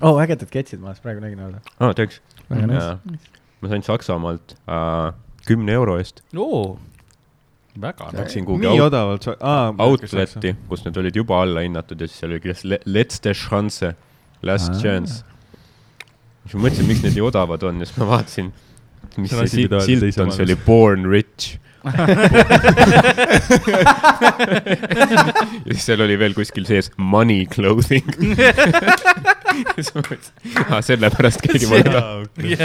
D: oo , ägedad ketsid Oh, ma alles praegu nägin olla .
C: aa , thanks .
D: väga nice .
C: ma sain Saksamaalt äh, kümne euro eest ,
B: oo , väga .
C: läksin kuhugi
E: Ah, nii
C: out,
E: odavalt , aa . <laughs>
C: outlet'i , kus need olid juba alla hinnatud ja siis seal oli kirjas le- letzte chance , last
D: Aa.
C: ah. chance . siis ma mõtlesin , miks need nii odavad on ja siis ma vaatasin , mis
E: See on
C: see
E: asi,
C: silt
E: mida öeldi
C: silt
E: teise
C: on , see oli
E: maailmasõja-
C: born <laughs> rich . ja siis seal oli veel kuskil sees money clothing . <laughs> siis ma mõtlesin , aa sellepärast keegi mulle tahab .
D: <laughs> kui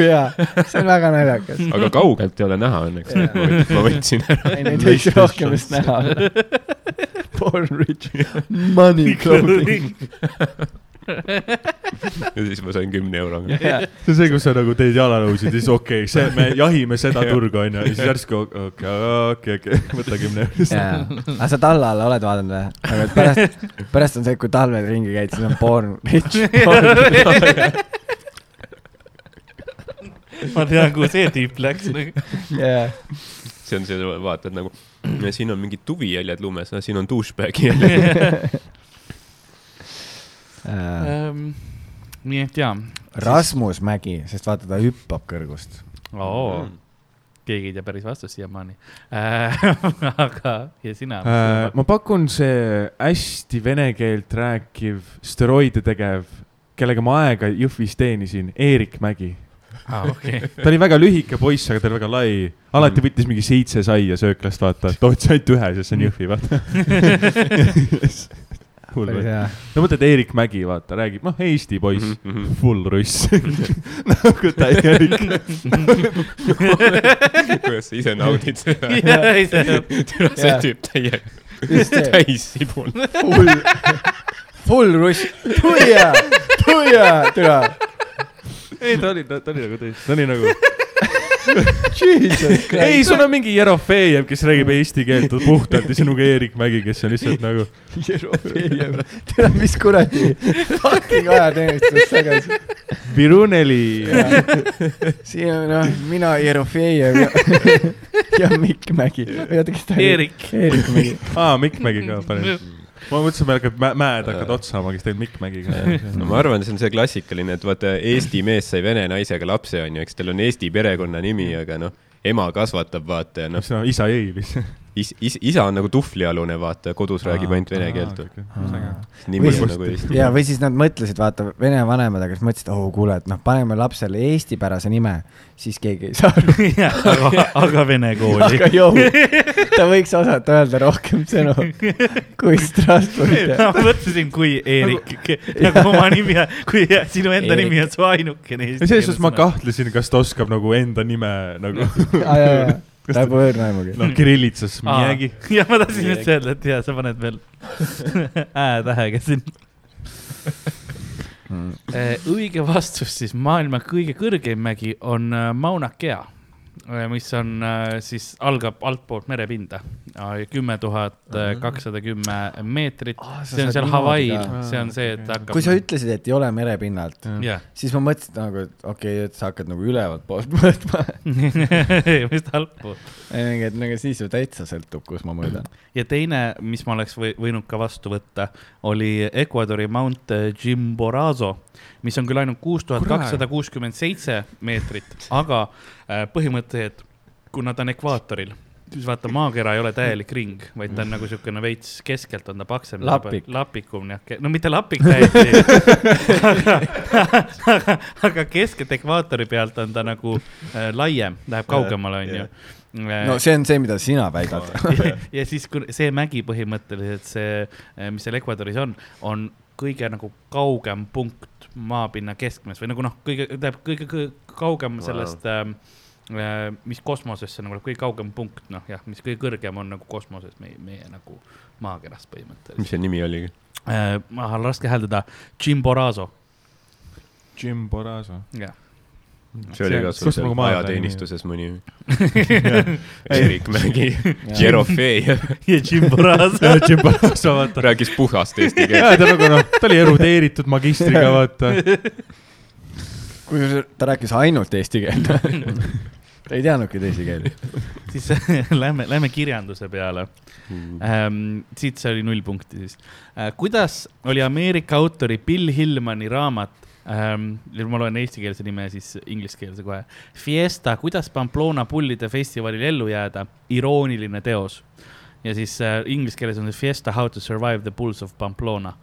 D: hea , see on väga naljakas .
E: <laughs>
C: aga kaugelt ei ole näha <laughs> õnneks , nii et ma võt- ma võtsin ära .
D: ei , neid võiks rohkem vist näha olla . Born rich , money clothing .
C: ja siis ma sain kümne <laughs> euroga .
E: see on see , kus sa nagu teed jalanõusid ja siis okei okay, , see , <laughs> me jahime seda turgu onju ja siis järsku okei okay, , okei <laughs> okay, , okei okay, , võta kümne eurist .
D: aga sa talla alla oled vaadanud või ? aga et
E: <laughs>
D: pärast , pärast on see , kui talvel ringi käid , siis on born rich .
E: <laughs>
B: ma tean , kuhu see tüüp läks .
C: see on see , vaatad nagu , siin on mingid tuvijäljed lumes , siin on douchebag'i jäljed .
B: Ähm, nii et jaa .
D: Rasmus Mägi , sest vaata , ta hüppab kõrgust .
E: Mm.
B: oo , keegi ei tea päris vastust siiamaani . <laughs> aga , ja sina ?
E: Äh, ma pakun see hästi vene keelt rääkiv , steroide tegev , kellega ma aega Jõhvis teenisin , Eerik Mägi .
B: aa ,
E: <laughs>
B: okei .
E: ta oli väga lühike poiss , aga ta oli väga lai . alati võttis mingi seitse saia sööklast , vaata , tootsi ainult ühe , sest see on Jõhvi , <laughs> vaata Hull
D: päris
E: või?
D: hea .
E: no mõtled Eerik Mägi , vaata , räägib , noh , Eesti poiss mm ,
C: Mhm.
E: -hmm. full <laughs> russ . nagu täielik ,
C: kuidas sa ise naudid seda ?
B: <laughs>
C: see
D: Jah.
C: tüüp täie ,
D: just see ,
C: täis sibul .
D: full , full russ , tuia , tuia , türa .
E: ei ta oli , ta oli nagu tõesti , ta oli nagu ,
D: Jesus
E: <laughs> ei ,
D: Christ ,
E: sul on mingi Jerofejev , kes räägib eesti <laughs> keelt puhtalt ja sinuga Eerik Mägi , kes on lihtsalt nagu ,
D: <laughs> türa , mis kuradi fucking ajateenistus see käis .
E: Viruneli . <laughs>
D: siin on noh , mina , Jerofejev ja, <laughs> ja Mikk Mägi . oota , kes ta oli ?
B: Eerik.
D: Eerik Mägi .
E: aa , Mikk Mägi ka , parim . ma mõtlesin , meil hakkab mä- , mäed hakkavad otsa saama , kes tegelikult Mikk Mägiga .
C: no ma arvan , see on see klassikaline , et vaata , Eesti mees sai vene naisega lapse , onju , eks tal on Eesti perekonnanimi , aga noh , ema kasvatab , vaata , ja noh ,
E: no isa jäi lihtsalt .
C: is- , is- , isa on nagu tuhvlialune , vaata , kodus räägib ainult vene keelt . nimi
D: Või-
C: on nagu eesti .
D: ja , või siis nad mõtlesid , vaata , vene vanemad , aga siis mõtlesid , oh kuule , et noh , paneme lapsele eestipärase nime , siis keegi ei saa aru .
B: aga , aga vene
E: <laughs>
B: kooli .
D: aga jõu , ta võiks osata öelda rohkem sõnu kui Strasbourg .
B: ma mõtlesin , kui Eerik , nagu oma nimi ,
E: <laughs>
B: kui sinu enda nimi on su ainukene
E: ja selles suhtes ma . kahtlesin , kas ta oskab nagu enda nime <laughs> nagu , Kas ta-
D: nagu võõrnaimugi .
E: noh , kirillitsas midagi .
B: <laughs> ja ma tahtsin just öelda , et ja sa paned veel <laughs> Ä-tähega siin . <laughs> Äh, õige vastus siis maailma kõige kõrgem mägi on äh, Mauna Kea , mis on äh, siis algab altpoolt merepinda , kümme tuhat äh, kakssada kümme meetrit . see on seal Hawaii'l , see on see , et hakkab .
D: kui sa
B: <laughs>
D: ütlesid , et ei ole merepinnalt ,
B: jah ,
D: siis ma mõtlesin nagu , et okei okay, , et sa hakkad nagu ülevalt poolt <laughs> mõõtma .
B: <laughs> vist altpoolt .
D: ei , et nagu siis ju täitsa sõltub , kus ma mõõdan .
B: ja teine , mis ma oleks või, võinud ka vastu võtta , oli Ecuadori Mount Jimborazo , mis on küll ainult kuus tuhat kakssada kuuskümmend seitse meetrit , aga äh, põhimõtteliselt , kuna ta on ekvaatoril , siis vaata , maakera ei ole täielik ring , vaid ta on nagu niisugune veits keskelt on ta paksem .
D: Lapik.
B: lapikum jah , no mitte lapik täiesti , <laughs> aga, aga , aga keskelt ekvaatori pealt on ta nagu äh, laiem , läheb kaugemale , Äh, onju .
D: no see on see , mida sina väidad .
B: ja, <laughs> ja siis , kui see mägi põhimõtteliselt see , mis seal Ecuadoris on , on kõige nagu kaugem punkt maapinna keskmes või nagu noh , kõige , tähendab kõige, kõige kaugem
C: Vau.
B: sellest ähm, , äh, mis kosmosesse nagu läheb , kõige kaugem punkt , noh jah , mis kõige kõrgem on nagu kosmoses meie , meie nagu maakerast põhimõtteliselt
C: mis see nimi oligi ?
B: äh, . ahah , raske hääldada , Chimborazo ,
E: Jim Borazo .
B: jah .
C: see oli
E: See-
C: ka
E: see
C: sul
E: on
C: seal
E: nagu maja
C: ajateenistuses mõni .
E: <laughs>
C: Erik Mägi , Jerofeev
B: ja Chimborazo .
E: Jim Borazo , vaata .
C: rääkis puhast eesti keelt .
E: jaa , ta nagu noh , ta oli erudeeritud magistriga , vaata .
D: kusjuures ta rääkis ainult eesti <laughs> keelt . ta ei teadnudki teisi keeli .
B: siis <laughs> lähme , lähme kirjanduse peale
C: Mm,
B: ähm, . siit see oli null punkti siis äh, . kuidas oli Ameerika autori Bill Hillmani raamat ähm, , nüüd ma loen eestikeelse nime , siis ingliskeelse kohe . Fiesta , kuidas Pamplona pullide festivalil ellu jääda , irooniline teos . ja siis äh, inglise keeles on see Fiesta how to survive the bulls of Pamplona .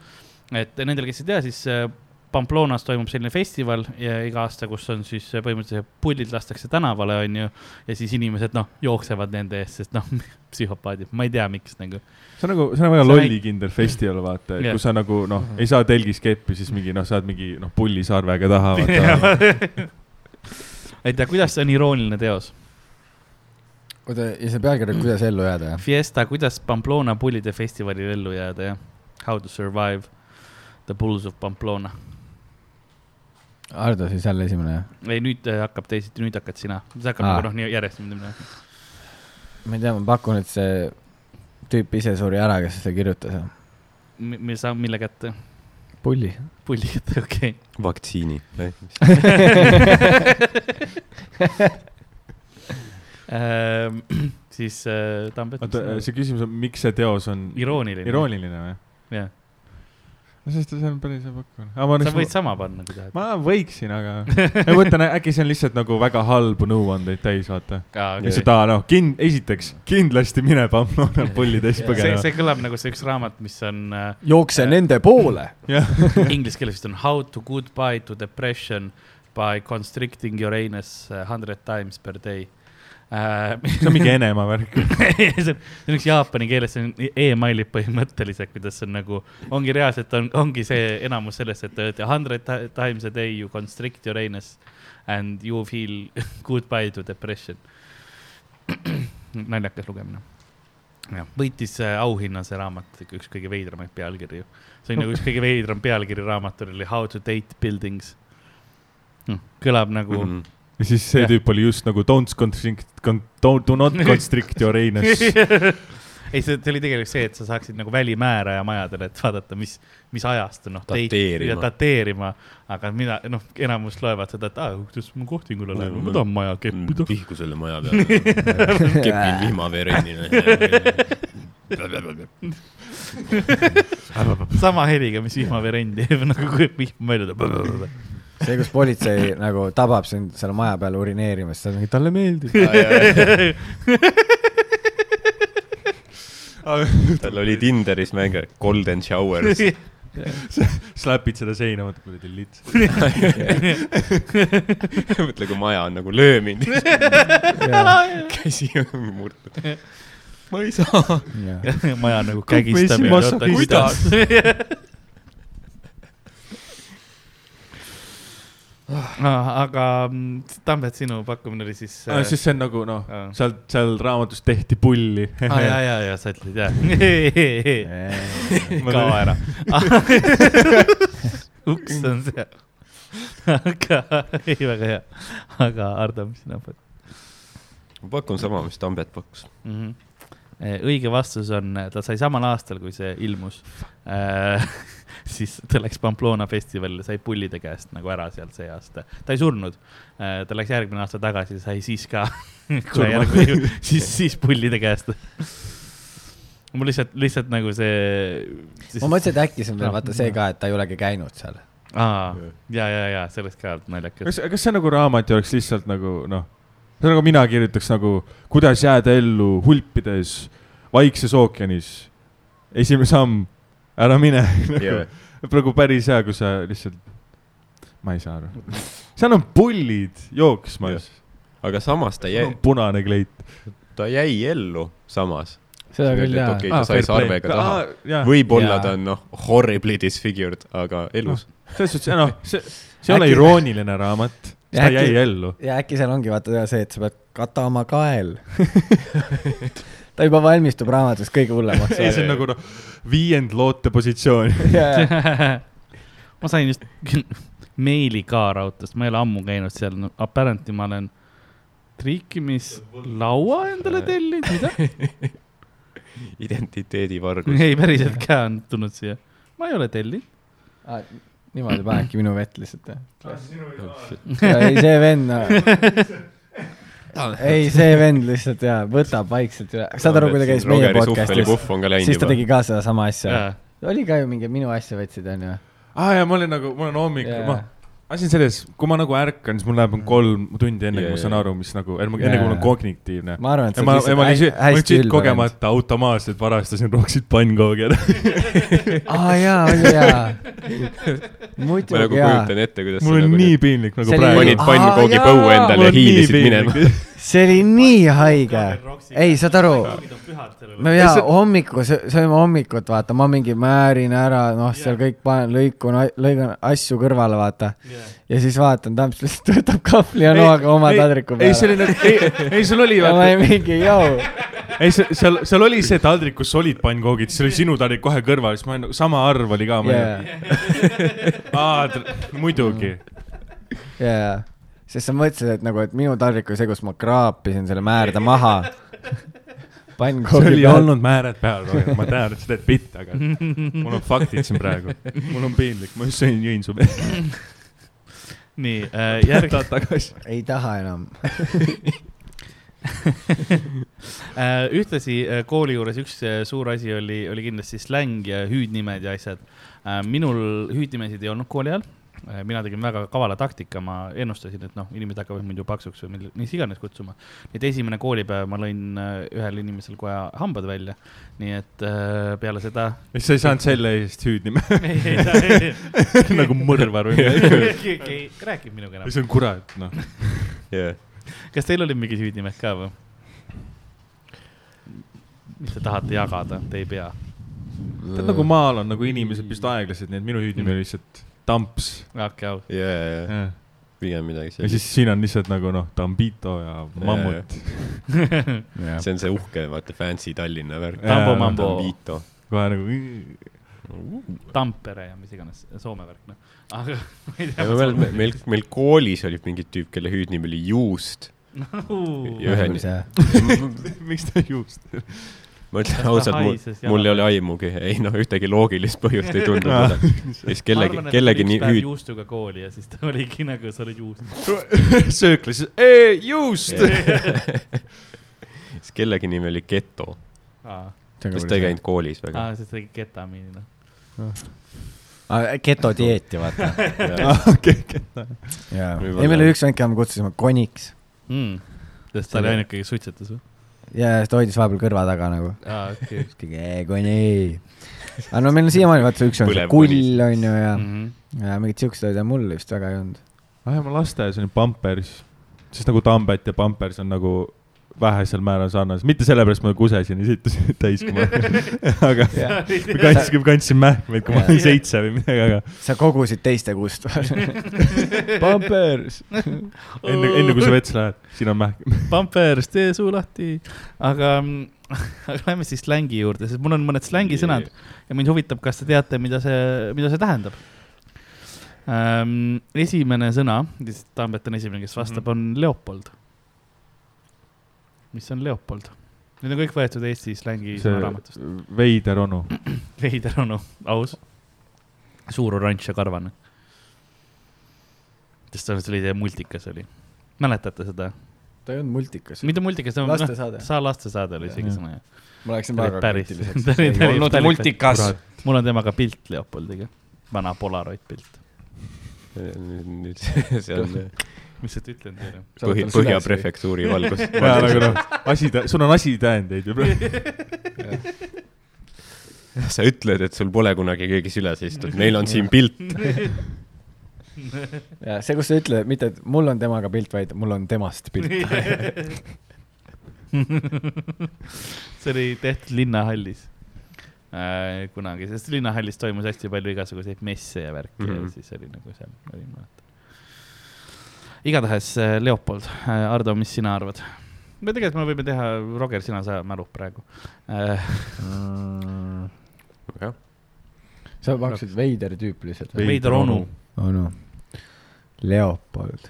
B: et nendel , kes ei tea , siis äh, Pamplonas toimub selline festival ja iga aasta , kus on siis äh, põhimõtteliselt pullid lastakse tänavale , onju , ja siis inimesed , noh , jooksevad nende eest , sest noh , psühhopaadid , ma ei tea , miks nagu .
E: see on nagu , see on väga
B: See on
E: lollikindel festival , vaata ,
B: Jah. Mhm.
E: kus sa nagu noh , ei saa telgis keppi , siis mingi noh , saad mingi noh , pullisarvega taha , vaata .
B: <laughs> et ja kuidas see on irooniline teos ?
D: oota , ja see pealkiri , kuidas ellu jääda , jah ?
B: Fiesta , kuidas Pamplona pullide festivalil ellu jääda ja how to survive the bulls of Pamplona .
D: Ardo siis jälle esimene , jah ?
B: ei , nüüd äh, hakkab teisiti , nüüd hakkad sina , see hakkab
D: Aa.
B: nagu noh , nii järjest niimoodi minema .
D: ma ei tea , ma pakun , et see tüüp ise suri ära , kes seda kirjutas .
B: me saame mille kätte ,
D: pulli .
B: pulli kätte , okei okay. .
C: vaktsiini .
B: Ehm, <clears throat> siis äh, Tambet .
E: oota , see küsimus on , miks see teos on
B: irooniline .
E: irooniline või ?
B: jah ,
E: no sest see on päris ebakuulne
B: sa võid sama panna , kui tahad .
E: ma võiksin , aga ma mõtlen , äkki see on lihtsalt nagu väga halbu nõuandeid täis , vaata .
B: see ,
E: seda noh , kind- , esiteks kindlasti mine Pamplona pulli täis
B: see,
E: põgenema .
B: see kõlab nagu see üks raamat , mis on äh,
D: jookse nende poole .
E: jah ,
B: inglise keeles vist on How to goodbye to depression by constricting your anus uh, hundred times per day <laughs> uh, .
E: see on mingi Enemaa värk .
B: <laughs> see on see on üks jaapani keeles , see on emailib põhimõtteliselt , kuidas see on nagu , ongi reaalselt on , ongi see enamus sellest , et te olete hundred ti- times a day you constrict your anus and you feel <laughs> goodbye to depression . <clears throat> naljakas lugemine . jah , võitis äh, auhinna see raamat , üks kõige veidramaid pealkirju . see on nagu üks kõige veidram pealkiri raamatul oli How to date buildings hm, . kõlab nagu
C: Mhm. <laughs>
B: mm .
E: ja siis see
B: Jah.
E: tüüp oli just nagu don't constrict , don't , do
B: <laughs>
E: not constrict your anus .
B: ei , see , see oli tegelikult see , et sa saaksid nagu välimääraja majadele , et vaadata , mis , mis ajast on, noh .
C: Dateerima.
B: dateerima , aga mina , noh , enamus loevad seda , et aa , kuidas ma kohtingule lähen , ma tahan maja keppida .
C: mm, pihku selle maja <laughs> peale . kepin <laughs> vihmaverenina .
B: <laughs> sama heliga , mis vihmaverend teeb , <laughs> nagu kui vihm välja tuleb .
D: see , kus politsei nagu tabab sind seal maja peal urineerimas , sa oled mingi , talle meeldib .
C: tal oli Tinderis mäng Golden Showers .
E: <laughs> Slapid seda seina , vaata kuradi lits .
C: mõtle , kui maja on nagu lööminud .
E: <laughs>
C: käsi on murtud . ma ei saa .
B: maja nagu
E: Kõik
B: kägistamine .
E: meist
C: <laughs>
E: massakist-
B: <laughs> aga mm, Tambet , sinu pakkumine oli siis . äh, ah.
E: siis see on nagu noh
B: Aa. ,
E: seal , seal raamatus tehti pulli . <laughs>
B: aa <laughs> ah, , ja , ja , ja sa ütled <laughs> jah . kao ära . <laughs> uks on seal . <laughs> aga , ei väga hea . aga Ardo , mis sina pakkud
C: ma pakun sama , mis Tambet pakkus .
B: mm ? -hmm. õige vastus on , ta sai samal aastal , kui see ilmus . <laughs> siis ta läks Pamplona festivalile , sai pullide käest nagu ära sealt see aasta . ta ei surnud . ta läks järgmine aasta tagasi , sai siis ka <laughs> järgmine, <laughs> siis , siis pullide käest . mul lihtsalt , lihtsalt nagu see .
D: ma mõtlesin , et äkki see on veel vaata see ka , et ta ei olegi käinud seal .
B: aa , ja , ja , ja sellest ka naljakas .
E: kas , kas see nagu raamat ei oleks lihtsalt nagu noh , see on nagu mina kirjutaks nagu , kuidas jääda ellu hulpides Vaikses ookeanis . esimene samm , ära mine . <laughs> praegu päris hea , kui sa lihtsalt , ma ei saa aru . seal on pullid jooksmas ,
C: aga samas ta jäi ,
E: punane kleit .
C: ta jäi ellu samas .
D: seda küll
C: et
D: jaa .
C: okei ,
E: Ah,
C: ta sai sarvega taha ..
D: Ah,
C: võib-olla ta on noh , horribly disfigured , aga elus .
D: Ah.
E: selles suhtes , noh , see , see ei ole
D: Äkki-
E: irooniline raamat , ta
D: Äkki-
E: jäi ellu .
D: ja äkki seal ongi vaata see , et sa pead katama kael . <laughs> ta juba valmistub raamatus kõige hullemaks .
E: ei , see on
D: <laughs>
E: nagu noh , viiend lootepositsioon .
D: nagu .
B: <laughs> ma sain just meili ka raudteest , ma ei ole ammu käinud seal no, , apparently ma olen triikimislaua endale tellinud , mida ?
C: identiteedivargus .
B: ei , päriselt ka on tulnud siia . ma ei ole tellinud .
D: Ah, niimoodi panedki minu vett lihtsalt . ei , see vend ,
E: <laughs>
D: ei see vend lihtsalt jaa , võtab vaikselt üle . saad aru , kui ta käis meie podcast'is ,
C: puhv on ka läinud
D: siis ta
C: juba .
D: tegi ka sedasama asja .
B: ma
D: oli ka ju mingi Minu asja võtsid , onju .
E: aa jaa , ma olin nagu , mul on hommik , ma , asi on selles , kui ma nagu ärkan , siis mul läheb
D: Mm.
E: on kolm tundi enne , kui ma saan aru , mis nagu , enne kui mul on kognitiivne .
D: ma arvan , et
E: ja
D: sa
E: ma , ja ma
D: oled
E: lihtsalt , ma
D: hästi
E: lihtsalt
D: ülbevend .
E: kogemata automaatselt varastasin Roxit
D: <laughs>
E: pannkoogi ära .
D: aa jaa , oli jaa .
E: <laughs>
C: ma nagu
D: muidugi jaa
C: kujutan ette , kuidas
E: mul
C: sa
E: on
C: nagu
E: nii piinlik nagu
D: See oli-
E: praegu
C: panid . pannkoogi
D: Aa,
C: põue
D: jaa!
C: endale ja hiilisid
D: <laughs>
C: minema .
D: see oli nii haige . ei , saad aru , no jaa , hommikul , sööme hommikut , vaata , ma mingi määrin ära , noh , seal kõik panen , lõikun , lõigan asju kõrvale , vaata . ja siis vaatan , Tamps <laughs> lihtsalt võtab kahvli ja noaga oma taldriku
E: ei , see
D: peale .
E: oli nagu , ei , ei sul oli
D: <laughs> ja ma olin mingi , jõu .
E: ei , see , seal , seal oli see taldrik , kus olid pannkoogid , siis oli sinu taldrik kohe kõrval , siis ma olin , sama arv oli ka .
D: jaa ,
E: aa , muidugi .
D: jaa . sest sa mõtlesid , et nagu , et minu taldrik oli see , kus ma kraapisin selle määrde maha .
E: <laughs> sul
D: pannkoogi
E: ei
D: peal .
E: olnud määrad peal , ma tean , et sa teed pitt , aga mul on faktid siin praegu . mul on piinlik , ma just sõin Jõinsu peale .
B: nii äh, , järg- ,
E: tagasi .
D: ei taha enam .
B: Äh, ühtlasi äh, kooli juures üks äh, suur asi oli , oli kindlasti släng ja hüüdnimed ja asjad . minul Äh, hüüdnimesid ei olnud kooli ajal , mina tegin väga kavala taktika , ma ennustasin , et noh , inimesed hakkavad mind ju paksuks või mille- mis iganes kutsuma . et esimene koolipäev ma lõin äh, ühel inimesel kohe hambad välja , nii et äh, peale seda
E: siis sa ei saanud selle eest süüdi ,
B: <laughs> ei , ei , ei ,
E: <laughs> nagu mõrvar või midagi .
B: ei , ei rääkinud minuga enam .
E: see on kurat , noh .
C: jah .
B: kas teil oli mingi süüdimehed ka või ? mis te tahate jagada , te ei pea .
E: tead nagu maal on nagu inimesed vist aeglased , nii et minu hüüdnimi oli lihtsalt Tamps .
B: hakake au .
C: ja , ja , ja
E: ja
C: pigem midagi
E: siis
C: sellist .
E: siin on lihtsalt nagu noh , Tambito ja Mammut .
C: see on see uhke , vaata , fancy Tallinna värk .
B: Tambo
E: Jaa,
B: Mambo ,
C: Tambito .
E: kohe nagu .
B: Tampere ja mis iganes , Soome värk , noh . <laughs> aga ma ei
C: ja
B: tea
C: ma . mäletan , meil , meil koolis oli mingi tüüp , kelle hüüdnimi oli Juust . ja ühe ,
E: miks ta juust ?
C: ma
B: Kas
C: ütlen
B: ta
C: ausalt , mul
B: haises , jala
C: mul ei ole aimugi , ei noh , ühtegi loogilist põhjust ei tundu seda . siis kellegi , kellegi nii
B: hüüd .
C: hüüd ,
B: juustuga kooli ja siis ta <laughs> oligi nagu , sa olid juust .
E: sööklas , ee , juust .
C: <laughs> siis kellegi nimi oli Geto ,
B: aa ,
D: Nagu
C: sest ta ei käinud koolis väga .
B: siis ta tegi ketamiini , noh .
D: getodieeti , Ah, vaata . jaa , ei meil oli üks vend , keda me kutsusime koniks
C: Hmm.
B: sest ta oli ainuke , kes suitsetas või ?
D: ja siis ta hoidis vahepeal kõrva taga nagu .
B: aa ,
C: <laughs>
B: okei .
D: sihuke "Ee, koni . aga no meil on siiamaani , vaata , üks on see
C: Põlev konis.
D: kull , on ju , ja ,
B: Mm. Mhm. <laughs>
D: ja mingid siuksed asjad ja mul vist väga ei olnud .
E: ah ja ma lasteaias olin Pampers , siis nagu Tambet ja Pampers on nagu vähesel määral sarnased , mitte sellepärast ma kusesin ja sitasin <laughs> täis , kui ma
B: <laughs>
E: aga kandsin , kandsin mähkmeid , kui ma olin seitse või midagi , aga
D: sa kogusid teiste kust .
B: <laughs>
C: <laughs>
D: Pampers .
E: enne , enne kui sa vetsu lähed , siin on mähk .
B: Pampers , tee suu lahti . aga , <laughs> aga lähme siis slängi juurde , sest mul on mõned slängisõnad ja mind huvitab , kas te teate , mida see , mida see tähendab ähm, . esimene sõna , Tambet on esimene , kes vastab , on Leopold . mis on Leopold ? Need on kõik võetud Eesti slängi sõnaraamatust .
E: see veider onu .
B: veider onu , aus . suur oranž ja karvane . sest see on- see oli see multikas oli , mäletate seda ?
D: ta ei olnud multikas .
B: mitte multikas , see on noh ,
D: lastesaade .
B: saa lastesaade oli isegi
E: Jah.
B: sõna jah .
D: ma läksin
B: ta oli
D: väga
B: päris- <laughs> ta oli- ta
D: kriitiliseks
B: oli- . Olnud multikas.
E: Kurat.
B: mul on temaga pilt Leopoldiga , vana Polaroid pilt .
C: nüüd see on
B: mis sa ütlen teile ?
C: põhi , Põhja . prefektuuri valgus .
E: jaa , nagu noh , asi , sul on asitõendeid ju praegu .
C: sa ütled , et sul pole kunagi keegi süles istunud , meil on siin pilt .
D: ja see , kus sa ütled , mitte , et mul on temaga pilt , vaid mul on temast pilt .
B: <laughs> see oli tehtud Linnahallis äh, kunagi , sest Linnahallis toimus hästi palju igasuguseid messe ja värki mm -hmm.
C: Mhm.
B: ja siis oli nagu seal , olin mäletan . igatahes äh, Leopold , Ardo , mis sina arvad ? me tegelikult , me võime teha , Roger , sina , sa mälud praegu äh, .
C: jah ,
D: sa pakkusid veider tüüp lihtsalt
E: Veider
D: või ?
B: veider onu
E: onu. .
D: onu . Oh, Leopold .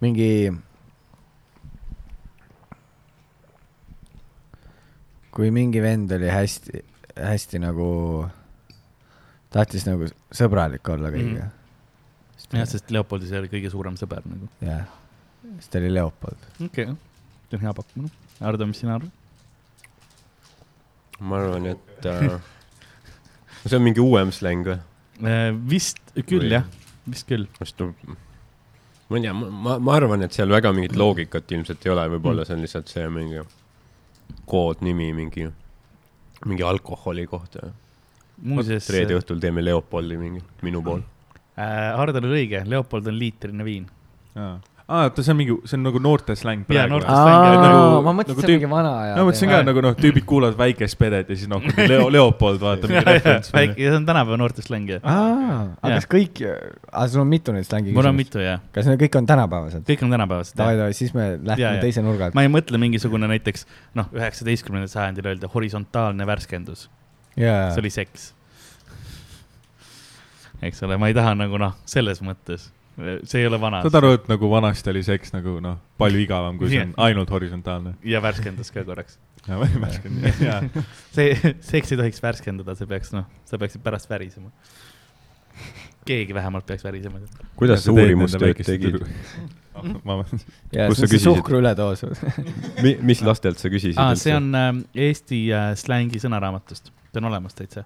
D: mingi . kui mingi vend oli hästi , hästi nagu , tahtis nagu sõbralik olla
E: Mhm.
D: kõigiga mm.
B: jah , sest Leopoldis oli kõige suurem sõber nagu .
D: jah , siis ta oli Leopold .
B: okei okay. , see on hea pakkumine . Ardo , mis sina arvad ?
C: ma arvan , et äh, see on mingi uuem släng või ?
B: Äh, vist küll
C: Või-
B: jah , vist küll .
C: sest noh , ma ei tea , ma , ma arvan , et seal väga mingit loogikat ilmselt ei ole , võib-olla see on lihtsalt see mingi koodnimi mingi , mingi alkoholi kohta .
B: muuseas ,
C: reede õhtul teeme Leopoldi mingi , minu pool .
B: Hardo äh, oli õige , Leopold on liitrine viin .
E: aa , oota , see on mingi , see on nagu noorte släng
B: jaa ,
E: praegu .
B: noorte släng
E: Aa,
B: on
E: nagu-
D: ma mõtlesin
E: nagu
D: nagu
E: tüüp-
D: mingi vana aja .
E: no ma mõtlesin ka nagu noh , tüübid kuulavad Väikest Pedet ja siis noh , Leo , Leopold
B: <laughs>
E: vaata mingi
B: nagu
E: referents .
B: väike , see on tänapäeva noorte släng jah .
D: aa ,
B: Jah.
D: aga kas kõik , aga sul on mitu neid slängi
B: mul on ? mitu jah ,
D: kas need kõik on tänapäevased ?
B: kõik on tänapäevased jah .
D: davai , davai , siis me
B: Jaa,
D: lähme
B: jaa.
D: teise nurga alt .
B: ma ei mõtle mingisugune näiteks noh , üheksateistkümnendal sajandil öelda horisontaalne värskendus ,
D: jaa
B: see , oli seks . eks ole , ma ei taha nagu noh , selles mõttes , Ah, see ei ole vana
E: saad aru , et nagu vanasti oli seks nagu noh , palju igavam , kui see on ainult horisontaalne .
B: ja värskendus ka korraks .
E: ja ma ei märganud , jaa .
B: see , <laughs> seks ei tohiks värskendada , see peaks noh , sa peaksid pärast värisema . keegi vähemalt peaks värisema .
C: kuidas sa uurimustööd tegid ??
E: <laughs> ma ,
D: jaa ,
C: Kus sa
D: see on see
C: küsisid?
D: suhkruületoos .
C: Mi, mis lastelt sa
B: Ah,
C: küsisid
B: aa , see on äh, Eesti äh, slängi sõnaraamatust , see on olemas täitsa .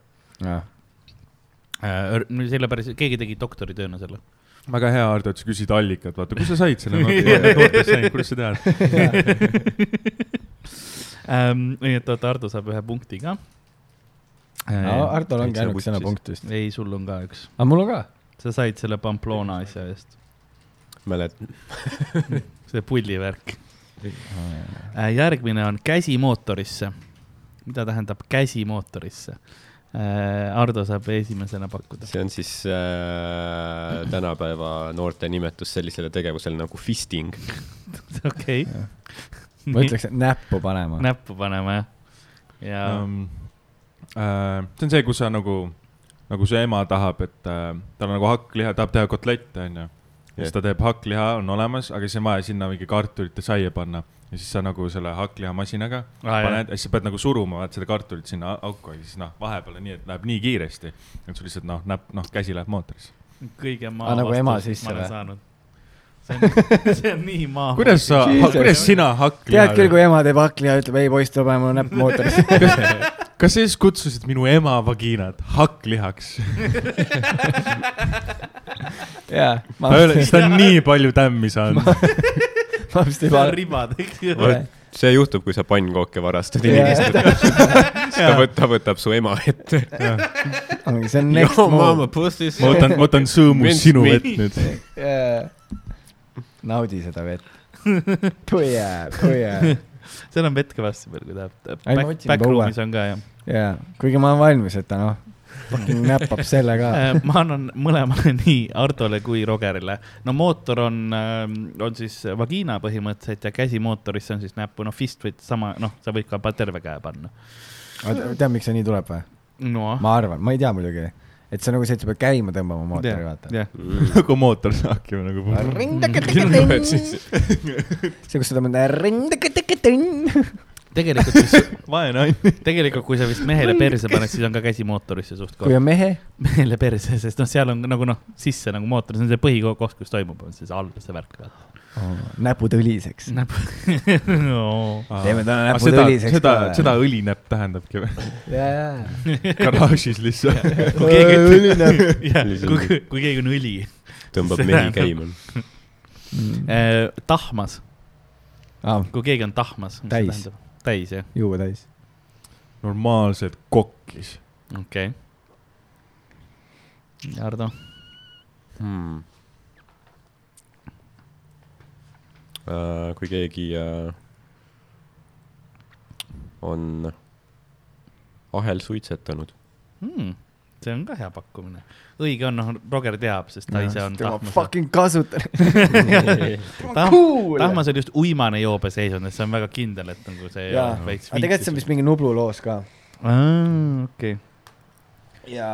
B: selle päris , keegi tegi doktoritööna selle .
E: väga hea , Ardo , et sa küsid allikat , vaata , kust sa said selle noodi- noorte sain , kuidas
B: <laughs>
E: sa tead ?
B: Ähm, nii et oota , Ardo saab ühe punkti ka .
D: Artol ongi
C: täitsa
D: ainuke
C: vutsis.
D: sõnapunkt vist .
B: ei , sul on ka üks ,
D: aga mul on ka .
B: sa said selle Pamplona asja eest ,
C: mäletan .
B: see pullivärk . järgmine on käsi mootorisse . mida tähendab käsi mootorisse ? Ardo saab esimesena pakkuda .
C: see on siis äh, tänapäeva noorte nimetus sellisele tegevusele nagu fisting .
B: <laughs> okei .
D: ma ütleks , et näppu panema .
B: näppu panema jah . ja um,
E: um, . Äh, see on see , kus sa nagu , nagu su ema tahab , et äh, tal on nagu hakkliha , tahab teha kotlette , onju . ja siis ta teeb hakkliha , on olemas , aga siis on vaja sinna mingi kartulite saia panna . ja siis sa nagu selle hakklihamasinaga
B: Aa,
E: ah, paned , siis sa pead nagu suruma , vaat seda kartulit sinna auku ja siis noh , vahepeal on nii , et läheb nii kiiresti , et sul lihtsalt noh , näpp , noh , käsi läheb mootorisse .
B: kõige maa
D: Aa, nagu ema
B: vastus
D: sisse
B: ma
D: või?
B: olen saanud . see on nii <laughs> maa . <laughs>
E: kuidas sa ,
D: Jesus.
E: kuidas sina
D: tead küll ,
E: hakkliha ,
D: kui ema teeb hakkliha , ütleb ei poiss , tuleb ajama näpp mootorisse .
E: kas sa siis kutsusid minu ema vagiinat hakklihaks ?
D: jaa , ma
E: siis ta on nii palju tämmi saanud .
D: vapsti
B: see on ribad , eks ju .
D: Vot.
C: see juhtub , kui sa pannkooke varastad
D: Jaa.
C: inimestelt . ta võtab , ta võtab su ema ette .
D: ongi , see on next move .
C: pussis .
E: ma võtan , ma võtan sõõmu
C: Vince
E: sinu
C: Smith.
E: vett nüüd . <laughs>
D: naudi seda vett . kui jääb , kui jääb .
B: seal on vett kõvasti veel , kui tahab .
D: Ei, ma
B: Back ,
D: otsin
B: backroom'is on ka jah .
D: jaa , kuigi ma olen valmis , et ta noh , fucking näppab selle ka .
B: Äh, ma annan mõlemale , <laughs> nii Hardole kui Rogerile . no mootor on , on siis vagiina põhimõtteliselt ja käsi mootorisse on siis näppu , noh fist või sama , noh , sa võid ka pa- terve käe panna .
D: tead , miks see nii tuleb või ?
B: noh ,
D: ma arvan , ma ei tea muidugi , et see on nagu see , et sa pead käima tõmbama mootori , vaata .
B: jah ,
E: nagu mootorsaak ju nagu .
D: see , kus sa tõmbad äh, rindakõtikõtõnn .
B: tegelikult siis , <laughs>
E: vaene on .
B: tegelikult kui sa vist mehele perse paned , siis on ka käsi mootorisse suht
D: kui
B: kohe .
D: on mehe ,
B: mehele perse , sest noh , seal on nagu noh , sisse nagu mootor , see on see põhikoht , kus toimub , on siis all see värk .
D: näpud õliseks .
B: <laughs> no.
D: teeme täna näpud
E: seda ,
D: õliseks
E: seda
D: kohe. ,
E: seda õlinäpp tähendabki
D: <laughs>
E: või ?
D: jaa ,
E: garaažis
D: <laughs>
E: lihtsalt .
D: Äh,
B: kui keegi
D: jaa .
B: ütleb , <laughs> jah , kui , kui keegi on õli
C: tõmbab
B: See
C: mehi
B: läheb-
C: käima .
B: Eh, tahmas ,
D: aa ,
B: kui keegi on tahmas .
D: Täis. .
B: täis jah ,
D: Ah, juua täis .
E: normaalselt kokkis .
B: okei okay. . Ardo ,
C: kui keegi äh, on ahel suitsetanud .
B: Hmm, see on ka hea pakkumine . õige on , noh , Roger teab , sest ta ise on
D: tema
B: tahmas .
D: fucking kasutab .
B: Tahm- tahmas oli just uimane joobeseisund , et see on väga kindel , et nagu see
D: jaa , aga
B: veits
D: Ah, tegelikult see on . vist mingi Nublu loos ka .
B: okei ,
D: ja ,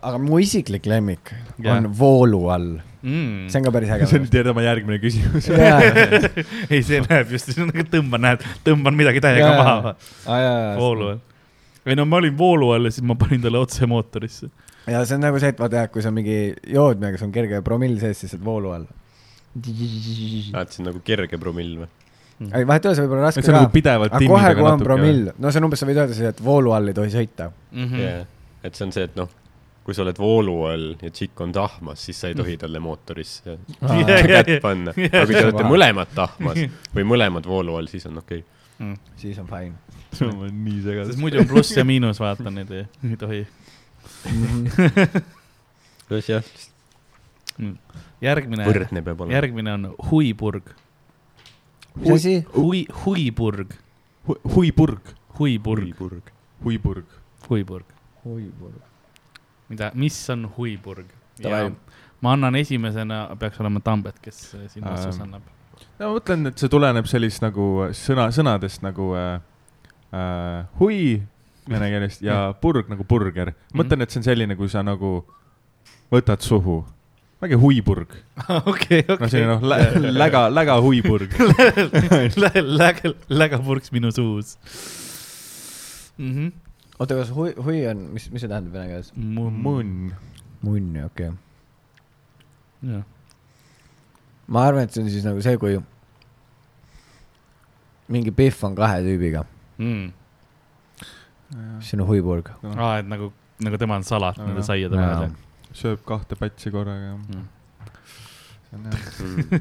D: aga mu isiklik lemmik
B: Jaa. Mm.
D: on voolu all , see on ka päris
E: <laughs> see on
D: äge .
E: nüüd tema järgmine küsimus .
D: jaa ,
B: ei , see läheb just , tõmban , näed , tõmban midagi täiega
D: Jaa.
B: maha .
D: jaa ,
B: voolu all . ei no ma olin voolu all ja siis ma panin talle otse mootorisse .
D: ja see on nagu see , et vaata jah , kui sa mingi jood midagi , sul on kerge promill sees , siis sa oled voolu all .
C: näed , see on nagu kerge promill või ?
D: ei , vahet ei ole , see võib olla raske
E: et sa
D: ka
E: nagu . pidevalt
D: aga kohe , kui on . promill , no see on umbes , sa võid öelda siis , et voolu all ei tohi sõita . Mhm.
C: Yeah. et see on see , et noh , kui sa oled voolu all ja tšikk on tahmas , siis sa ei tohi talle <laughs> mootorisse
B: Jaa, jaa,
C: kätt
B: jaa.
C: <laughs> panna . aga kui te olete mõlemad <laughs> tahmas või mõlemad voolu all , siis on okei okay. .
D: siis on fine .
E: ma olen nii
B: sest
E: segadus .
B: muidu on pluss ja miinus , vaata neid ei, ei tohi .
C: kuidas jah ,
B: järgmine ,
C: võrdne peab olema .
B: järgmine on huipurg .
D: mis asi ?
B: hui , huipurg ,
E: huipurg .
B: huipurg ,
C: purg .
E: huipurg .
B: huipurg . mida , mis on huipurg ?
D: Davai.
B: ma annan esimesena , peaks olema Tambet , kes siin vastuse
E: Ähm.
B: annab . <laughs>
E: no ma mõtlen , et see tuleneb sellist nagu sõna , sõnadest nagu äh, äh, hui vene keelest ja burg nagu burger .
B: Mhm.
E: mõtlen , et see on selline , kui sa nagu võtad suhu . väike huiburg ,
B: okei ,
E: noh , selline
B: okei .
E: noh lä, , <laughs>
B: <laughs>
E: läga , läga huiburg .
B: Läga , lägapurks minu suus . Mhm.
D: oota , kas hui , hui on , mis , mis see tähendab vene keeles ?
E: munn .
D: munn , okei okay. . ma arvan , et see on siis nagu see , kui mingi
E: Mm.
D: pihv on kahe tüübiga ,
B: aa ,
D: siis on huipurg .
B: et nagu nagu tema on salat
E: Aa,
B: nende
E: jah.
B: saiade peale .
E: sööb kahte patsi korraga
B: Mm. .
C: <laughs> mm. .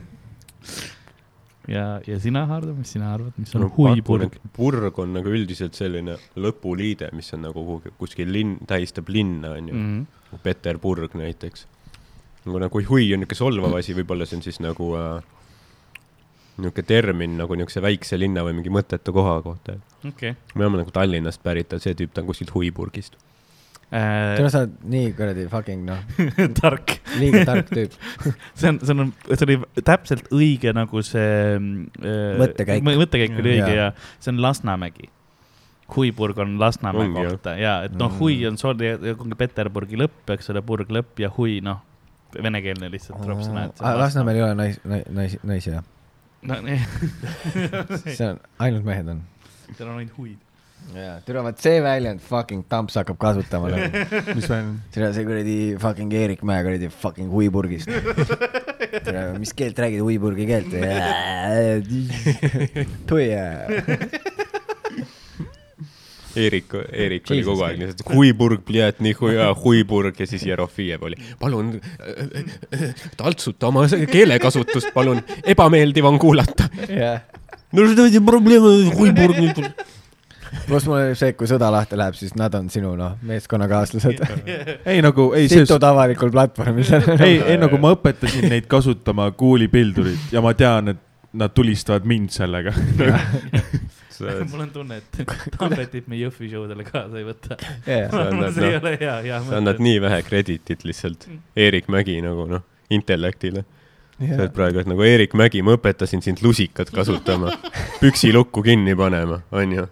B: ja , ja sina , Hardo , mis sina arvad , mis on huipurg ?.
C: purg on nagu üldiselt selline lõpuliide , mis on nagu kuhugi , kuskil linn , tähistab linna , onju .
B: Mhm.
C: Peterburg näiteks . nagu , nagu hui on niisugune solvav asi , võib-olla see on siis nagu äh, niisugune termin nagu niisuguse väikse linna või mingi mõttetu koha kohta .
B: okei .
C: me oleme nagu Tallinnast pärit , see tüüp , ta on kuskilt huipurgist .
D: tule , sa oled nii kuradi fucking noh ,
B: Äh, <laughs> tark .
D: liiga tark tüüp .
B: see on , see on , see oli täpselt õige nagu see äh,
D: Mõttekäik.
B: mõttekäik oli õige ja,
D: Jaa.
B: ja see on Lasnamägi . Huipurg on Lasnamäe
C: Ongi, jah.
B: kohta ja et
D: Mm.
B: noh , hui on sorry , Peterburgi lõpp , eks ole , purg lõpp ja hui noh , venekeelne lihtsalt tuleb sõna , et .
D: Lasnamäel ei ole nais , nais , naisi jah ?
B: no, .
D: see on , ainult mehed on .
B: <laughs> seal on ainult huid .
D: jaa , türa , vaat see väljend fucking tamps hakkab kasutama nagu .
E: mis
D: <laughs>
E: veel on ?
D: türa , see kuradi fucking Eerik Mäe kuradi fucking Huiburgist . türa , mis keelt räägid , Huiburgi keelt ? tui jää .
C: Eerik , Eerik oli
D: Jesus
C: kogu aeg lihtsalt huipurg , pljat , nii hua , huipurg ja siis Jerofiev oli . palun äh, äh, äh, taltsuta oma se- keelekasutust , palun , ebameeldiv on kuulata .
D: jah .
C: no see probleem on huipurg .
D: pluss mulle meeldib see , et kui sõda lahti läheb , siis nad on sinu noh , meeskonnakaaslased .
E: ei nagu , ei see ,
D: situd avalikul platvormil <laughs> seal .
E: ei , ei nagu ma õpetasin neid kasutama kuulipildurit ja ma tean , et nad tulistavad mind sellega .
B: mul on tunne , et tabletit me Jõhvi show dele kaasa ei võta .
D: jah ,
C: annad,
B: <laughs> see ei
C: noh,
B: ole hea , hea
C: sa annad . nii vähe krediitit lihtsalt Eerik Mägi nagu noh , intellektile . sa oled praegu , et nagu Eerik Mägi , ma õpetasin sind lusikat kasutama , püksilukku kinni panema , onju .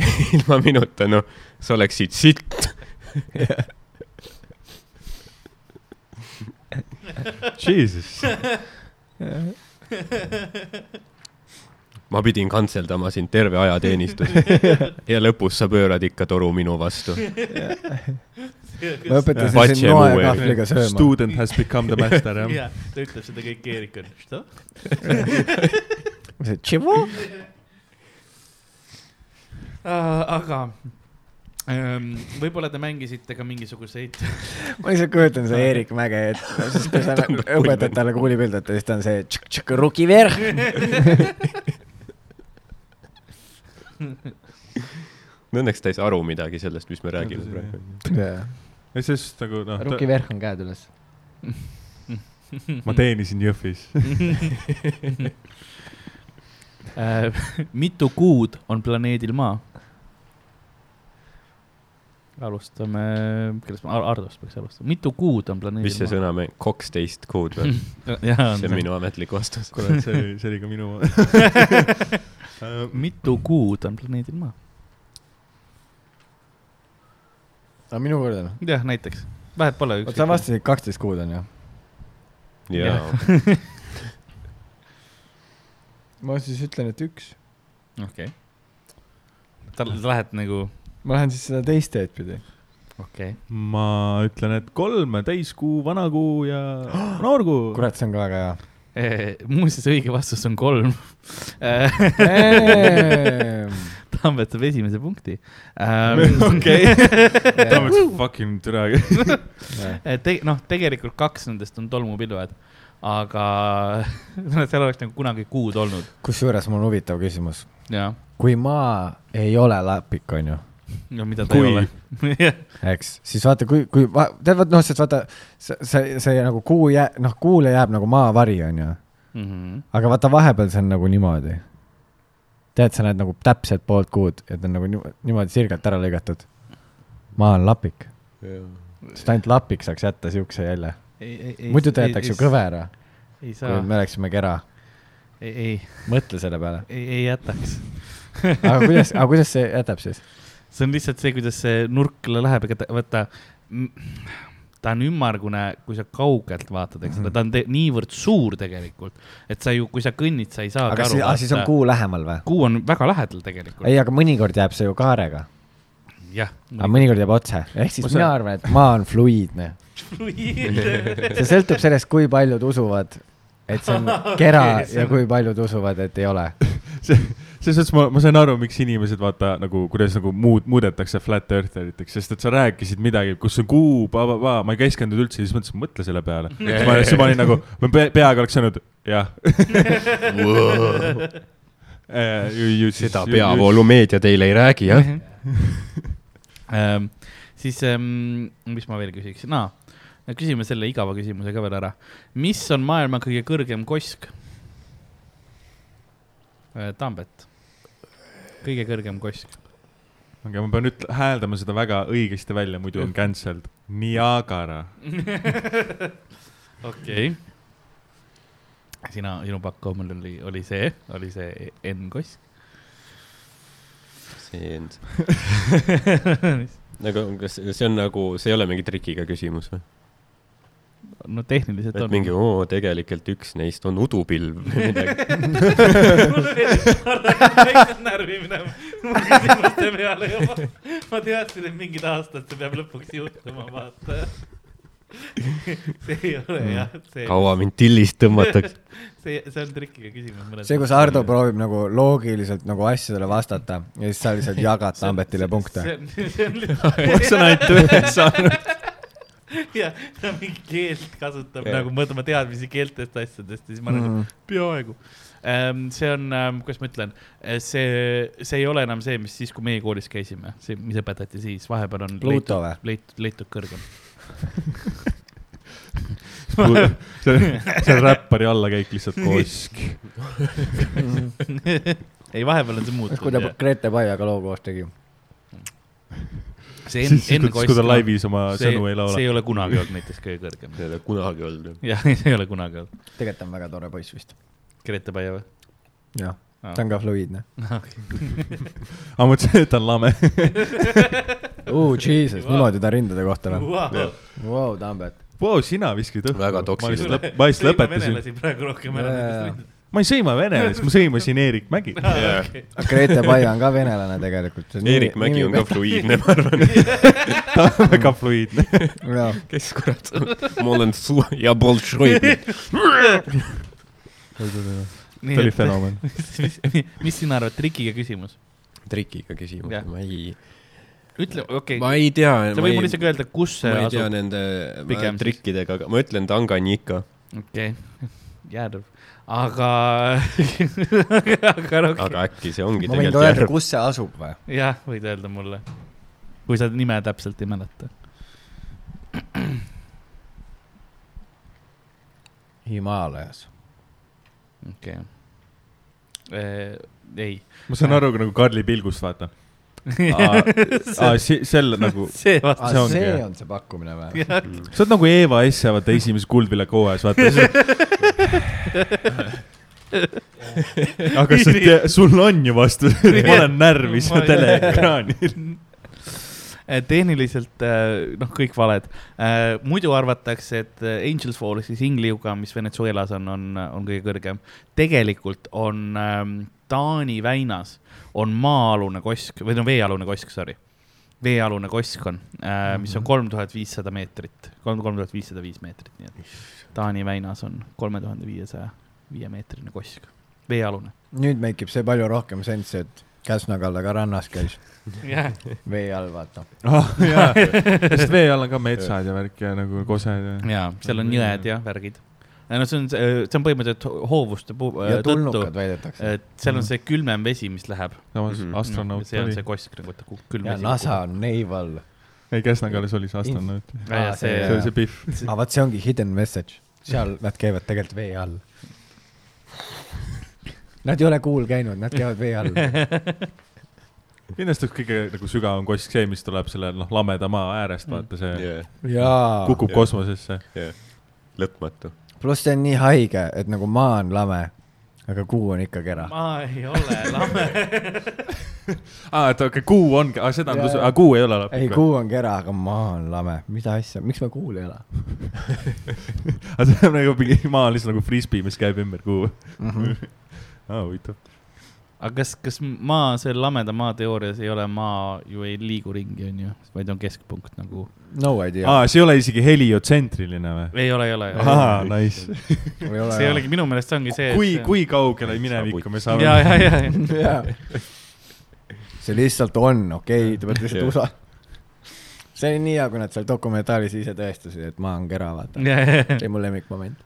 C: <laughs> ilma minuta , noh , sa oleksid sitt .
E: Jesus .
C: ma pidin kantseldama sind terve ajateenistuse ja lõpus sa pöörad ikka toru minu vastu .
D: ma õpetasin
C: Patše
D: sind noa
C: muu
D: ja
C: ees.
D: kahvliga sööma .
E: Student has become the master , jah .
B: jah , ta ütleb seda kõik , Eerik on , mis ta ?
D: mis see , tšivu ?
B: aga ähm, võib-olla te mängisite ka <laughs> mingisuguseid
D: ma lihtsalt kujutan seda Eerik Mäge , et siis kui sa nagu õpetad talle kuulipildut ja siis ta on see tšk, tšk, ruki verh .
C: Õnneks ta ei saa aru midagi sellest , mis me räägime praegu .
E: ja siis nagu noh ,
D: ruki verh on käed üles .
E: ma teenisin Jõhvis .
B: äh, , mitu kuud on planeedil Maa ? alustame , kellest ma , Hardost peaks alustama , mitu kuud on planeedil
C: mis see sõna meil , kaksteist kuud või ?
B: Maa ? jah ,
C: see on minu ametlik vastus .
E: <laughs> kurat , see oli , see oli ka minu .
B: mitu kuud on planeedil Maa ?
D: aga minu kord on .
B: jah , näiteks , vahet pole .
D: oot , sa vastasid kaksteist kuud on ju ?
C: jaa ,
D: ma siis ütlen , et üks .
B: okei okay. . sa lähed nagu ,
D: ma lähen siis seda teist teed pidi .
B: okei okay. .
E: <laughs> ma ütlen , et kolm , täiskuu , vanakuu ja <gasps> noorkuu .
D: kurat , see on ka väga hea .
B: Äh, muuseas , õige vastus on kolm . <laughs> Tambet saab esimese punkti . Ähm,
C: <laughs>
E: okei . tahame , et fucking türa .
B: Te- , noh , tegelikult kaks nendest on tolmupilved , aga <laughs> seal oleks nagu kunagi kuud olnud .
D: kusjuures mul on huvitav küsimus .
B: ja ,
D: kui maa ei ole lapik , on ju ,
B: no mida ta ei
C: Kui-
B: ole . <laughs>
D: eks , siis vaata , kui , kui , tead , vaat noh , sest vaata , see , see , see nagu kuu jää- , noh , kuule jääb nagu maavari , on ju aga vaata , vahepeal see on nagu niimoodi . tead , sa näed nagu täpselt poolt kuud ja ta on nagu niimoodi, niimoodi sirgelt ära lõigatud . maa on lapik ,
C: jaa .
D: sest ainult lapik saaks jätta siukse jälje . muidu ta jätaks ju . kõvera ,
B: ei saa
D: kui , me oleksime kera .
B: ei , ei ,
D: mõtle selle
B: <laughs>
D: peale .
B: ei, ei jätaks .
D: aga kuidas , aga kuidas see jätab siis ?
B: see on lihtsalt see , kuidas see nurk läheb , ega ta , vaata , ta on ümmargune , kui sa kaugelt vaatad , eks ole , ta on te- niivõrd suur tegelikult , et sa ju , kui sa kõnnid , sa ei saagi
D: aga siis ,
B: aru .
D: siis on kuu lähemal või ?
B: kuu on väga lähedal tegelikult .
D: ei , aga mõnikord jääb see ju kaarega ,
B: jah .
D: aga mõnikord jääb otse , ehk siis mina arvan , et maa on fluiidne . <laughs> see sõltub sellest , kui
B: <laughs>
D: paljud usuvad , et see on kera ja kui paljud usuvad , et ei ole .
E: selles suhtes ma , ma sain aru , miks inimesed vaata nagu , kuidas nagu muud , muudetakse flat earth eriteks , sest et sa rääkisid midagi , kus on kuu , ma ei keskendunud üldse , siis mõtlesin , mõtle selle peale . siis ma , siis ma olin nagu , ma pe- peaga oleks öelnud , jah . Äh,
C: seda peavoolumeedia teile ei räägi , jah ?
B: Ähm, siis ähm, , mis ma veel küsiksin no, , küsime selle igava küsimuse ka veel ära . mis on maailma kõige kõrgem kosk äh, ? Tambet , kõige kõrgem kosk .
E: aga ma pean nüüd hääldama seda väga õigesti välja , muidu on cancelled . Niagara .
B: okei okay. . sina , sinu pakk mul oli , oli see , oli see N-kosk . <laughs>
C: see on , aga kas see on nagu , see ei ole mingi trikiga küsimus või ?
B: no tehniliselt
C: et
B: on . <laughs>
C: mingi , oo , tegelikult üks neist on udupilv või midagi .
B: mul väiksed närvi minema , mu küsimuste peale juba . ma teadsin , et mingid aastad see peab lõpuks juhtuma , vaata . <laughs> see ei ole jah , see ,
C: Mm. kaua mind tillist tõmmatakse ?
B: <laughs> see , see on trikiga küsimus .
D: see , kus Ardo . proovib nagu loogiliselt nagu asjadele vastata ja siis sa lihtsalt jagad Tambetile punkte .
B: see on , <laughs> see on
E: <laughs>
C: see on ainult ühe saanud .
B: <laughs> lihtsalt , jah , ta mingi keelt kasutab nagu , ma ütlen , ma tean , mis keeltest asjadest ja siis ma nagu
D: Mm.
B: peaaegu . see on , kuidas ma ütlen , see , see ei ole enam see , mis siis , kui meie koolis käisime , see , mis õpetati siis , vahepeal on leitud
D: Pluto või ?
B: leitud , leitud kõrgem .
E: <laughs> see on , see on räppari allakäik
B: <laughs>
E: lihtsalt kosk .
B: ei , vahepeal on see
D: kui ta
B: muutunud .
D: Grete Paiaga loo koos tegi .
B: see
E: siis , siis kui ta laivis oma sõnu ei laula
B: see . ei ole kunagi olnud näiteks kõige kõrgem .
E: <laughs>
C: see ei ole kunagi olnud .
B: jah , <laughs> see ei ole kunagi olnud .
D: tegelikult on väga tore poiss vist .
B: Grete Paia või ?
D: jah , ta on ka fluiidne .
E: aga ma mõtlesin , et ta on lame .
D: oo , jesus , niimoodi ta rindade kohta läheb .
B: Wow.
D: Vau , Tambet .
E: Vau , sina viskasid õhku .
C: Väga
E: ma
C: toksiline.
E: lihtsalt lõp- , ma lihtsalt lõpetasin .
B: venelasi praegu rohkem ära
D: Jaa, jaa.
B: nendest
E: ma ei sõima venelast , ma sõimasin Eerik <laughs> Mägi .
B: rindadest .
D: Grete Paia on ka venelane tegelikult .
C: Eerik Mägi on ka . fluiidne , ma arvan .
B: <laughs>
E: ta on väga fluiidne .
D: jah ,
C: kes kurat on ? ma olen su- ja bolšoidne .
B: <laughs>
E: ta oli fenomen .
B: <laughs> mis , mis sina arvad , trikiga küsimus ?
C: trikiga küsimus
B: Jah. ,
C: ma ei ,
B: ütle , okei okay. ,
C: ma ei tea .
B: sa võid mulle isegi öelda , kus see
C: ma ei tea
B: asub .
C: nende
B: Pigem
C: Pigem
B: siis.
C: trikkidega , aga ma ütlen Tanganyika .
B: okei , <laughs> jäädav , aga <laughs> aga okei ,
C: aga äkki see ongi
D: ma võin
C: tegelikult
D: ka öelda ,
C: järv .
D: kus see asub või ?
B: jah , võid öelda mulle , kui sa nime täpselt ei mäleta .
D: Himaalajas .
B: okei okay. . ei ,
E: ma saan aru nagu Karli pilgust , <laughs> vaata . aa , sel nagu ,
B: see vast ,
E: See
D: aa ,
E: ongi,
D: Ah, see
E: jah.
D: on see pakkumine või ?
E: sa oled nagu Eeva S ja vaata esimeses Kuldviljaku hooajas , <laughs> vaata . aga sa tea , sul on ju vastus , <laughs> ma olen närvis
B: Ma ei-
E: teleekraanil .
B: <laughs> Eh, tehniliselt äh, noh , kõik valed . muidu arvatakse , et äh, Angels Fall ehk siis ingliuga , mis Venezuelas on , on , on kõige kõrgem . tegelikult on ähm, Taani väinas on maa-alune kosk või no veealune kosk , sorry . veealune kosk on , mis on kolm tuhat viissada meetrit , kolm , kolm tuhat viissada viis meetrit , nii et Taani väinas on kolme tuhande viiesaja viie meetrine kosk , veealune .
D: nüüd mängib see palju rohkem sensi , et Käsna-Kalla ka rannas käis
B: jah ,
D: vee all , vaata .
E: ah <laughs> <laughs> jaa , sest vee all on ka metsad ja värk ja nagu kosed ja .
B: ja seal on jõed ja värgid . no see on , see on põhimõtteliselt ho- hoovuste pu- äh,
D: ja
B: tõttu ,
D: tulnukad väidetakse .
B: et seal on see külmem vesi , mis läheb .
E: samas
C: Mhm.
E: Mhm. astronaut
B: see on
E: oli
B: see . kosk nagu , et ta ku- külm
D: ja
B: vesi .
D: NASA on neiv all .
E: ei , Käsna-Kallas oli see astronaut .
B: ja see
E: see oli see Pihv .
D: aga vaat see ongi hidden message , seal
B: Mhm.
D: nad käivad tegelikult vee all . Nad ei ole kuul käinud , nad käivad vee all .
E: kindlasti üks kõige nagu sügavam kosk see , mis tuleb selle noh , lameda maa äärest , vaata see yeah.
D: jaa .
E: kukub
C: Jah.
E: kosmosesse .
C: lõpmatu .
D: pluss see on nii haige , et nagu maa on lame , aga kuu on ikka kera .
B: ma ei ole lame .
E: aa , et okei okay, , kuu on , aga seda on
D: Jaa,
E: kus ,
D: jaa.
E: aga kuu ei ole
D: ei ,
E: lõplik või ?
D: kuu on kera , aga maa on lame , mida asja , miks me kuul ei ela
E: aga see <laughs> on nagu mingi maa on lihtsalt nagu frisbee , mis käib ümber kuu .
D: mm ? -hmm.
E: aa , huvitav .
B: <laughs> aga kas , kas maa , see lameda maa teoorias ei ole maa ju ei liigu ringi , onju , vaid on keskpunkt nagu .
D: no idea .
E: aa , see ei ole isegi heliotsentriline või ?
B: ei ole , ei ole .
E: ahaa , nice .
B: see ei olegi , minu meelest see ongi see .
E: kui , kui kaugele minevikku me
B: ja ,
E: saame ?
B: ja , ja ,
D: see lihtsalt on , okei , te peate lihtsalt USA . see oli nii hea , kui nad seal dokumentaalis ise tõestasid , et maa on kera , vaata .
B: ja ,
D: see oli mu lemmikmoment .
B: <laughs>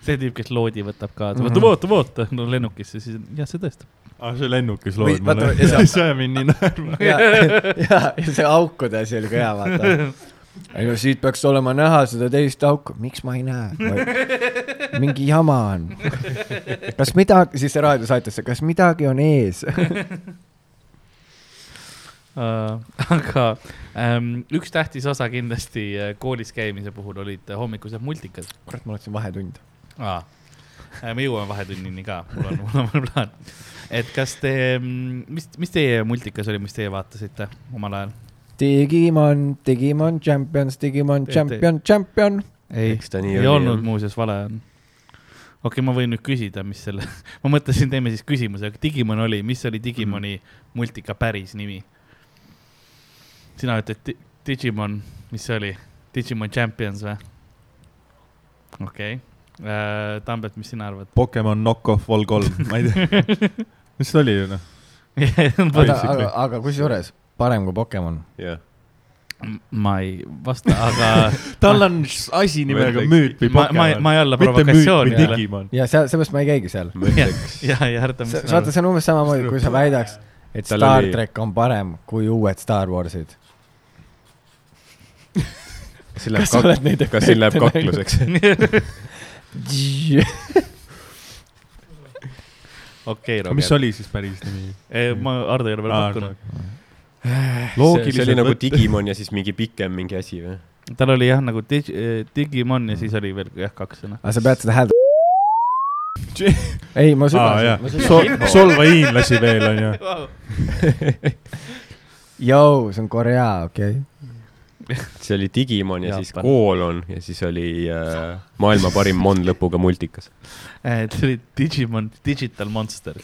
B: see tüüp , kes loodi võtab kaasa ,
E: Mhm.
B: vaata , vaata , vaata , no lennukisse , siis jah , see tõestab .
E: aa , see lennukis
D: Või-
E: lood mulle
D: vaata,
E: <laughs>
D: ja .
E: see ajab mind nii naerma .
D: ja , ja , ja see aukude asi oli ka hea , vaata . ei no siit peaks olema näha seda teist auku , miks ma ei näe ? mingi jama on . kas midagi , siis see raadiosaatesse , kas midagi on ees ?
B: Äh, <laughs> aga ähm, üks tähtis osa kindlasti äh, koolis käimise puhul olid äh, hommikused multikad
D: kurat , ma oleksin vahetund .
B: ah. . me jõuame vahetunnini ka , mul on , <laughs> mul on veel plaan . et kas te , mis , mis teie multikas oli , mis teie vaatasite omal ajal ?
D: Digimon , Digimon Champions , Digimon
B: Tee-
D: Champion , Champion .
B: ei ,
C: Eks ta nii
B: ei
C: oli,
B: olnud
C: jah.
B: muuseas vale on . okei okay, , ma võin nüüd küsida , mis selle , <laughs> ma mõtlesin , teeme siis küsimuse , aga Digimon oli , mis oli Digimoni
C: Mhm.
B: multika päris nimi ? sina ütled di Digimon , mis see oli ? Digimon Champions või ? okei okay. , Tambet , mis sina
C: <laughs>
B: arvad ?
E: Pokemon Knock-Off Vol kolm , ma ei tea . <laughs> mis see oli ju noh ?
D: aga ,
E: Basically.
D: aga , aga kusjuures parem kui Pokemon .
C: jah .
B: ma ei vasta ,
C: <laughs>
B: aga
E: tal on s- asi nimega
C: Ma-
E: müüt
B: ma ,
E: või
B: ma ,
E: Pokemon .
B: ma ei alla
E: mitte müüt või
B: provokatsiooni .
E: Digimon .
D: ja seal , seepärast ma ei käigi seal .
C: ma ütleks ,
B: ja , ja Arto , mis sina
D: vaata ,
B: arvad ?
D: see on umbes samamoodi , kui sa väidaks , et
C: Tal
D: Star
C: oli-
D: track on parem kui uued Star Warsid .
C: kas siin läheb kak- , kas siin läheb kakluseks ?
B: okei ,
E: mis
B: Roger .
E: oli siis päris nimi ?
B: ma , Ardo ei ole veel pakkunud . Äh,
C: see see oli nagu
E: loogiliselt .
C: Digimon ja siis mingi pikem mingi asi või ?
B: tal oli jah , nagu dig, eh, Digimon ja siis oli veel jah , kaks noh. sõna .
D: aga sa pead seda häält . ei , ma
E: <laughs> aa jah
D: sügasin ,
E: Sol- , solva hiinlasi veel onju .
D: Jou , see on Korea , okei okay. .
C: see oli Digimon ja siis
B: Jaapan.
C: koolon ja siis oli äh, maailma parim Mon lõpuga multikas . <laughs>
B: Äh, <laughs> see oli Digimon , Digital Monster .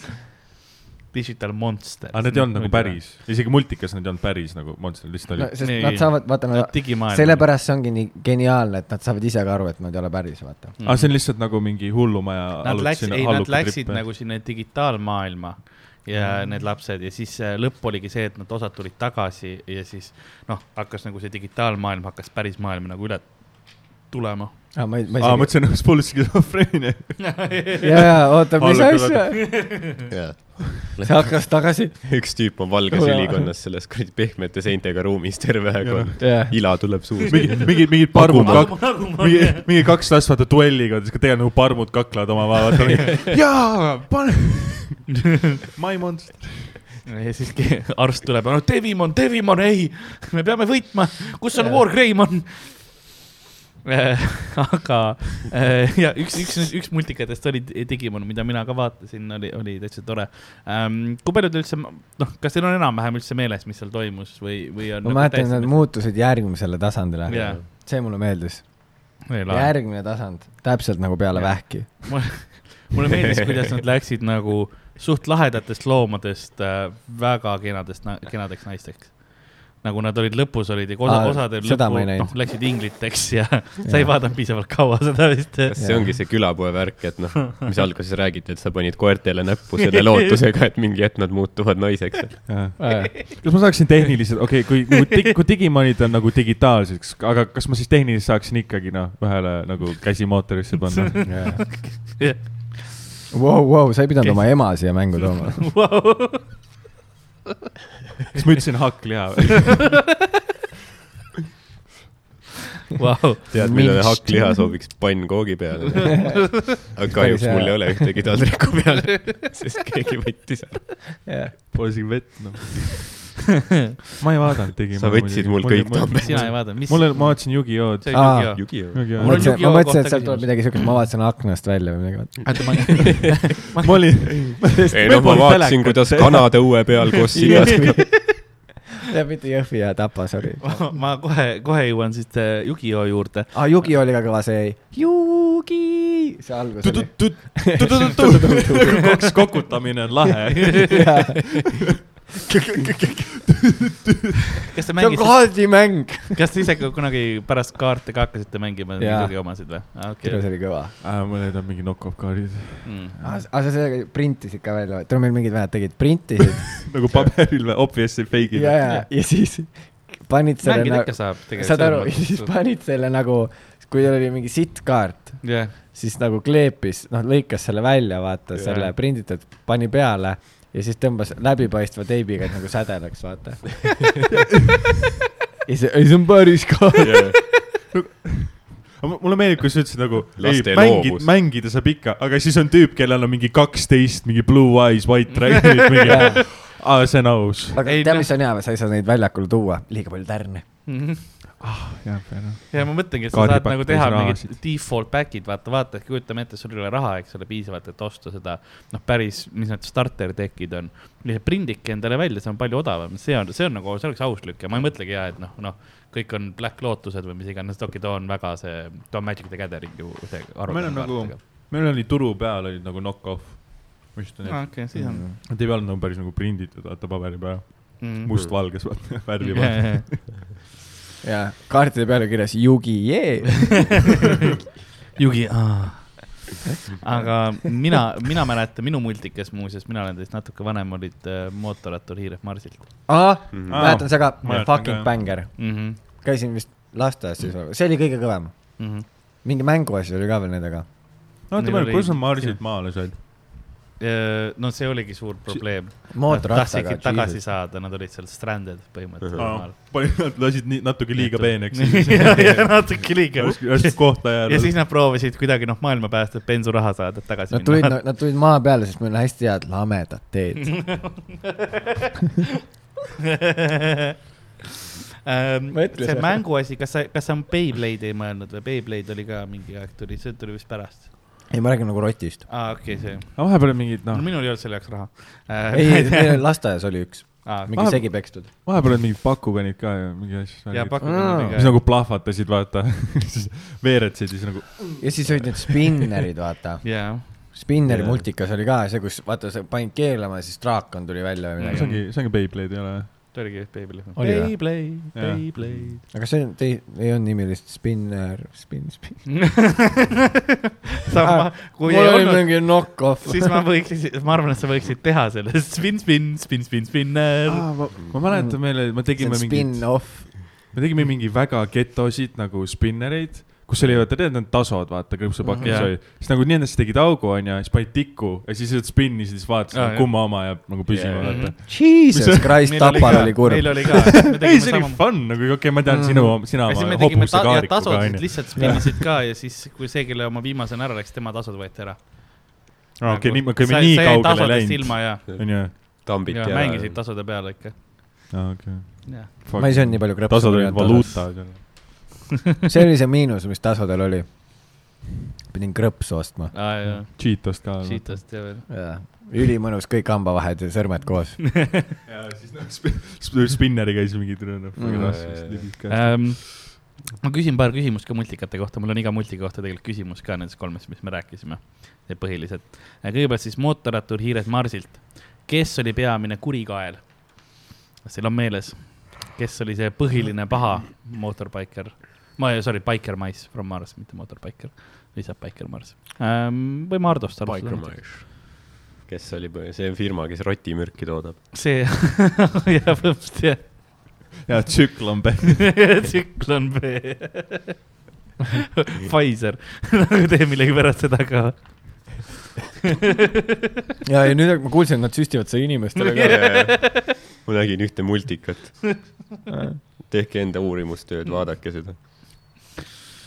B: Digital Monster .
E: aga need ei olnud nagu . päris , isegi multikas need ei olnud päris nagu Monster , lihtsalt
D: no,
E: oli .
D: sest
B: Nii.
D: nad saavad , vaata , nad ,
B: digimaailm .
D: sellepärast see ongi nii geniaalne , et nad saavad ise ka aru , et nad ei ole päris , vaata .
C: Hmm.
E: aga see on lihtsalt nagu mingi hullumaja .
B: Nad läksid , ei , nad läksid nagu sinna digitaalmaailma ja mm. need lapsed ja siis äh, lõpp oligi see , et nad osad tulid tagasi ja siis noh , hakkas nagu see digitaalmaailm hakkas päris maailma nagu üle tulema . <laughs>
D: aa , ma ei , ma
E: aa , ma
D: ei
E: mõtlesin , et full skisofreenia .
D: isegi , jaa , jaa , oota , mis
E: Algul
D: asja ? see hakkas tagasi .
C: üks tüüp on valges
D: Jaa.
C: ülikonnas selles kuradi pehmete seintega ruumis terve aeg
E: Jaa.
C: on ,
D: jah ,
C: ila tuleb suust .
E: mingi , mingi , mingi parmud kak- , mingi , mingi kaks last vaata duelliga , siis ka tegelikult nagu parmud kaklevad
B: <laughs>
E: omavahel , vaata . jaa , pane . My monster .
B: ja siis <laughs> ke- arst tuleb , no Devimon , Devimon , ei , me peame võitma , kus on War Greymon ? <laughs> aga eh, ja üks , üks , üks multikatest oli Digimon , mida mina ka vaatasin , oli , oli täitsa tore . kui palju te üldse , noh , kas teil on enam-vähem üldse meeles , mis seal toimus või , või on ? nagu
D: ma mäletan , et nad muutusid järgmisele tasandile
B: Jaa. .
D: see mulle meeldis .
B: muud .
D: järgmine tasand , täpselt nagu peale
B: Jaa.
D: vähki .
B: mulle
D: <laughs>
B: meeldis , kuidas nad läksid nagu suht lahedatest loomadest äh, väga kenadest , kenadeks naisteks . nagu nad olid lõpus , olid ja osa ,
D: Aa,
B: osadel
D: seda ma
B: lõpul
D: ei näinud.
B: noh, läksid ingliteks
D: <laughs>
B: ja <laughs> sa ei vaadanud piisavalt kaua seda vist .
C: kas
B: <laughs>
C: see ongi see külapoe värk , et noh , mis alguses räägiti , et sa panid koertele näppu selle lootusega , et mingi hetk nad muutuvad naiseks .
E: kas ma saaksin tehniliselt , okei okay, , kui , kui, dig, kui digimonid on nagu digitaalseks , aga kas ma siis tehniliselt saaksin ikkagi noh , ühele nagu käsi mootorisse panna ?
D: Vau , vau , sa ei pidanud oma ema siia mängu tooma .
E: kas ma ütlesin hakkliha või ?
B: Vau ,
C: tead , millele hakkliha sobiks pannkoogi
B: <laughs>
C: peale . aga kahjuks
D: hea.
C: mul ei ole ühtegi taldriku peal , sest keegi võttis ära .
E: Pole isegi vett , noh . ma ei vaadanud digimoni .
C: sa võtsid mul kõik .
B: sina
C: tambed .
B: ei vaadanud , mis ?
E: mulle , ma vaatasin Yugi-Od .
B: see
D: Aa.
B: oli Yu-Gi-Oh .
D: ma
B: Mul on
D: mõtlesin ,
B: Yu-Gi-Oh
D: ma
B: kohta
D: mõtlesin , et sealt tuleb
B: küsimus.
D: midagi siukest , ma vaatasin aknast välja või midagi .
B: oota , ma ,
E: ma olin ,
B: <laughs>
C: ei noh , ma vaatasin , kuidas kanad õue peal kossivad .
D: tead , mitte Jõhvi ja Tapa , sorry .
B: <laughs> ma kohe , kohe jõuan siis äh, Yugi-Oh
E: <laughs>
B: juurde .
D: aa , Yugi Ah, oli ka kõva see , Yugi , see algus oli .
B: <laughs>
E: kaks kokutamine on lahe .
B: <laughs> kas te
D: see on
B: mängisite ,
D: kaardimäng .
B: kas te ise ka kunagi pärast kaarte ka hakkasite mängima
D: Jaa.
B: Yugi omasid või ? okei
D: see . oli kõva . Ah,
E: ma leidan mingi knock-off kaardid .
B: Mm.
D: aa , sa sellega printisid ka välja , tule meil mingid vennad tegid , printisid
E: nagu paberil või obviously fake'id
D: ja , ja , ja siis panid selle
B: mängida
D: nagu
B: ikka , saab
D: saad aru , ja siis panid selle nagu , kui tal oli mingi sittkaart ,
B: jah ,
D: siis nagu kleepis , noh , lõikas selle välja , vaata ,
B: Jaa.
D: selle prinditud , pani peale ja siis tõmbas läbipaistva teibiga et nagu sädelaks , vaata . <laughs> ja see , ei see on päris <laughs> ka .
E: Aga mu- mulle meeldib , kui sa ütlesid nagu , ei
C: Laste
E: mängid ,
C: loovus.
E: mängida saab ikka , aga siis on tüüp , kellel on mingi kaksteist mingi blue eyes
B: <laughs>
E: white dragon'id mingi . aa , see on aus .
D: aga
B: Ei,
D: tead ,
B: noh.
D: mis on hea , sa ei saa neid väljakule tuua , liiga palju tärne .
B: ja ma mõtlengi , et sa saad
E: Kaardipakk
B: nagu
E: täis
B: teha
E: rahasid.
B: mingid default back'id , vaata , vaata , et kujutame ette , sul ei ole raha , eks ole , piisavalt , et osta seda , noh , päris , mis need starter deck'id on . prindike endale välja , see on palju odavam , see on , see on nagu , see oleks aus lükk ja ma ei mõtlegi ja , et noh , noh , kõik on Black Lotused või mis iganes , Tokyo on väga see , ta on Magic the Gathering ju see .
E: Meil on nagu- meil oli turu peal olid nagu knock-off . ma just
B: aa ,
E: tean ,
B: okei , siis on .
E: et ei olnud nagu päris nagu prinditud , vaata paberi peal .
B: Mm. Mhm. <laughs>
E: mustvalges , vaata , <laughs> värvi peal .
B: Must .
D: ja kaartide peal on kirjas <laughs> Yugi-Jee .
B: Jugi , aga mina , mina mäletan , minu multikas muuseas , mina olen teist natuke vanem , olid äh, mootorrattur hiired Marsilt
D: aa ,
C: Mhm.
D: Ah, mäletan seda
E: Ma mäletan
D: ka , fucking
E: ka.
D: banger .
B: mm . -hmm.
D: Mhm, käisin vist lasteaias siis , see oli kõige kõvem .
B: Mm -hmm.
D: mingi mänguasi oli ka veel nendega .
E: no oota ,
B: Neil oli-
E: kus sa Marsilt maale said ?
B: Äh, no see oligi suur probleem .
D: mootorrattaga
B: tahtsidki . tagasi saada , nad olid seal stranded põhimõtteliselt
C: Ahah.
D: <laughs>
B: maal .
E: Nad lasid nii- natuke liiga peeneks .
B: <laughs> natuke liiga .
E: lasid
B: ja siis
E: Kohtla-Järvel .
B: nad proovisid kuidagi noh , maailma päästa , et bensuraha saada , et tagasi
D: Nad tulid , noh. nad tulid maa peale , sest meil on hästi head lamedad teed .
B: <laughs>
D: <laughs>
B: Ähm,
D: Ma ütlesin.
B: see mänguasi , kas sa , kas sa Beyblade'i ei mõelnud või Beyblade oli ka mingi aeg tuli , see tuli vist pärast .
D: ei , ma räägin nagu
B: <laughs>
D: rotist .
B: aa , okei , see no. ,
E: vahepeal on mingid , noh ,
B: minul ei olnud selle jaoks raha
D: ei ,
B: <laughs>
D: meil . lasteaias oli üks , mingi
E: Ah.
D: segi pekstud .
E: vahepeal on mingid pakukanid ka ja mingi asju .
B: ja
D: Aa.
B: pakkusin
E: mis . nagu plahvatasid , vaata , <laughs> siis veeretasid , siis nagu
D: ja siis olid need spinnerid , vaata .
B: jaa ,
D: spinneri
E: Jaa.
D: multikas oli ka see , kus vaata , sa panid keelama ja siis draakon tuli välja või
E: see
D: midagi .
E: ongi , see ongi Beyblade ei ole või ?
B: ta oligi vist Beyblade .
D: Oli või?
B: Beyblade ,
E: Jah.
B: Beyblade .
D: aga see on , ei , ei olnud nimi lihtsalt spinner , spin , spin .
B: sama , kui ei
D: mul oli
B: olnud ,
D: mingi knock-off .
B: siis ma võiksin , ma arvan , et sa võiksid teha selle spin , spin , spin , spin , spinner .
D: Ah,
E: ma, ma mäletan meil ,
D: see
E: me
D: on
E: tegime mingit ,
D: spin-off .
E: me tegime mingi väga getosid nagu spinnereid , kus oli , vaata , tead need tasod , vaata , krõpsupakis
B: Mhm.
E: yeah. oli . siis nagu nendesse tegid augu , onju , siis panid tikku ja siis lihtsalt spinnisid , siis vaatasid
B: Aa,
E: ah, , kumma oma jääb nagu püsima
B: Jaa.
E: yeah. , vaata .
D: Jesus Christ , Tapal oli
B: meil
D: kurb .
B: oli ka , me <laughs>
E: ei ,
B: tegime
E: see oli
B: sama
E: fun , nagu okei okay, , ma tean
D: Mhm.
E: sinu , sina
B: ja siis me
E: oma
B: tegime ta
E: hobuse
B: ja
E: kaarikuga ,
B: tasusid
E: onju .
B: lihtsalt spinnisid ka ja siis , kui see , kelle oma viimasena ära läks , tema tasud võeti ära .
E: Ah, okei ,
B: nagu
E: nii , me oleme nii kaugele läinud ,
B: ilma ja,
E: onju .
C: tambid
B: ja mängisid tasude peale ikka .
E: okei .
D: ma ei söönud nii palju krõpsu .
E: tasud olid valuuta .
D: see oli see miinus , mis tasudel oli . pidin krõpsu ostma .
B: aa jaa ,
E: Cheetost ka .
B: Cheetost ja veel .
D: ülimõnus , kõik hambavahed ja sõrmed koos .
E: ja siis noh , spinneri käis mingi trõõn ,
D: Mm.
E: noh .
B: Ehm, ma küsin paar küsimust ka multikate kohta , mul on iga multika kohta tegelikult küsimus ka nendest kolmest , mis me rääkisime . Need põhilised . kõigepealt siis mootorrattur Hiired Marsilt . kes oli peamine kurikael ? kas teil on meeles , kes oli see põhiline paha mootorbiker ? ma , sorry , Biker Mice from Mars , mitte mootorbiker , lihtsalt Biker Mars ähm, . võime Hardost alustada .
C: kes oli , see firma , kes rotimürki
B: <laughs>
C: toodab .
B: see ja põhimõtteliselt jah ,
E: ja tsüklon peal .
B: <laughs> tsüklon
E: <laughs>
B: B . Pfizer <laughs> teeb millegipärast seda ka .
D: ja , ja nüüd ma kuulsin , et nad süstivad seda inimestele ka .
C: ma nägin ühte multikat . tehke enda
B: Mm.
C: uurimustööd , vaadake seda .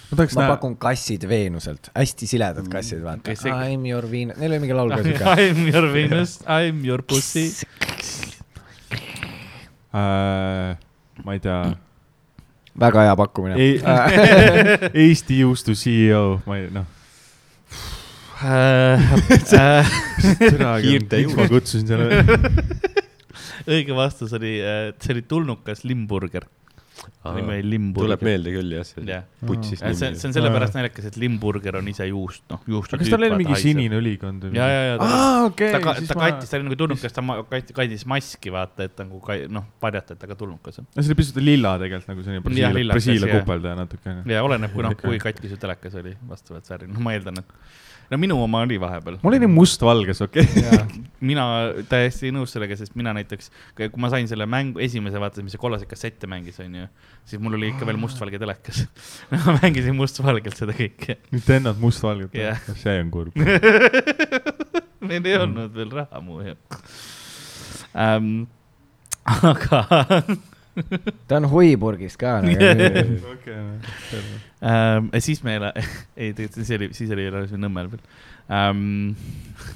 E: ma tahaks
D: ma
E: näha ,
D: pakun kassid Veenuselt , hästi siledad kassid , vaata
B: Okei, see- .
D: I m your Venus , neil oli mingi laul ka siuke .
B: I m your Venus , I m your pussy .
E: Äh, ma ei tea ,
D: väga hea pakkumine .
E: äh, <laughs> Eesti juustu CEO , ma ei noh ,
B: Äh, äh,
E: türa ,
B: <laughs>
C: Kiirte
E: miks ma kutsusin selle .
B: õige vastus oli , see oli tulnukas limburger . nimi oli
C: tuleb
B: limburger .
C: meelde küll jah , see
B: jah ,
C: putsis
B: see , see
C: nimi .
B: on sellepärast naljakas , et limburger on ise juust , noh , juustu .
E: aga kas tal oli mingi sinine ülikond või
B: ja , ja , ja ta ,
E: aa , Ah, okei
B: ta , ta kattis , ta oli nagu tulnukas , ta ma- kait- kandis maski , vaata , et nagu ka- noh , varjata , et ta ka tulnukas on .
E: no see oli pisut lilla tegelikult nagu selline Brasiilia ,
B: lillakas,
E: Brasiilia
B: jah.
E: kupeldaja natukene .
B: ja oleneb , kuna , kui katki see telekas oli , vastavalt särgi , noh , ma eeldan , et no minu oma oli vahepeal .
E: mul oli nii mustvalges , okei <laughs> okay. .
B: mina täiesti nõus sellega , sest mina näiteks , kui ma sain selle mängu , esimese vaatasin , mis see kollaseid kassette mängis , onju , siis mul oli ikka veel mustvalge telekas . <laughs> ma mängisin mustvalgelt seda kõike . <laughs>
E: Nintendo'd mustvalged
B: Jah.
E: yeah. , see on <laughs> kurb .
B: meil ei olnud veel raha muu jaoks ähm, . aga
D: ta on huipurgis ka
E: <laughs>
D: nagu .
E: noh.
B: ähm, , siis me ei ole , <laughs> ei tegelikult siis oli , siis oli , elasime Nõmmel veel ähm, .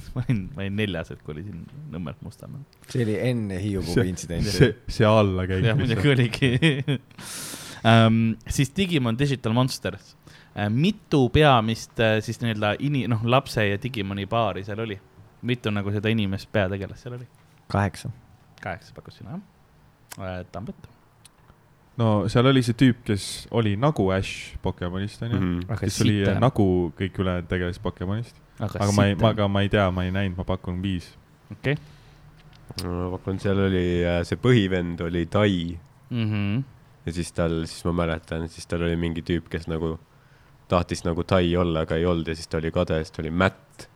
B: <laughs> ma olin , ma olin neljas , et kui olisin Nõmmelt Mustamäel .
D: see oli enne Hiiu pubi intsidenti .
E: see , see allakäik .
B: jah , muidugi oligi <laughs> um, . siis Digimon Digital Monsters uh, . mitu peamist uh, siis nii-öelda ini- , noh , lapse ja Digimoni paari seal oli ? mitu nagu seda inimest peategelast seal oli ?
D: kaheksa .
B: kaheksa pakkus sina , jah uh, ? Tambet .
E: no seal oli see tüüp , kes oli nagu Ash Pokemonist onju mm ,
C: Mhm.
E: -hmm. kes oli äh, nagu kõik ülejäänud tegelased Pokemonist , aga ma ei , aga ma ei tea , ma ei näinud , ma pakun viis .
B: okei .
C: ma pakun , seal oli äh, see põhivend oli Tai
B: Mhm.
C: ja siis tal , siis ma mäletan , siis tal oli mingi tüüp , kes nagu tahtis nagu Tai olla , aga ei olnud ja siis ta oli kade , siis ta oli Matt .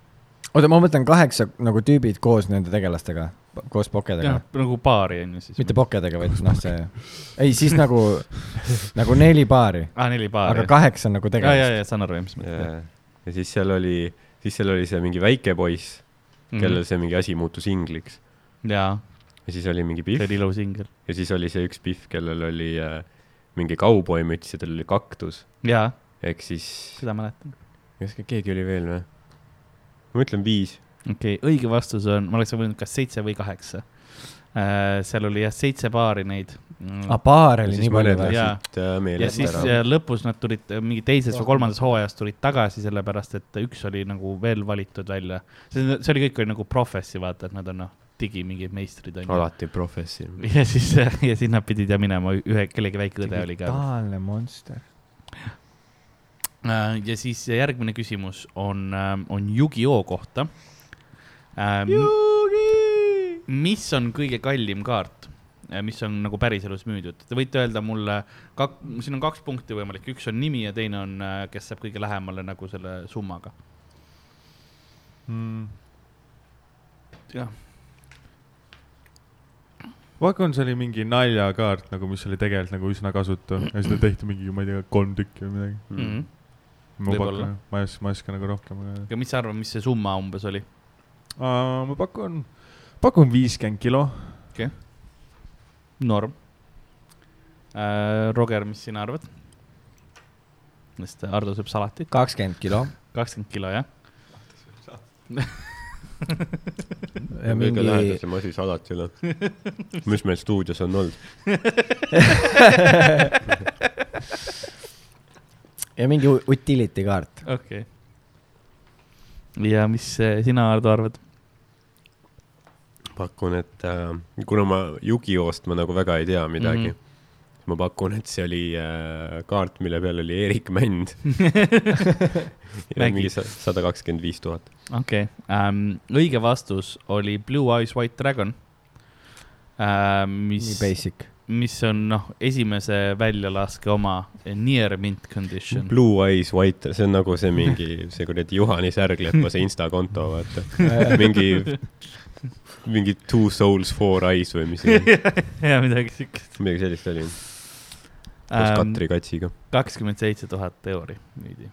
D: oota , ma mõtlen kaheksa nagu tüübid koos nende tegelastega , koos pokedega
B: jah , nagu paari on ju siis .
D: mitte pokedega , vaid noh , see , ei siis nagu , nagu neli paari ,
B: aa , Ah, neli paari
D: aga . kaheksa on nagu
B: ja , ja ,
D: tegelast .
B: ja saan aru , mis ma ütlen .
C: ja siis seal oli , siis seal oli see mingi väike poiss ,
B: Mhm.
C: kellel . see mingi asi muutus ingliks
B: jaa ,
C: ja siis oli mingi
B: see
C: Pihv
B: oli ilus ingel .
C: ja siis oli see üks Pihv , kellel oli äh, mingi kauboimüts ja tal oli kaktus ,
B: jaa ,
C: ehk siis ,
B: seda mäletan .
C: kas ke- keegi oli veel või ? ma ütlen viis .
B: okei okay, , õige vastus on , ma oleks võinud kas seitse või kaheksa äh, . seal oli jah , seitse paari neid
D: aa
B: mm. .
D: Ah, paar
C: Ah, ja
D: oli
C: siis
D: nii
C: mõned
D: palju või ?
B: Jaa.
C: läksid äh,
B: ja
C: meelest
B: siis
C: ära .
B: äh, lõpus nad tulid äh, mingi teises või kolmandas hooajas tulid tagasi , sellepärast et üks oli nagu veel valitud välja . see , see oli kõik oli nagu professi , vaata , et nad on noh , digi mingid meistrid on ju .
C: alati professor .
B: ja siis , ja siis nad pidid ja minema ühe , kellegi väike õde oli ka .
D: digitaalne monster .
B: Äh, ja siis järgmine küsimus on , on Yugi-Oo kohta . Yugi! mis on kõige kallim kaart , mis on nagu päriselus müüdud ? Te võite öelda mulle , siin on kaks punkti võimalik , üks on nimi ja teine on , kes saab kõige lähemale nagu selle summaga .
E: Mm.
B: Jah.
E: Vakon , see oli mingi naljakaart nagu , mis oli tegelikult nagu üsna kasutu ja seda tehti mingi , ma ei tea , kolm tükki või midagi .
B: Mm -hmm.
E: ma
B: Võib-olla.
E: pakun , ma ei oska , ma ei oska nagu rohkem .
B: ja mis sa arvad , mis see summa umbes oli ?
E: ma pakun , pakun viiskümmend kilo .
B: norm . Äh, Roger , mis sina arvad ? sest Ardo sööb salatit .
D: kakskümmend kilo
B: kakskümmend kilo , jah ?
C: kõige
D: ja mingi ,
C: lähedasem asi salati
B: <laughs>
C: üle . mis meil stuudios on olnud ?
D: ja mingi u- utility kaart .
B: okei okay. . ja mis äh, sina , Ardo , arvad ?
C: pakun , et äh, kuna ma Yugiost ma nagu väga ei tea midagi mm , -hmm. ma pakun , et see oli äh, kaart , mille peal oli Erik Mänd . ja
B: Mägi.
C: mingi sada kakskümmend viis tuhat .
B: okei ähm, , õige vastus oli Blue Eyes White Dragon äh, .
D: nii
B: mis ,
D: basic .
B: mis on noh , esimese väljalaske oma eh, near mint condition .
C: Blue Eyes White , see on nagu see mingi , see kuradi Juhani särglepa , see Insta konto , vaata . mingi , mingi Two Souls Four Eyes või mis see oli.
B: <laughs> ja midagi siukest .
C: midagi sellist oli .
B: Ähm,
C: koos Katri Katsiga .
B: kakskümmend seitse tuhat euri müüdi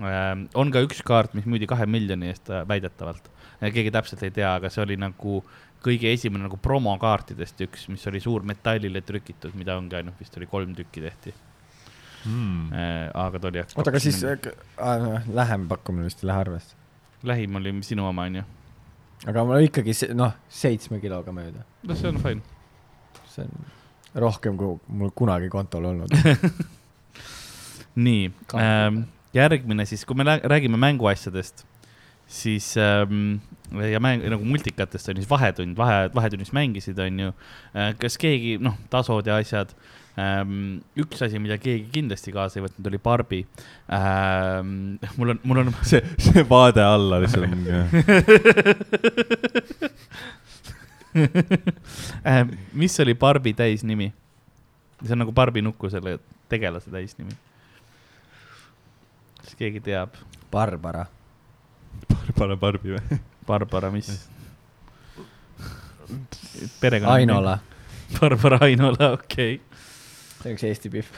B: ähm, . on ka üks kaart , mis müüdi kahe miljoni eest äh, väidetavalt , keegi täpselt ei tea , aga see oli nagu kõige esimene nagu promokaartidest üks , mis oli suur metallile trükitud , mida ongi ainult vist oli kolm tükki tehti
E: Mm.
B: äh, , aga ta oli .
D: oota , aga siis äh, k- aa, noh, lähem pakkumine vist ei lähe arvesse .
B: lähim oli sinu oma onju .
D: aga ma ikkagi se- noh , seitsme kiloga mööda .
B: no see on fine .
D: see on rohkem , kui mul kunagi kontol olnud .
B: nii
D: Kaart.
B: ähm, , järgmine siis , kui me lä- räägime mänguasjadest , siis ähm, ja mäng nagu multikatest on siis vahetund , vahe , vahetunnis mängisid , onju . kas keegi , noh , tasod ja asjad . üks asi , mida keegi kindlasti kaasa ei võtnud , oli Barbi . mul on , mul on
E: see , see vaade alla lihtsalt on . <laughs>
B: <laughs> Ähm, mis oli Barbi täisnimi ? see on nagu Barbi nuku selle tegelase täisnimi . kas keegi teab ?
D: Barbara .
E: Barbara Barbi või ?
B: Barbara , mis ? perekonna .
D: Ainola .
B: <laughs> Barbara Ainola , okei <laughs>
D: see on üks Eesti pihv .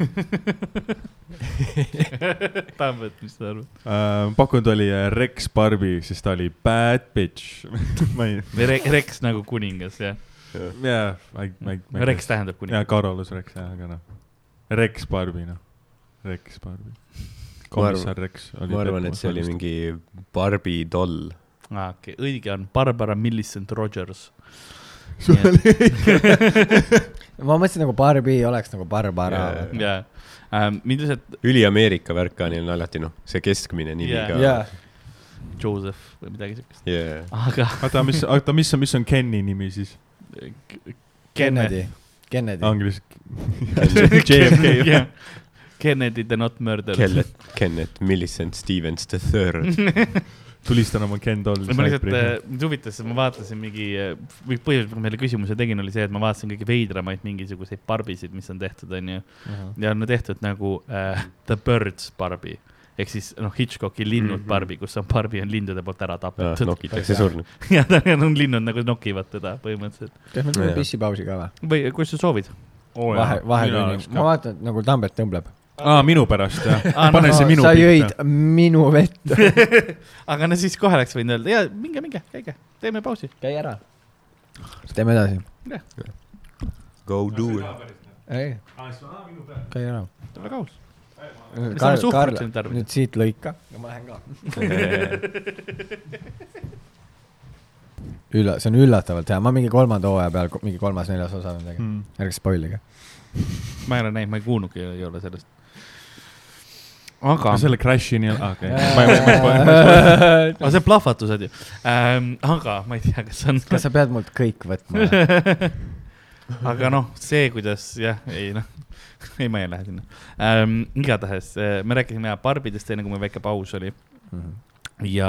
B: okay. . Tambet , mis sa arvad ?
E: pakkunud oli äh, Rex Barbi , sest ta oli bad bitch . <laughs> ma ei ,
B: Rex nagu kuningas , jah ?
E: jaa , ma ei , ma ei .
B: Rex tähendab
E: jaa ,
B: kuningas .
E: Karolus Rex , jah , aga noh . Rex Barbi , noh . Rex Barbi . komissar Rex oli .
C: ma arvan , et see oli . mingi Barbi doll .
B: aa , Ah, okei , õige on Barbara Millicent Rogers .
D: ma mõtlesin nagu Barbi oleks nagu Barbara
C: Jaa,
D: yeah. .
B: jaa , Ähm, ilmselt
C: üli-Ameerika värk ka neil on alati noh , see keskmine nimi
B: Jaa.
C: ka .
D: jaa ,
B: Joseph või midagi siukest ,
C: Yeah.
B: aga
E: oota , mis , oota , mis on , mis on Kenny nimi siis ?
B: Kennedy .
D: Kennedy , Kennedy .
E: Anglis- .
C: uh,
B: <laughs>
C: <laughs>
B: JFK , jah . Kennedy the not murdered .
C: Kenneth , Kenneth Millicent Stevens the third .
E: tulistan oma Ken Dolli .
B: ma lihtsalt , eh, mind huvitas , ma vaatasin mingi , või põhjus , miks ma selle küsimuse tegin , oli see , et ma vaatasin kõige veidramaid mingisuguseid barbisid , mis on tehtud , onju . ja on tehtud nagu äh, The Birds Barbi ehk siis noh , Hitchcocki linnud mm
C: Mhm.
B: -hmm. Barbi , kus on Barbi on lindude poolt ära tapetud no. .
C: Ah, nokitakse surnud .
B: <laughs> ja ta ja on linnud nagu nokivad teda põhimõtteliselt
D: kas me teeme
C: Jaa.
D: pissipausi ka või ?
B: või kus sa soovid ?
E: Oh,
D: vahe , vahetunni , ma vaatan , nagu Tambet tõmbleb .
E: aa , minu pärast jah
B: Aa, Ah, no,
E: pane see minu
D: sa jõid
E: pihta .
D: minu vett ,
B: aga no siis kohe oleks võinud öelda ja minge , minge , käige , teeme pausi .
D: käi ära . teeme edasi .
C: Go do it .
D: ei , käi ära .
B: ole kaus . saame
D: Äh, Karl ,
B: suhkrut
D: Karl
B: siin , tarbida.
D: nüüd siit lõika . ja ma lähen <laughs> ka . ülla- , see on üllatavalt hea , ma mingi kolmanda hooaja peal , mingi kolmas-neljas osa olen teinud , ärge spoilige .
B: ma ei ole näinud , ma ei kuulnudki , ei ole sellest . aga ,
E: selle Crashini , aa okei .
B: aga see on plahvatused ju ähm, . aga ma ei tea , kas on ,
D: kas sa pead mult kõik võtma <laughs> või ?
B: aga noh , see , kuidas jah , ei noh , <laughs> ei , ma ei lähe sinna ähm, . igatahes äh, me rääkisime jah Barbidest enne , kui meil väike paus oli
D: Mhm.
B: ja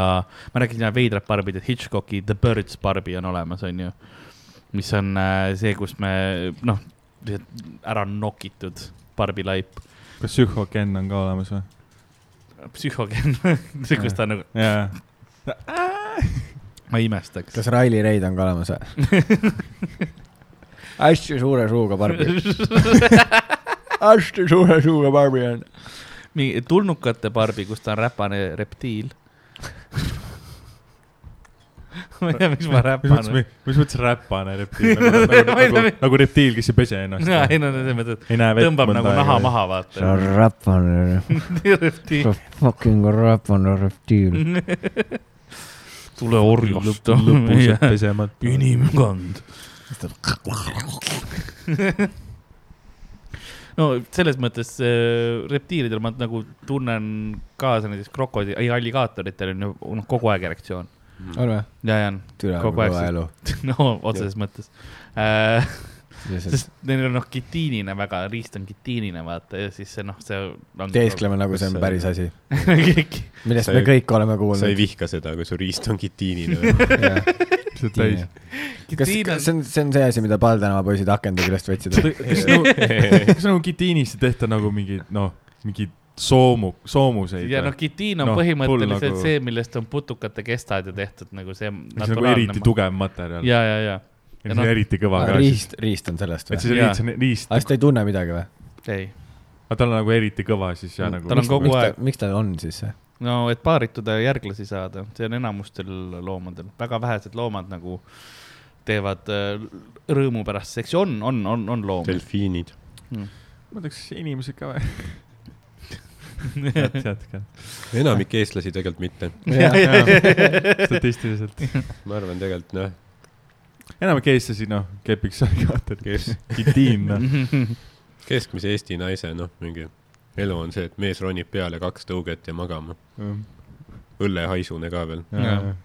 B: ma rääkisin jah veidrad Barbid , et Hitchcocki The Birds Barbi on olemas , onju . mis on äh, see , kus me noh , ära nokitud Barbi laip ,
E: kas Psycho Ken on ka olemas või ?
B: psühhogeen , <laughs> see , kus ta nagu ,
E: jaa .
B: ma ei imestaks .
D: kas Raili Reid on ka olemas või ? <laughs> hästi suure suuga <laughs> Barbi , hästi suure suuga Barbi on .
B: mingi tulnukate barbi , kus ta on räpane reptiil . ma ei tea , miks ma
E: mis mõttes
B: räpane .,
E: mis mõttes räpane reptiil
B: <laughs>
E: nagu, nagu, nagu, nagu reptiil , kes ei pese
B: jaa ,
E: ennast
B: ei . no selles mõttes ,
E: ei näe
B: et
E: vett .
B: tõmbab nagu naha . maha ,
D: see on
B: vaata .
D: räpane ,
B: <laughs> reptiil .
D: fucking räpane reptiil .
B: tule orjast . <laughs>
E: lõpus jääb pesemata . <laughs>
B: inimkond . no selles mõttes äh, reptiilidel ma nagu tunnen kaasa näiteks krokodilli , ei alligaatoritel on ju noh , kogu aeg erektsioon .
D: on või ?
B: ja , ja
D: türa
B: Kogu
D: kogu
B: aeg
D: aeg elu .
B: <laughs> no otseses mõttes äh, . sest neil on noh , gitiinina väga , riist on gitiinina vaata ja siis see noh , see on . <laughs>
D: teeskleme nagu see
C: Kas
D: on
C: sa-
D: päris asi ,
B: teeskleb .
D: millest
C: sa
D: me
C: ei-
D: kõik oleme
C: sa ei
D: kuulnud .
C: vihka seda , kui su riist on gitiinine .
E: <laughs>
D: <laughs>
E: see on täis .
D: kas kas see on , see on see asi , mida Paal tänava poisid akende küljest
E: <laughs>
D: võtsid ?
E: kas nagu , kas nagu gitiinist ei tehta nagu mingeid , noh , mingeid soomu , soomuseid
B: ja noh , gitiin on
E: Noh,
B: no, põhimõtteliselt
E: pull nagu-
B: nagu... see , millest on putukate kestad ju tehtud nagu see .
E: mis on nagu eriti . tugev materjal ja,
B: ja , ja , ja ,
E: ja
B: noh-
E: noh, eriti kõva ka .
D: Ah, riist , riist on sellest
E: et
D: või ?
E: siis
B: Jaa.
E: riist , riist ,
D: aga siis ta ei tunne midagi või ?
B: ei ,
E: aga tal on nagu eriti kõva siis ja nagu .
B: Tal on kogu aeg-
D: miks tal on siis see ?
B: no et paarituda ja järglasi saada , see on enamustel loomadel , väga vähesed loomad nagu teevad äh, rõõmu pärast seksi , on , on , on , on loomi . <laughs>
C: delfiinid .
E: ma ütleks inimesed ka <laughs> või ? jätke ,
C: enamik eestlasi tegelikult mitte .
E: noh, statistiliselt . <laughs>
C: ma arvan tegelikult noh ,
E: enamik eestlasi , noh , kepiks alligaator ,
C: kes ,
E: gitiin , noh .
C: keskmise Eesti naise noh , mingi elu on see , et mees ronib peale kaks tõuget ja magama . õllehaisune ka veel .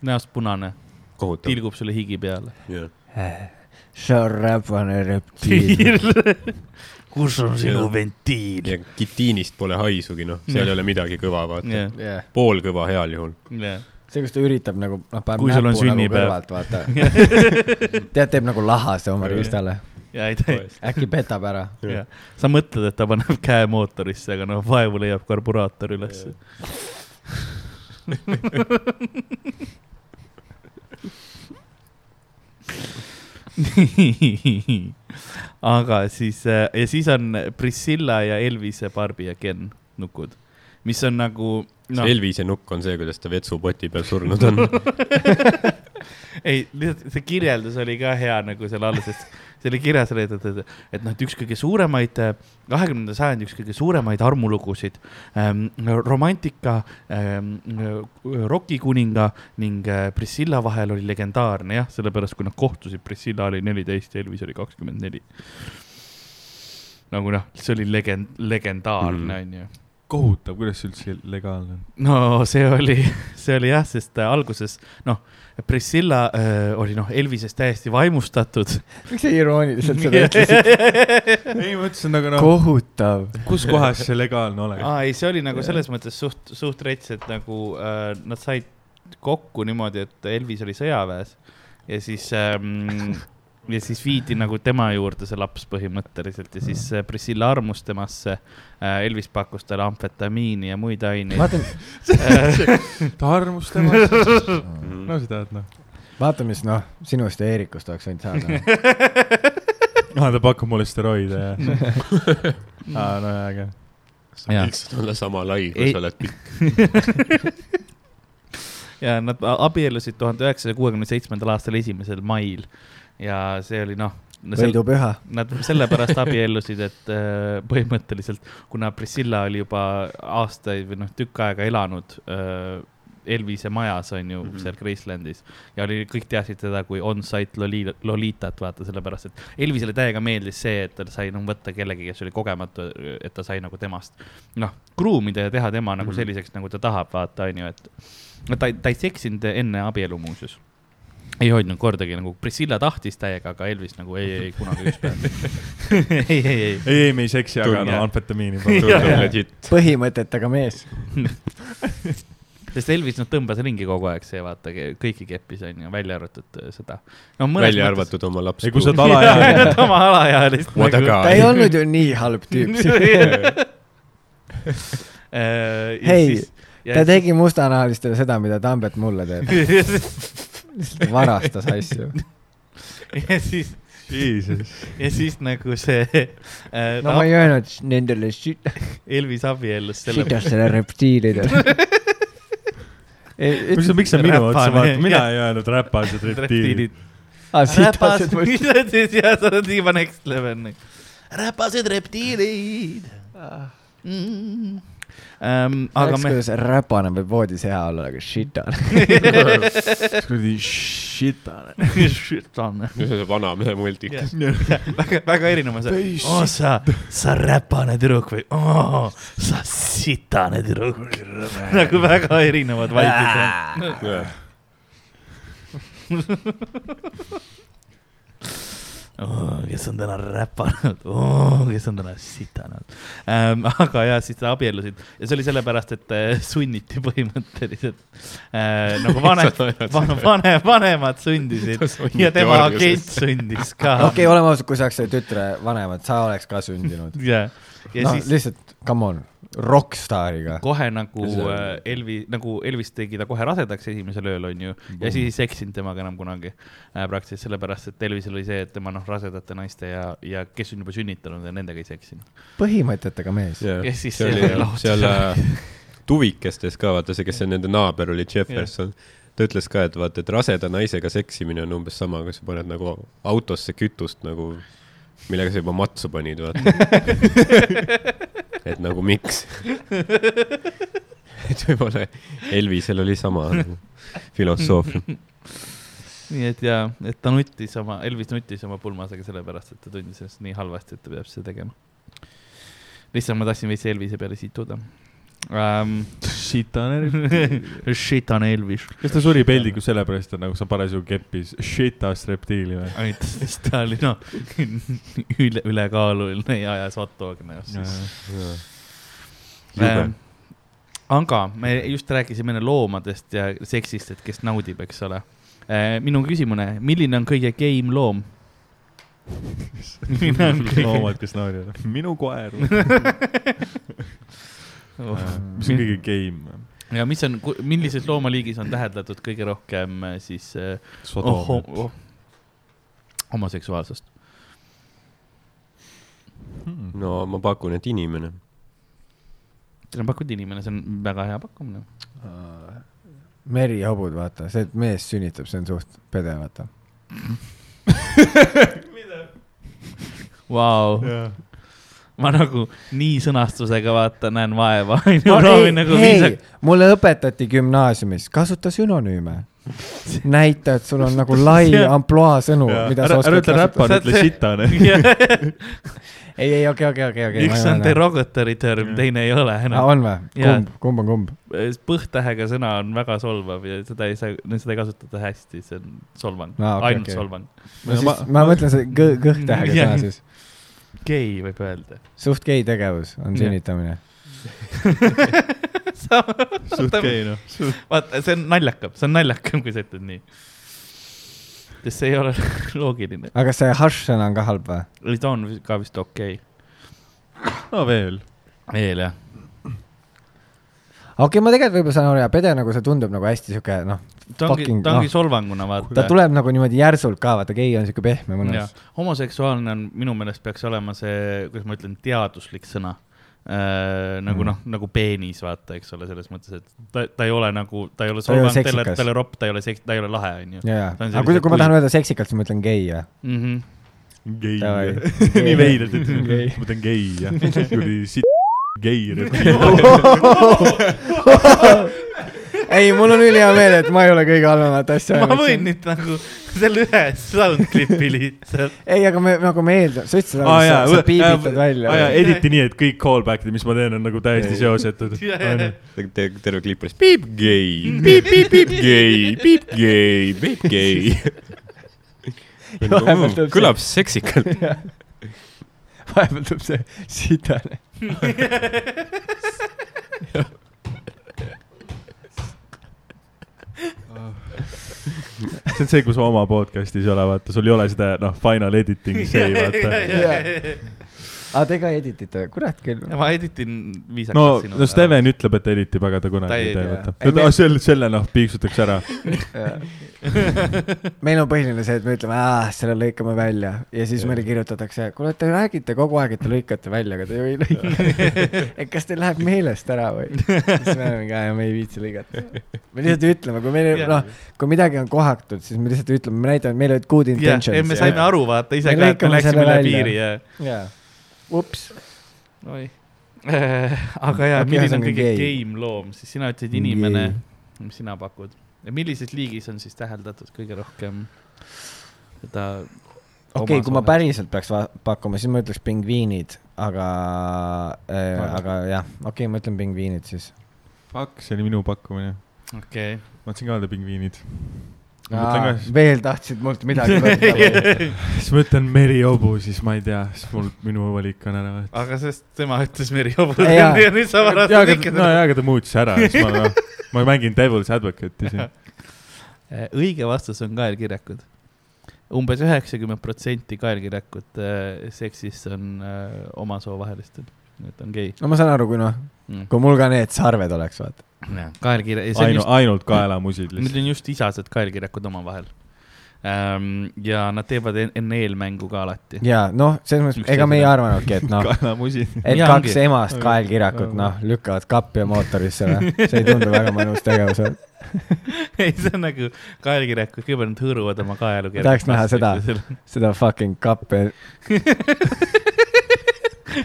B: näost punane ,
C: kohutav .
B: tilgub sulle higi peale .
D: Šarapane er reptiil .
F: kus on sinu
C: Jah.
F: ventiil ?
C: ja kitiinist pole haisugi , noh , seal ei ole midagi kõva , vaata .
B: jah ,
D: jah ,
C: poolkõva heal juhul .
B: <laughs> jah .
D: see , kus ta üritab nagu , noh , paneb
B: Kui sul on
D: näpu nagu
B: sünnipäev.
D: kõrvalt , vaata tead , teeb nagu lahase oma riistale ,
B: ja ei tee ,
D: äkki petab ära .
B: jah . sa mõtled , et ta paneb <laughs> käe mootorisse , aga noh , vaevu leiab karburaator ülesse . nii , <laughs> aga siis äh, ja siis on Priscilla ja Elvise Barbi ja Ken nukud , mis on nagu
C: no. .
B: noh ,
C: Elvise nukk on see , kuidas ta vetsupoti peal surnud on .
B: ei , lihtsalt see kirjeldus oli ka hea nagu seal all , sest see oli kirjas , et , et , et noh , et üks kõige suuremaid , kahekümnenda sajandi üks kõige suuremaid armulugusid ähm, . romantika ähm, , rokikuninga ning äh, Priscilla vahel oli legendaarne jah , sellepärast kui nad kohtusid , Priscilla oli neliteist ja Elvis oli kakskümmend neli . nagu noh , see oli legend , legendaarne onju mm. .
E: kohutav , kuidas see üldse legaalne on ?
B: no see oli , see oli jah , sest alguses noh , Priscilla öö, oli noh , Elvisest täiesti vaimustatud .
D: miks sa irooniliselt seda
B: <laughs>
D: ütlesid ?
E: ei , ma ütlesin , aga noh ,
D: kohutav .
E: kus kohas see legaalne oleks ?
B: aa , ei , see oli nagu selles mõttes suht , suht rets , et nagu öö, nad said kokku niimoodi , et Elvis oli sõjaväes ja siis ähm, , ja siis viidi nagu tema juurde see laps põhimõtteliselt ja siis äh, Priscilla armus temasse . Elvis pakkus talle amfetamiini ja muid aineid .
D: vaata ,
E: ta armus temast . <laughs> no sa tead , noh .
D: vaata , mis noh , sinust ja Eerikust oleks võinud saada .
B: <laughs>
E: aa , Noh, ta pakub mulle steroide
D: <laughs>
E: ja .
D: Mm.
E: aa , no jaa , aga .
B: Jaa.
C: lihtsalt olla sama lai , kui
B: Ei-
C: sa oled pikk .
B: ja nad abiellusid tuhande üheksasaja kuuekümne seitsmendal aastal esimesel mail ja see oli noh .
D: võidupüha .
B: Nad sellepärast abiellusid , et äh, põhimõtteliselt kuna Priscilla oli juba aastaid või noh , tükk aega elanud äh, Elvise majas on ju mm -hmm. seal Gracelandis ja oli , kõik teadsid teda kui on-site loli- , Lolitat , vaata sellepärast , et Elvisele täiega meeldis see , et ta sai nagu võtta kellegi , kes oli kogematu , et ta sai nagu temast noh , kruumida ja teha tema nagu selliseks , nagu ta tahab , vaata on ju , et no ta , ta ei seksinud enne abielu muuseas ei hoidnud kordagi nagu Priscilla tahtis täiega , aga Elvis nagu ei , ei kunagi üks päev . ei , ei , ei ,
E: ei , ei , me ei seksi , aga
B: Tunne.
E: no amfetamiini
C: tundub
E: palun .
C: legit .
D: põhimõtetega mees .
B: sest Elvis , noh , tõmbas ringi kogu aeg , see vaata , kõiki keppis onju , välja arvatud äh, seda no, .
C: välja .
B: <laughs>
C: arvatud oma laps .
E: ei , kui sa oled alaealine .
B: oma alaealist . nagu.
C: What a
B: <laughs>
D: ta ei
C: guy .
D: olnud ju nii halb tüüp .
C: <laughs>
B: Äh,
D: Hei, ta . tegi mustanahalistele seda , mida Tambet mulle teeb . lihtsalt varastas
B: <laughs>
D: asju .
B: <laughs> ja siis ,
E: Jesus .
B: ja siis nagu see äh,
D: no ma ei öelnud s- nendele süt- ,
B: Elvis abiellus selle . <laughs>
D: sütastele reptiilidele .
E: miks sa , miks sa minu otsa
B: Räpane.
E: vaatad , mina ei öelnud räpased reptiilid .
D: "Ah,
B: räpased , mida siis ja sa oled juba next level .
F: räpased reptiilid .
D: Ah.
B: Mm. Ähm, aga
D: aga
B: me ,
D: kuidas räpane võib voodis hea olla , aga shitane .
E: kuradi shitane .
B: <laughs>
C: nüüd on <laughs> see vanamehe multik .
B: väga , väga erinev on see .
F: oo , sa , sa räpane tüdruk või oo , sa sitane tüdruk .
B: nagu väga erinevad vaidid on . <laughs>
F: Oh, kes on täna räpane ?
B: oh, , kes on täna sitanud ähm, . <laughs> aga ja siis nad abiellusid ja see oli sellepärast , et äh, sunniti põhimõtteliselt äh, nagu vanem , vanem , vanemad sundisid ja tema agent sundis ka .
D: <laughs> okei , oleme ausad , kui sa oleks selle tütre vanemad , sa oleks ka sündinud .
B: ja , ja
D: no
B: siis
D: lihtsalt , come on , rokkstaariga .
B: kohe nagu
C: See-
B: äh, Elvi , nagu Elvis tegi ta kohe rasedaks esimesel ööl , onju , ja siis ei seksinud temaga enam kunagi äh, praktiliselt sellepärast , et Elvisel oli see , et tema noh , rasedate naiste ja , ja kes on juba sünnitanud ja nendega ei seksinud .
D: põhimõtetega mees .
B: Ja siis
C: seal
B: see
C: oli
B: laotus.
C: seal äh, tuvikestes ka vaata see , kes see nende naaber oli , Jefferson . ta ütles ka , et vaata , et raseda naisega seksimine on umbes sama , kui sa paned nagu autosse kütust nagu , millega sa juba matsu panid , vaata . et nagu miks ? et võib-olla Elvisel oli sama nagu filosoofia .
B: nii et ja , et ta nuttis oma , Elvis nuttis oma pulmasega sellepärast , et ta tundis ennast nii halvasti , et ta peab seda tegema . lihtsalt ma tahtsin veits Elvise peale situda . um, .
E: Shit on Elvis .
B: <laughs> Shit on Elvis .
E: kas ta suri peldikus sellepärast , et nagu sa parasjagu keppis shit ass reptiili või ?
B: ainult , sest ta oli noh üle , ülekaaluline ja ajas hot dog'i näos siis .
E: Jube.
B: Ehm, aga me just rääkisime enne loomadest ja seksist , et kes naudib , eks ole . minu küsimune , milline on kõige geim loom ? mina olen kõige ,
E: loomad , kes naeravad . minu <laughs> koer .
B: Oh.
E: mis on kõige game ?
B: ja mis on , millises loomaliigis on täheldatud kõige rohkem äh, siis äh, oh,
E: Sodom .
B: oh, homoseksuaalsust ?
E: Hmm.
C: no ma pakun , et inimene .
B: teil on pakutud inimene , see on väga hea pakkumine .
D: merihobud , vaata , see , et mees sünnitab , see on suht pede , vaata .
B: Vau , ma nagu nii sõnastusega vaata , näen vaeva . <laughs> Nagu viisak...
D: mulle õpetati gümnaasiumis , kasuta sünonüüme . näita , et sul on nagu lai
B: See-
D: ampluaa sõnu , mida
E: ära
D: sa , oskad
E: ära ütle
D: kasutada .
E: räpar , ütle <laughs> sitane .
D: ei , ei , okei , okei , <laughs> okei , okei .
B: üks on . derogatory term , teine ei ole enam .
D: on või ?
B: Jaa.
D: kumb , kumb on kumb ?
B: põhtähega sõna on väga solvav ja seda ei saa , seda ei kasutata hästi , see on solvang no, ,
D: Aa, okei,
B: okay, ainult
D: okei.
B: okay. solvang .
D: no siis , ma mõtlen see gõ- , kõhtähega
B: Jah.
D: sõna siis .
B: gei võib <laughs> öelda .
D: suht gei tegevus on
B: Jah.
D: sünnitamine .
E: suht gei noh .
B: vaata , see on naljakam , see on naljakam , kui sa ütled nii . sest see ei ole <laughs> loogiline .
D: aga kas see harsh sõna on ka halb või ?
B: ei , ta on ka vist okei okay. .
E: no veel .
B: veel jah ?
D: okei okay, , ma tegelikult võib-olla saan aru ja pede nagu see tundub nagu hästi sihuke noh ,
B: ta ongi ,
D: Fucking-
B: ta ongi
D: noh.
B: solvanguna vaata .
D: ta tuleb nagu niimoodi järsult ka , vaata gei on sihuke pehme
B: Jah.
D: mõnus .
B: homoseksuaalne on minu meelest peaks olema see , kuidas ma ütlen , teaduslik sõna . Äh, nagu
D: Mm.
B: mm. noh , nagu peenis , vaata , eks ole , selles mõttes , et ta , ta ei ole nagu , ta ei ole
D: Ta ei ole
B: solvang , ta ei ole ,
D: seksikas.
B: ta ei ole ropp , ta ei ole seks- , ta ei ole lahe , onju .
D: ja , ja ,
B: Ta on
D: aga kui ,
B: selline
D: kui ma tahan
B: kuiv.
D: öelda seksikalt , siis ma ütlen gei või ?
B: Mhm.
E: gei .
D: Davai.
E: <laughs> nii veidralt ütlesin
D: Gei. ,
E: ma ütlen gei jah . kuradi sit- ,
D: <laughs>
E: gei reptiil .
D: ei , mul on ülihea meel , et ma ei ole kõige halvemat asja
B: ma võin . nüüd nagu selle ühe sound clip'i lihtsalt .
D: ei , aga me nagu me eeldame , sa
E: <laughs>
D: ütlesid ,
E: aa Ah, jaa
D: et , sa piibitad välja
E: aa . jaa , editi nii , et kõik callback'id , mis ma teen , on nagu täiesti <laughs> seosetud .
C: terve klipp oli piip gei , piip , piip , piip gei , piip gei , piip gei .
D: Vahepeal tuleb
C: Nagu, mm, kõlab seksikalt .
D: <laughs> vahepeal tuleb see sitane .
E: see on see , kus oma podcast'is ei ole , vaata , sul ei ole seda , noh , final editing <laughs> save'i , vaata .
D: aa , te ka editite , kurat küll .
B: <laughs> ma editin viisakalt
E: no ,
B: sinu
E: no . Steven ütleb , et editib , aga ta kunagi
B: Ta ei
E: ei tee ,
B: tea.
E: vaata .
D: Ei, me-
E: no selle , selle , noh , piiksutakse ära .
D: meil on põhiline see , et me ütleme , selle lõikame välja ja siis meile kirjutatakse , kuule , te räägite kogu aeg , et te lõikate välja , aga te ju ei lõika .
B: <laughs>
D: et kas teil läheb meelest ära või ? siis me oleme ka , me ei viitsi lõigata . me lihtsalt ütleme , kui meil ,
B: Jah.
D: noh , kui midagi on kohatud , siis me lihtsalt ütleme , me näitame , meil olid good
B: jah , ei me
D: intentions .
B: saime aru , vaata ise ka ,
D: Me
B: et me
D: lõikame selle
B: läksime üle
D: välja.
B: piiri ja .
D: jaa , ups .
B: oi . <laughs> aga jaa okay, , milline
D: Okei,
B: on
D: ühesõnaga
B: kõige
D: gei.
B: game loom , siis sina ütlesid inimene , mis sina pakud . ja millises liigis on siis täheldatud kõige rohkem seda ?
D: okei okay, , kui ma . päriselt peaks va- pakkuma , siis ma ütleks pingviinid , aga äh, ,
B: Aga-
D: aga jah , okei okay, , ma ütlen pingviinid siis .
E: Fuck , see oli minu pakkumine .
B: okei .
E: ma mõtlesin ka öelda pingviinid . ma mõtlen ka ,
D: veel tahtsid mult midagi võtta ?
E: siis ma ütlen merihobu , siis ma ei tea , siis mul , minu valik on ära .
B: aga sest tema ütles Meri Hobuse
D: Jaa.
B: ja nüüd Ah, sa
E: jaa ,
B: varastad
E: aga ,
B: ikka
E: no
B: seda .
E: jaa , aga ta muutis ära , siis ma , noh , ma mängin Devil's Advocate'i siin .
B: Äh, õige vastus on kaelkirjakud . umbes üheksakümmend protsenti kaelkirjakud äh, seksis on äh, oma soovahelistel , et on gei
D: <laughs> no ma saan aru , kui noh ,
B: mm. .
D: kui mul ka need sarved oleks , vaata .
B: kaelkirja , see on
E: ainult ,
B: just
E: ainult kaelamusid
B: Need
E: lihtsalt .
B: on just isased kaelkirjakud omavahel ähm, . ja nad teevad en- enne eelmängu ka alati .
D: ja noh , selles mõttes ,
B: Üks
D: ega me ei
B: esimene.
D: arvanudki , et noh ,
B: <laughs>
E: kaelamusid .
D: et
B: Jaa,
D: kaks e-
B: ongi.
D: emast kaelkirakut , noh , lükkavad kappi ja mootorisse , noh . see ei tundu väga mõnus tegevus .
B: ei , see on nagu kaelkirjakud , kõigepealt nad hõõruvad oma kaelu .
D: Ma tahaks näha seda fucking kappi .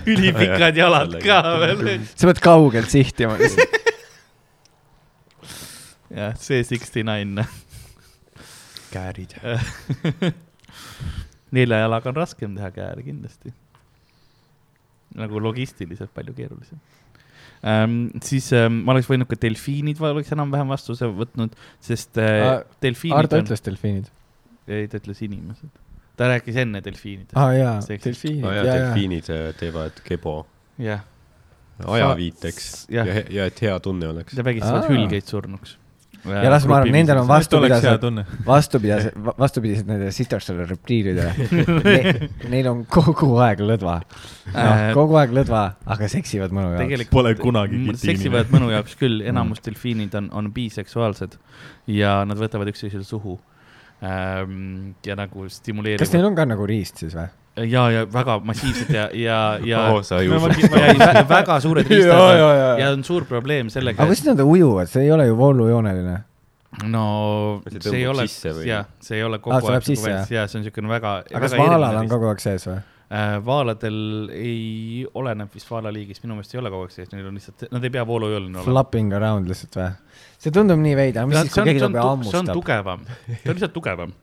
B: <laughs> ülipikad jalad ka veel .
D: sa pead kaugelt sihtima .
B: jah , see sixty nine .
C: käärid .
B: <laughs> nelja jalaga on raskem teha kääre kindlasti . nagu logistiliselt palju keerulisem . ähm, siis ähm, ma oleks võinud ka delfiinid va- oleks enam-vähem vastuse võtnud , sest äh,
D: Aa,
B: delfiinid
D: Ardo
B: on ,
D: ütles delfiinid .
B: ei ta ütles inimesed . ta rääkis enne delfiinidest
D: aa Ah, jaa ,
B: Seksist.
D: delfiinid ,
C: aa
D: jaa ,
C: Oh, jaa ,
D: jaa .
C: delfiinid äh, teevad kebo
B: jah ,
C: ajaviiteks ja
B: jah. ,
C: ja et hea tunne oleks .
B: ja vägistavad
D: Aa.
B: hülgeid surnuks .
D: ja las ma arvan , nendel on
E: oleks hea
D: vastupidased ,
E: tunne .
D: vastupidased , vastupidised nendele sitastele repliilidele ne, . Neil on kogu aeg lõdva noh ,
B: Äh,
D: kogu aeg lõdva , aga seksivad mõnu jaoks .
B: tegelikult
E: Pole kunagi
B: m-
E: kitiini.
B: seksivad mõnu jaoks küll , enamus delfiinid on , on biseksuaalsed ja nad võtavad üksteisele suhu ähm, ja nagu
D: kas
B: stimuleerivad
D: neil on ka nagu riist siis või ?
B: ja , ja väga massiivsed ja , ja , ja
C: oo , sa ei usu .
B: oh, väga
D: <laughs>
B: suured
D: Jaa, jaa, jaa.
B: riistad ja on suur probleem sellega
D: aga , kuidas nad ujuvad , see ei ole ju voolujooneline .
B: et no
C: Kas
B: see ei
C: see tõmbab
B: ole
C: sisse või? ,
B: jah , see ei ole
D: Aa,
B: kogu
D: Ah, see läheb
B: aeg
D: sisse, jah?
B: ja see on niisugune väga .
D: aga kas vaalal on kogu aeg sees või ?
B: Äh, vaaladel ei , oleneb vist vaalaliigist , minu meelest ei ole kogu aeg sees , neil on lihtsalt , nad ei pea voolujõuline olema .
D: Flapping around lihtsalt või ? see tundub nii veider , mis siis , kui keegi tuleb
B: see
D: ja
B: on
D: hammustab ,
B: tugevam , ta on lihtsalt tugevam .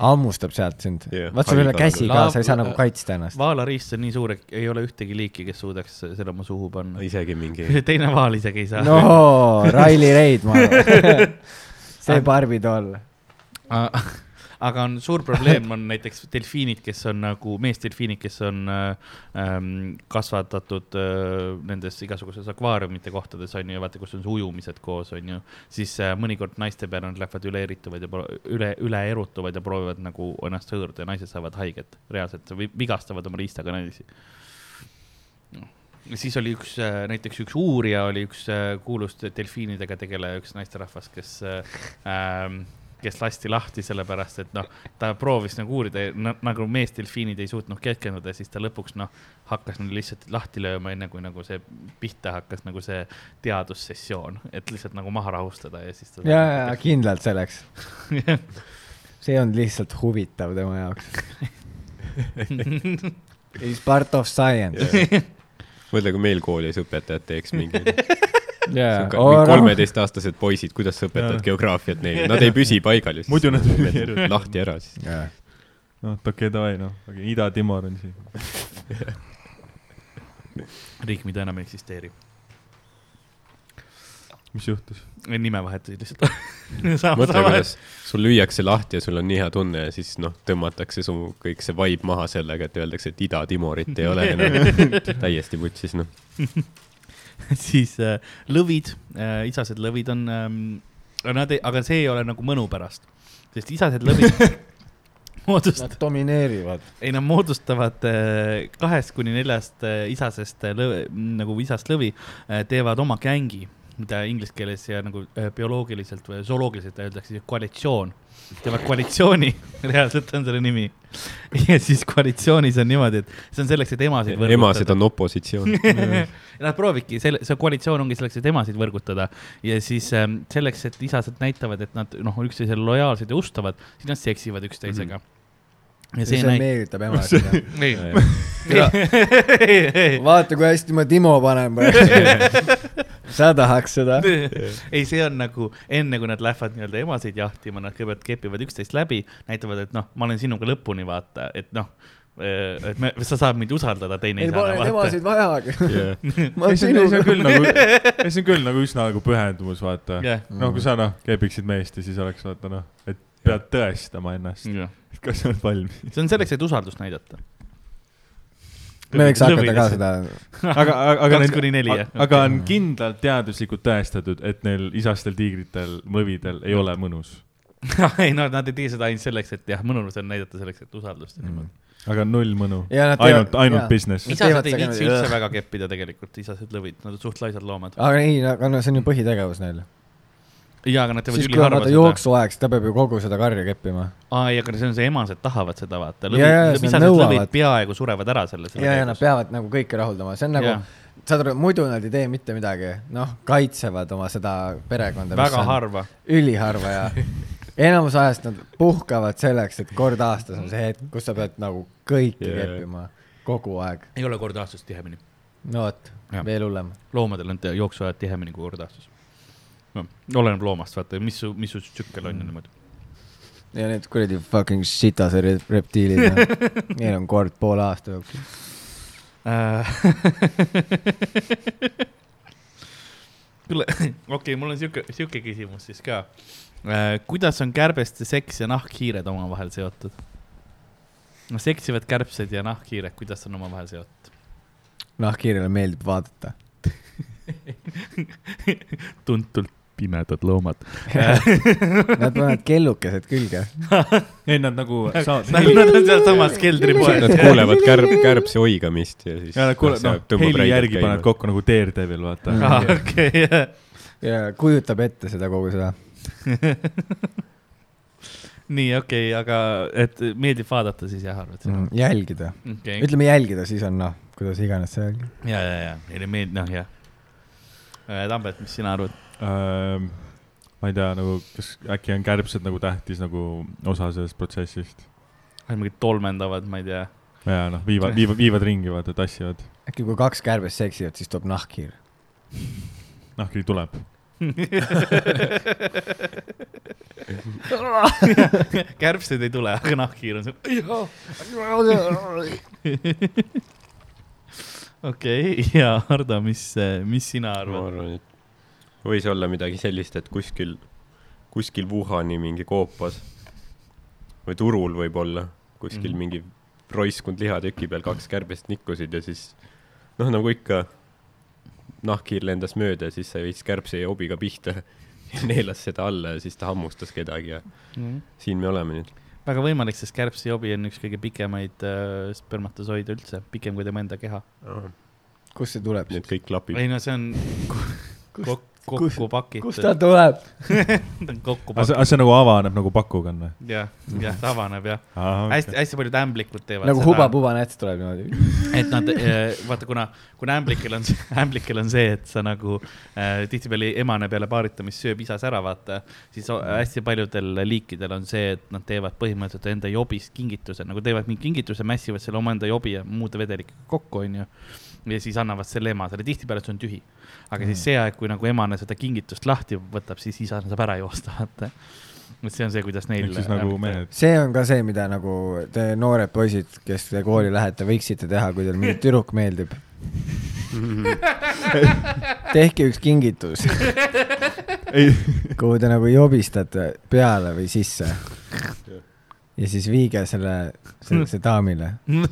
D: hammustab sealt sind
C: Jah,
D: yeah, . vaat sul ei ole
C: haiglal-
D: käsi ka , sa ei saa
B: Laab-
D: nagu kaitsta ennast .
B: vaalariist on nii suur , et ei ole ühtegi liiki , kes suudaks selle oma suhu panna .
C: isegi
B: <laughs>
C: mingi ,
B: teine vaal isegi ei saa <laughs>
D: no , Raili Reid , ma arvan . see Barbi toll .
B: A- Ah, aga on suur probleem on näiteks delfiinid , kes on nagu meesdelfiinid , kes on äh, ähm, kasvatatud äh, nendes igasuguses akvaariumite kohtades on ju , vaata , kus on see ujumised koos on ju , siis äh, mõnikord naiste peale nad lähevad üle erituvad ja pro- üle , üle erutuvad ja proovivad nagu ennast hõõruda ja naised saavad haiget , reaalselt vi- vigastavad oma riistaga naisi . Ja siis oli üks , näiteks üks uurija oli üks äh, kuulus delfiinidega tegeleja , üks naisterahvas , kes äh, ähm, , kes lasti lahti sellepärast , et noh , ta proovis nagu uurida na, , nagu meesdelfiinid ei suutnud keskenduda , siis ta lõpuks noh , hakkas neid lihtsalt lahti lööma , enne kui nagu see pihta hakkas nagu see teadussessioon , et lihtsalt nagu maha rahustada ja siis ta .
D: ja , ja kindlalt <laughs> selleks . see on lihtsalt huvitav tema jaoks . It's part of science .
C: äh, mõtle , kui meil koolis õpetajad teeks mingi ,
D: jaa ,
C: kolmeteistaastased poisid , kuidas sa õpetad geograafiat neile , nad ei püsi paigal ju .
E: Muidu nad
C: <laughs>
E: hüüavad.
C: lahti ära
D: <laughs>
C: siis .
D: jaa .
E: noh , okei , davai , noh , Ida-Timor on siin .
B: riik , mida enam ei eksisteeri .
E: mis juhtus ?
B: nime vahetasid lihtsalt . <laughs>
C: mõtle , kuidas sul lüüakse lahti ja sul on nii hea tunne ja siis noh , tõmmatakse su kõik see vibe maha sellega , et öeldakse , et Ida-Timorit ei ole enam . täiesti vutsis noh .
B: <laughs> siis äh, lõvid äh, , isased lõvid on ähm, , nad ei , aga see ei ole nagu mõnu pärast , sest isased lõvid moodust- ,
D: Nad domineerivad .
B: ei nad moodustavad äh, kahest kuni neljast äh, isasest äh, lõve , nagu isast lõvi äh, teevad oma gängi , mida inglise keeles ja nagu äh, bioloogiliselt või zooloogiliselt öeldakse koalitsioon . teevad koalitsiooni , <laughs> reaalselt on selle nimi . ja siis koalitsioonis on niimoodi , et see on selleks , et emasid
C: emased on opositsioon . <laughs>
B: Nad proovibki , selle , see koalitsioon ongi selleks , et emasid võrgutada ja siis ähm, selleks , et isased näitavad , et nad noh , üksteisele lojaalsed ja ustavad , siis nad seksivad üksteisega mm . -hmm. ja
D: Mhm.
B: see
D: see, see
B: näitab .
E: <laughs>
D: meelitab emasid jah .
B: <laughs> ei ,
D: vaata , kui hästi ma Timo <laughs> panen praegu . sa tahaks seda ?
B: ei , see on nagu enne , kui nad lähevad nii-öelda emasid jahtima , nad kõigepealt kepivad üksteist läbi , näitavad , et noh , ma olen sinuga lõpuni , vaata , et noh , et me, sa saad mind usaldada , teine ei
D: Neil
B: saa
D: pole
B: enam vaata .
D: emasid
E: <laughs>
D: vajagi . ma
E: ei ,
D: olen
E: see on , see
D: sinuga
E: on . küll nagu , see on küll nagu üsna nagu pühendumus , vaata
B: Jah.
E: noh , kui sa noh , keebiksid meest ja siis oleks vaata noh , et pead tõestama ennast ,
B: see
E: et kas sa oled valmis .
B: on selleks , et usaldust näidata .
D: me võiks hakata ka seda .
E: aga , aga
B: Kaks kuni neli, jah.
E: aga on kindlalt teaduslikult tõestatud , et neil isastel tiigritel , mõvidel ei ole mõnus .
B: <laughs> ei no nad ei tee seda ainult selleks , et jah , mõnus on näidata selleks , et usaldust
D: Mm.
B: ja niimoodi .
E: aga null mõnu .
D: Ja nad teevad-
E: ainult , ainult
D: jaa.
E: business .
D: Mis- teevad
B: isased ei
D: seda
B: viitsi
D: niimoodi,
B: üldse
D: jah.
B: väga keppida tegelikult , isased lõvid , nad on suht laisad loomad .
D: aga ei , aga no see on ju põhitegevus neil .
B: jaa , aga nad teevad
D: siis kui on
B: üliharva
D: vaata
B: seda .
D: jooksuaeg , siis ta peab ju kogu seda karja keppima .
B: aa , ei , aga see on see , emased tahavad seda vaata .
D: Jaa, jaa, siis nad
B: isased lõvid
D: nõuavad.
B: peaaegu surevad ära selle .
D: ja , ja nad peavad nagu kõike rahuldama , see on nagu
B: Jah. ,
D: saad aru , muidu nad ei tee mitte midagi , noh , kaitsevad oma seda perekonda .
B: väga . harva .
D: üliharva ja
B: <laughs>
D: enamus ajast nad puhkavad selleks , et kord aastas on see hetk , kus sa pead nagu kõike
C: Jaa.
D: yeah. keppima kogu aeg .
B: ei ole kord aastas tihemini .
D: no vot ,
B: Jah.
D: veel hullem .
B: loomadel on te- jooksuajad tihemini kui kord aastas . noh , oleneb loomast , vaata , mis su , mis su tsükkel
D: Mm.
B: on ja niimoodi .
D: ja need kuradi fucking sitase re- reptiilid , noh.
B: <laughs>
D: neil on kord poole aasta jooksul .
B: Äh, <laughs> kuule , okei okay, , mul on siuke , siuke küsimus siis ka . kuidas on kärbeste seks ja nahkhiired omavahel seotud ? no seksivad kärbsed ja nahkhiired , kuidas on omavahel seotud ?
D: nahkhiirele Noh, meeldib vaadata .
B: tuntult pimedad loomad .
D: <laughs> Nad panevad kellukesed külge .
E: ei , nad
D: <laughs>
E: nagu saavad
B: <laughs> Nad
E: heli ,
B: nad on sealsamas keldripoes . <laughs>
C: Nad kuulevad kärb , kärbse oigamist ja siis .
E: ja nad kuulevad , noh , heli järgi panevad . kokku nagu Daredevil , vaata .
B: okei ,
D: ja kujutab ette seda kogu seda .
B: nii okei okay, , aga et meeldib vaadata siis jah , arvad sina ?
D: jälgida ,
B: okei ,
D: ütleme jälgida , siis on noh , kuidas iganes see on .
B: ja , ja , ja neile meeldib , noh jah . Tambet , mis sina arvad ?
E: ma ei tea , nagu , kas äkki on kärbsed nagu tähtis nagu osa sellest protsessist
B: kas mingid tolmendavad , ma ei tea .
E: ja noh ,
D: <laughs>
E: viivad , viivad , viivad ringi , vaata , tassivad ,
D: äkki kui kaks kärbest seksivad , siis tuleb nahkhiir .
E: nahkhiir Noh, tuleb .
B: <laughs> kärbsed ei tule , aga nahkhiir on seal . okei , ja Hardo , mis , mis sina
C: ma
B: arvad ?
C: arvan , et võis olla midagi sellist , et kuskil , kuskil Wuhani mingi koopas või turul võib-olla , kuskil
B: Mhm.
C: mm. mingi roiskunud lihatüki peal kaks kärbest nikkusid ja siis noh , nagu ikka , nahkhiir lendas mööda ja siis sai veits kärbse ja hobiga pihta <laughs> ja neelas seda alla ja siis ta hammustas kedagi ja
E: Mhm.
C: siin me oleme nüüd .
B: väga võimalik , sest kärbse jobi on üks kõige pikemaid äh, spermatosoide üldse , pikem kui tema enda keha .
D: kust see tuleb ?
C: nüüd kõik klapib .
B: ei no see on
D: <laughs> Kust-
B: kok- kokku
D: kust
B: pakitud
D: ta , tuleb ?
B: ta on kokku
E: aga see ,
B: pakitud ,
E: aga see nagu avaneb nagu pakuga on või ?
B: jah , jah , ta avaneb jah .
E: hästi .
B: hästi-hästi paljud ämblikud teevad
D: nagu
B: seda ,
D: huba-puba näts tuleb niimoodi .
B: et nad , vaata , kuna , kuna ämblikel <laughs> on , ämblikel on see , et sa nagu äh, tihtipeale emane peale paaritamist sööb isas ära , vaata , siis o- hästi paljudel liikidel on see , et nad teevad põhimõtteliselt enda jobist kingituse , nagu teevad mingi kingituse , mässivad selle omaenda jobi ja muude vedelikega kokku , onju . ja siis annavad selle emasele , tihtipeale see on tühi . aga
E: Mm.
B: siis see aeg , kui nagu emane seda kingitust lahti võtab , siis isa saab ära joosta , vaata . et see on see , kuidas neil .
E: ehk siis nagu .
D: <laughs>
E: mehed .
D: see on ka see , mida nagu te noored poisid , kes te kooli lähete , võiksite teha , kui teil mingi tüdruk
B: <laughs>
D: meeldib . tehke üks kingitus ,
E: ei ,
D: kuhu te nagu jobistate peale või sisse . ja siis viige selle , sellise daamile .
B: <laughs>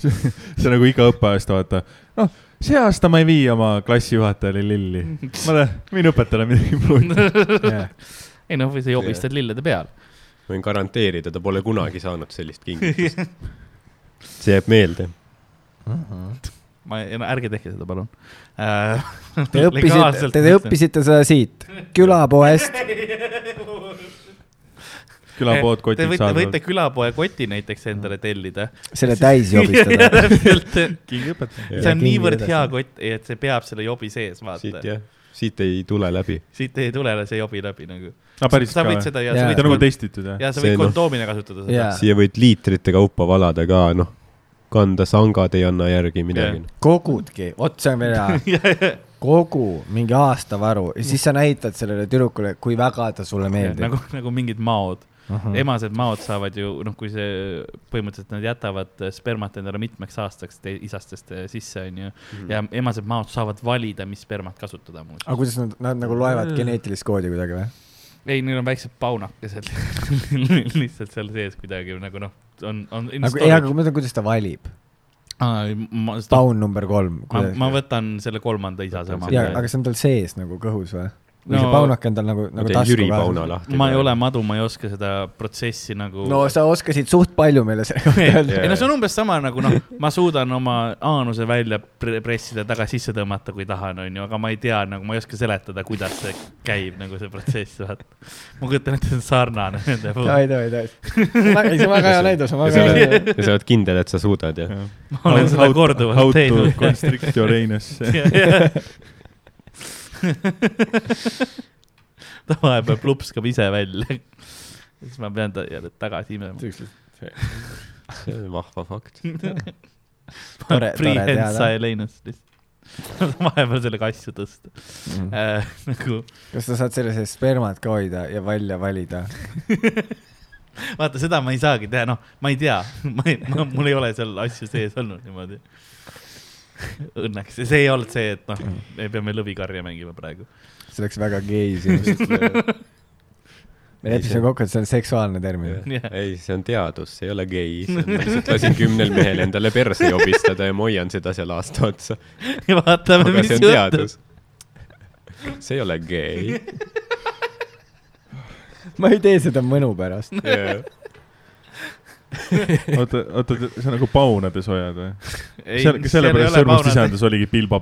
E: see on nagu iga õppeaasta , vaata . noh , see aasta ma ei vii oma klassijuhatajale lilli . ma lähen , võin õpetajale midagi
B: <laughs>
E: muud .
B: ei noh , või sa jobistad lillede peal .
C: võin garanteerida , ta pole kunagi saanud sellist kingitust . see jääb meelde .
B: ma ei , ärge tehke seda , palun äh, .
D: Te õppisite , te õppisite seda siit , külapoest .
E: külapood ,
B: Te
E: kotid
B: võite ,
E: saadavad
B: võite . külapoe koti näiteks endale tellida .
D: selle täis
B: <laughs>
D: jobistada .
B: see
D: Ja
B: on
D: kingi
B: niivõrd
D: edasi.
B: hea kott , et see peab selle jobi sees ,
C: siit
B: vaata .
C: jah , siit ei tule läbi .
B: siit ei tule see jobi läbi nagu .
E: aa , päris
B: sa
E: ka
B: võid
E: või ?
B: seda ja
D: Jaa.
B: sa
E: ta on nagu
B: võid ,
E: testitud jah ?
B: ja sa
C: See,
B: võid
C: noh.
B: kondoomina kasutada seda
D: jaa .
C: siia võid liitrite kaupa valada ka , noh , kanda sangad ei anna järgi midagi .
D: kogudki , vot see on veel
B: <laughs>
D: hea . kogu mingi aastavaru ja siis sa näitad sellele tüdrukule , kui väga ta sulle meeldib .
B: nagu , nagu mingid maod .
D: Ahah.
B: emased maod saavad ju , noh , kui see , põhimõtteliselt nad jätavad äh, spermat endale mitmeks aastaks te, isastest eh, sisse , onju . ja emased maod saavad valida , mis spermat kasutada muuseas .
D: aga kuidas nad , nad nagu loevad geneetilist koodi kuidagi või ?
B: ei , neil on väiksed paunakesed <laughs> lihtsalt seal sees kuidagi nagu noh , on , on .
D: aga ei , aga ma mõtlen , kuidas ta valib .
B: ma, ma,
D: Down number kolm .
B: ma, ma võtan selle kolmanda isa sama .
D: jaa , aga see on tal sees nagu kõhus või ? või
B: No-
D: see paunake on tal nagu , nagu
C: teen Jüri Pauna
D: kaasas?
C: lahti .
B: ma ei ole . madu , ma ei oska seda protsessi nagu <laughs>
D: no sa oskasid suht palju meile selle kohta öelda .
B: ei no see on umbes sama nagu noh , ma suudan oma aanuse välja pre- pressida , taga sisse tõmmata , kui tahan , onju , aga ma ei tea , nagu ma ei oska seletada , kuidas see käib nagu see protsess , vaata . ma kujutan ette , see on sarnane nende puhul .
D: ei , ei , ei , ei . see on väga hea näide , see
C: ja
D: on väga
C: sa
D: hea
C: oled
D: näide .,
C: ja sa oled kindel , et sa suudad ja
B: ma olen seda korduvalt teinud .
E: Constrict your
B: <laughs>
E: anus'e .
B: <laughs> ta vahepeal plupskab ise välja . siis ma pean ta jälle tagasi
D: <laughs>
B: imema .
C: see on vahva fakt .
D: Tore- tore teada.
B: Freehansa ei läinud lihtsalt . <laughs> vahepeal sellega asju tõsta
D: Mhm.
B: äh, . nagu ,
D: kas sa saad selle sees spermat ka hoida ja välja valida ?
B: vaata seda ma ei <laughs> saagi teha , noh , ma ei tea , ma ei , mul ei ole seal asju sees olnud niimoodi . <laughs> õnneks , see ei olnud see , et noh , me peame lõvikarja mängima praegu . <laughs>
D: see oleks väga gei
E: <laughs>
D: sinust . me leppisime kokku , et see on seksuaalne termin .
B: <laughs> jah ,
C: ei , see on teadus , see ei ole gei , see on lihtsalt lasin kümnel mehel endale perse jobistada ja ma hoian seda seal aasta
B: <laughs>
C: otsa .
B: ja vaatame ,
C: aga
B: mis
C: see on
B: juhtub .
C: teadus . see ei ole gei .
D: ma ei tee seda mõnu pärast .
E: oota , oota , sa nagu paunades hoiad või ?
B: ei
E: seal , sellepärast sõrmust . lisandus oligi Bilba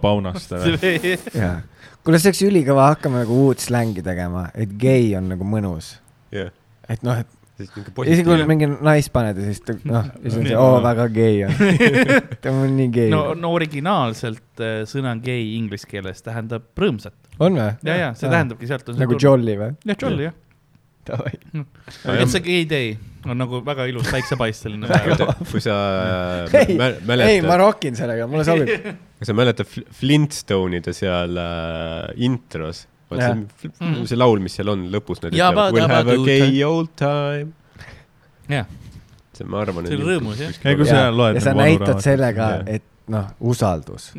B: <laughs>
E: paunast või ?
D: kuule , see oleks ülikõva hakkama nagu uut slängi tegema , et gei on nagu mõnus .
C: jah ,
D: et noh , et
C: siis niisugune
D: isegi kui
C: <laughs> positiivne .
D: mingi naist paned ja siis ta noh , siis on see , oo , väga gei
E: <laughs>
D: on . ta on nii gei
B: no , no originaalselt äh, sõna gei inglise keeles tähendab rõõmsat .
D: on või ?
B: ja , ja see . tähendabki sealt on
D: nagu . jolly või ?
B: jah , jolly jah . It's a gay day on nagu väga ilus päiksepaisteline <laughs> päev .
C: kui sa äh,
D: ei
C: mä- ,
D: ei ,
C: mäletad ,
D: ma rokin sellega , mulle sobib .
C: kui sa mäletad Fl- Flintstone'ide seal äh, intros ,
D: Jah.
B: Mhm.
C: see laul , mis seal on lõpus , nad
B: Ja
C: ütlevad
B: ba-
C: we'll
B: da-
C: have
B: ba-
C: a
B: do-
C: gay old time .
B: Jah.
C: see , ma arvan .
B: See oli rõõmus, jah.
E: Ei, kui sa loed
D: ja sa
E: nagu
D: näitad
E: valuraamatut,
D: sellega
E: jah. ,
D: et noh , usaldus .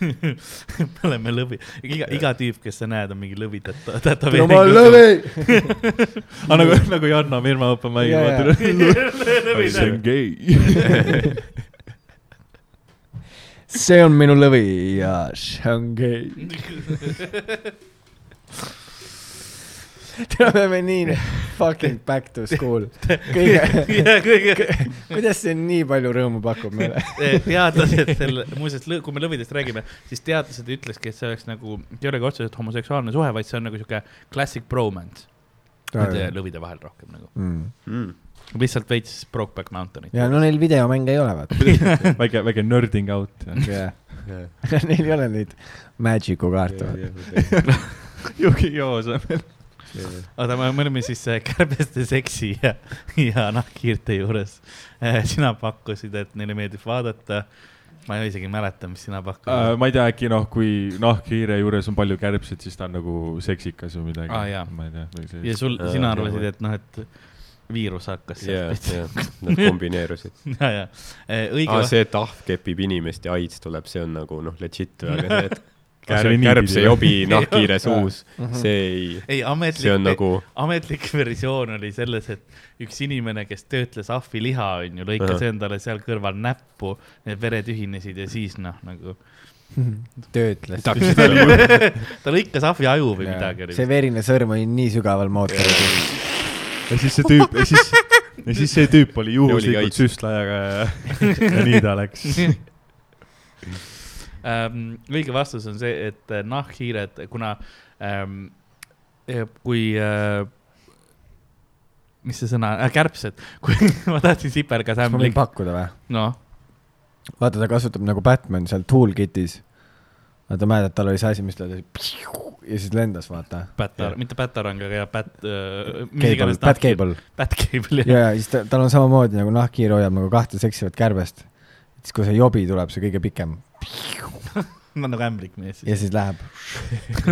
B: me oleme lõvi , iga , iga tüüp , kes sa näed , on mingi lõvi täta- ,
D: no ma olen
B: tätoveering .
D: lõvi .
B: Ah,
E: aga nagu , nagu Janna Mirma open mic'il
D: Jaa,
E: yeah, ,
D: <laughs>
E: vaata .
B: <laughs>
E: see on gei . <laughs>
D: see on minu lõvi ja see on gei . täna me oleme nii fucking back to school . kõige ,
B: ja kõige ,
D: kuidas see nii palju rõõmu pakub meile ?
B: teadlased selle , muuseas , kui me lõvidest räägime , siis teadlased ütleski , et see oleks nagu , ei olegi otseselt homoseksuaalne suhe , vaid see on nagu sihuke classic bromance nende lõvide vahel rohkem nagu ,
D: Mm.
C: Mm.
B: lihtsalt veits Brokeback Mountainit .
D: ja no neil videomänge ei ole
E: <laughs>
D: vaata .
E: väike , väike nerding out .
D: Cioè, <laughs> Neil ei ole neid Magicu kaarte .
E: Juki Joosemel .
B: oota , me me olime siis äh, kärbeste seksi ja , ja nahkhiirte juures . sina pakkusid , et neile meeldib vaadata . ma isegi ei mäleta , mis sina pakkusid .
E: Äh, ma ei tea , äkki noh , kui nahkhiire juures on palju kärbseid , siis ta on nagu seksikas või midagi
B: Aa, Ah, jaa.
E: ma ei tea , või
B: ja
E: see .
B: sul ,
C: Äh,
B: sina
C: jah,
B: arvasid ,
C: või-
B: et noh , et viirus hakkas <laughs>
C: ja ,
B: sealt
C: ja , nad kombineerusid .
B: yeah. . ja , ja Eh, õige
C: aa ,
B: ah, .
C: see , et ahv kepib inimest ja aids tuleb , see on nagu noh , legit , aga see ,
D: <laughs>
C: et
D: Ah,
E: Aa, see
C: kärb ,
E: oli niipidi
C: kärbse
E: või?
C: jobi nahkhiire suus , see ei ,
B: ei , ametlik
C: see , on
B: nagu...
C: nagu ,
B: <laughs> ametlik versioon oli selles , et üks inimene , kes töötles ahviliha , onju , lõikas uh
C: Ahah.
B: -huh. endale seal kõrval näppu , need vered ühinesid ja siis noh , nagu
D: töötles .
B: ta lõikas ahvi aju või midagi .
D: see verine sõrm oli nii sügaval mootoris .
E: ja siis see tüüp , ja siis , ja siis see tüüp oli
C: Ja oli
E: juhuslikult
C: aids.
E: süstlajaga ja , ja nii ta läks .
B: <laughs> ähm, . õige vastus on see , et äh, nahkhiired , kuna ähm, eh, kui äh, , mis see sõna äh, , kärbsed , <laughs> kui ma tahtsin sipergas
D: kas ma võin
B: ämblik ,
D: pakkuda või ?
B: noh ,
D: vaata , ta kasutab nagu Batman seal toolkit'is . vaata , mäletad , tal oli see asi , mis ta tegi ja siis lendas , vaata .
B: pätar , mitte pätarang , aga jah , pät- äh, .
D: Cable ,
B: <laughs>
D: Bat . Cable .
B: Batcable , jah .
D: ja , ja siis ta , tal on samamoodi nagu nahkhiir hoiab nagu kahte seksivat kärbest . siis kui see jobi tuleb , see kõige pikem
B: ma olen nagu ämblik mees siis
D: ja . siis läheb .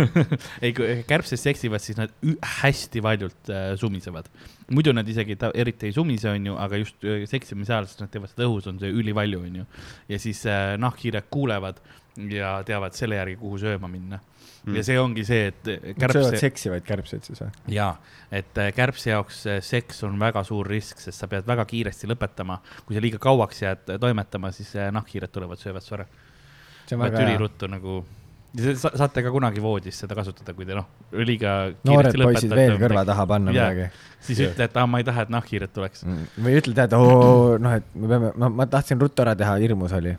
B: <laughs> ei , kui kärbsed seksivad , siis nad ü- hästi valjult äh, sumisevad . muidu nad isegi ta, eriti ei sumise , onju , aga just äh, seksimise ajal , sest nad teevad seda õhus , on see ülivalju , onju . ja siis äh, nahkhiired kuulevad ja teavad selle järgi , kuhu sööma minna mm. . ja see ongi see , et
D: söövad
B: kärbse ,
D: seksivaid kärbseid siis või ?
B: jaa , et äh, kärbse jaoks äh, seks on väga suur risk , sest sa pead väga kiiresti lõpetama . kui sa liiga kauaks jääd äh, toimetama , siis äh, nahkhiired tulevad , söövad su ära .
D: see on
B: vaat
D: väga hea .
B: üliruttu nagu , saate ka kunagi voodis seda kasutada , kui te noh , liiga .
D: noored poisid veel kõrva . taha panna
B: Jaa.
D: midagi .
B: siis ütle , et aa , ma ei taha , et nahkhiired tuleks .
D: või ütled jah , et oo , noh , et me peame , no ma tahtsin ruttu ära teha , hirmus
B: <laughs>
D: oli .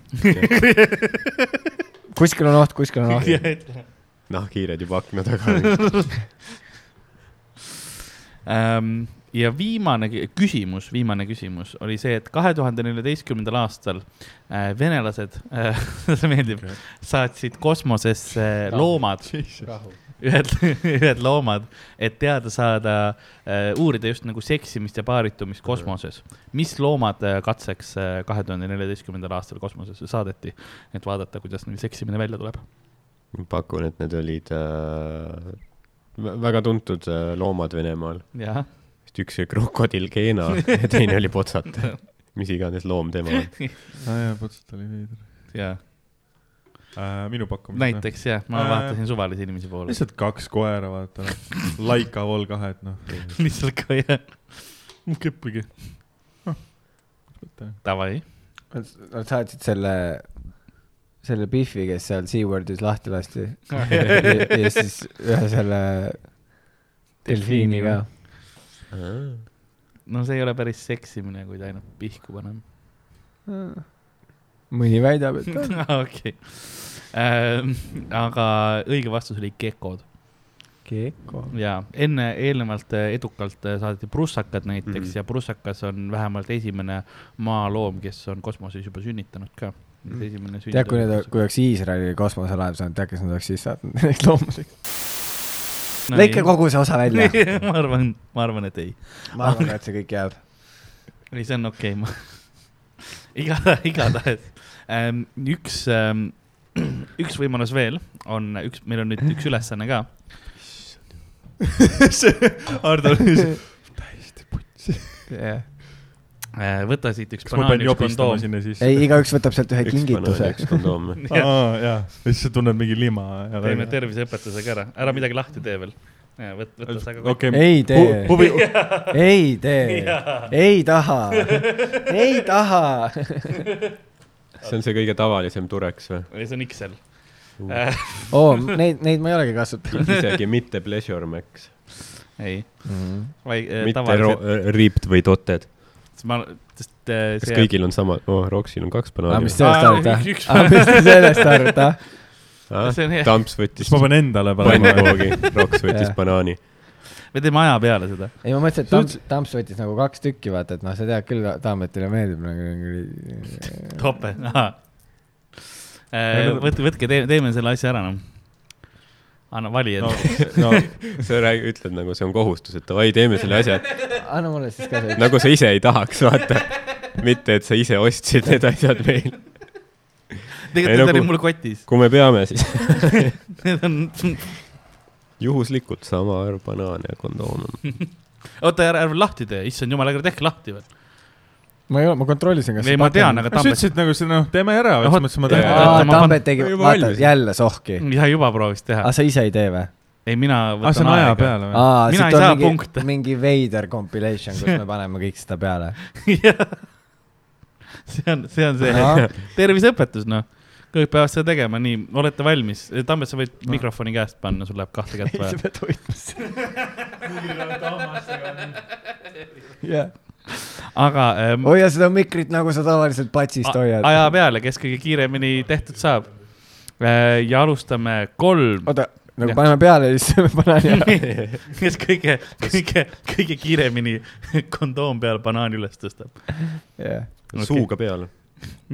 D: kuskil on oht , kuskil on oht .
C: nahkhiired Noh, juba akna taga .
B: Ehm, ja viimane kü- küsimus , viimane küsimus oli see , et kahe tuhande neljateistkümnendal aastal äh, venelased , <laughs> see meeldib , saatsid kosmosesse äh, loomad , ühed , <laughs> ühed loomad , et teada saada äh, , uurida just nagu seksimist ja paaritumist kosmoses . mis loomad äh, katseks kahe tuhande neljateistkümnendal aastal kosmosesse saadeti , et vaadata , kuidas neil seksimine välja tuleb ?
C: pakun , et need olid äh, vä- väga tuntud äh, loomad Venemaal ,
B: jah ,
C: vist üks oli krokodill Keena ja teine oli potsataja . mis iganes loom tema on .
E: aa Ah, jaa , potselt oli veider .
B: jaa ,
E: Äh, minu pakkumine .
B: näiteks jah , ma
E: Äh.
B: vaatasin suvalise inimese poole .
E: lihtsalt kaks koera , vaata . <laughs> Laika Vol kahed , noh .
B: lihtsalt ka jah . kippigi . Davai .
D: Nad saatsid selle , selle Biffi , kes seal SeaWorldis lahti lasti . ja siis ühe selle delfiini ka .
B: no see ei ole päris seksimine , kui ta ainult pihku paneb .
D: mõni väidab , et on .
B: <laughs> okei . aga õige vastus oli gekod
D: Keeko .
B: ja enne eelnevalt äh, edukalt äh, saadeti prussakad näiteks mm
C: Mhm.
B: -hmm. ja prussakas on vähemalt esimene maaloom , kes on kosmoses juba sünnitanud ka . esimene
D: tead , kui need ,
B: sünnitud .
D: kui oleks Iisraeli kosmoselaev saanud , tead , kes nad oleks siis saatnud <laughs> neid loomulikult . lõike kogu see osa välja .
B: <laughs> ma arvan , ma arvan , et ei .
D: ma arvan , et see kõik jääb .
B: ei , see on okei okay, , ma <laughs> iga , igatahes ähm, üks ähm, , <clears throat> üks võimalus veel on üks , meil on nüüd üks ülesanne
E: <laughs>
B: ka . <laughs>
E: Hardo oli siis ,
D: ei ,
B: Äh, võta siit üks
E: kas ma
B: banaan ,
E: pean
B: üks
E: jopistama
B: kondoom .
E: sinna siis ?
D: igaüks võtab sealt ühe kingituse .
C: üks kondoom .
E: <laughs> aa jaa , <laughs> ja siis sa tunned mingi lima ja
B: teeme . terviseõpetuse ka ära , ära midagi lahti tee veel . võta , võta see ka .
E: okei ,
D: ei tee ,
E: huvi ,
D: ei
B: <laughs>
D: tee , ei taha , ei taha .
C: see on see kõige tavalisem tureks või ?
B: ei , see on Excel .
D: oo , Oh, neid , neid ma ei olegi kasutanud .
C: isegi mitte pleasure max ,
B: ei , vaid äh,
C: mitte ro-
B: tavaliselt ,,
C: ripped või dotted .
B: ma , sest äh,
C: kas
B: see
C: kõigil on sama , oh , Roxil on kaks
D: aga
C: banaani
D: Ah, mis . te
B: Aa,
D: sellest
B: üks- Ah, <laughs> üks-
D: arvate ? aga mis te sellest ah? arvate ?
B: see on hea.
C: Ah, Tamps võttis
E: siis ma pean endale panema .
C: pannkoogi , Rox võttis
D: Jah.
C: banaani .
B: me teeme aja peale seda .
D: ei , ma mõtlesin , et Tamps , Tamps võttis nagu kaks tükki , vaata , et noh , sa tead küll , Taametile meeldib nagu .
B: tope , ahah . võtke , võtke , teeme , teeme selle asja ära noh . anna vali enda
E: No.
B: no. .
E: no
C: sa räägi- , ütled nagu see on kohustus , et davai , teeme selle asja ,
D: anna mulle siis ka see .
C: nagu sa ise ei tahaks , vaata . mitte , et sa ise ostsid need asjad meil .
B: <laughs> tegelikult
C: Ei,
B: need
C: nagu-
B: oli mul kotis , <laughs>
C: kui me peame , siis
B: need on ,
C: juhuslikult sama arv banaane ja kondoome .
B: oota ära , ära lahti tee , issand jumal , ärge tehke lahti veel .
D: ma ei ole , ma kontrollisin , kas
B: ei , ma tean , aga
E: sa
B: Tambet ,
E: ütlesid nagu see , noh , teeme ära ,
B: No vot,
E: selles mõttes
B: jaa.
E: ma teen .
B: Oota,
D: aa ,
B: ma pan-
D: Tambet tegi
C: Ma , juba
D: vaata
C: valmis. ,
D: jälle sohki .
B: ja Mm, juba proovis teha
D: aga , sa ise ei tee või ?
B: ei mina
E: aa , Ah, see
B: võtan
E: on aja
B: <laughs> aega .
E: peale või ?
D: aa ,
B: Mina
D: siit
B: ei
D: on
B: saa punkte.
D: mingi , mingi veider compilation , kus me paneme kõik seda peale .
B: see on , <laughs> see on see <laughs> terviseõpetus noh , kõik peavad seda tegema , nii , olete valmis , Tambet , sa võid mikrofoni käest panna , sul läheb kahte kätt
E: <laughs>
B: vaja .
D: <laughs> jah .
B: aga ähm,
D: hoia seda mikrit , nagu sa tavaliselt patsist hoiad
B: a- . aja peale , kes kõige kiiremini tehtud saab . ja alustame kolm ,
D: <laughs> oota ,
B: Jah.
D: nagu paneme peale ja siis <laughs> panen ära .
B: <laughs> kes kõige , kõige , kõige kiiremini <laughs> kondoom peal banaani üles tõstab .
D: jah .
B: Okei.
C: suuga peal .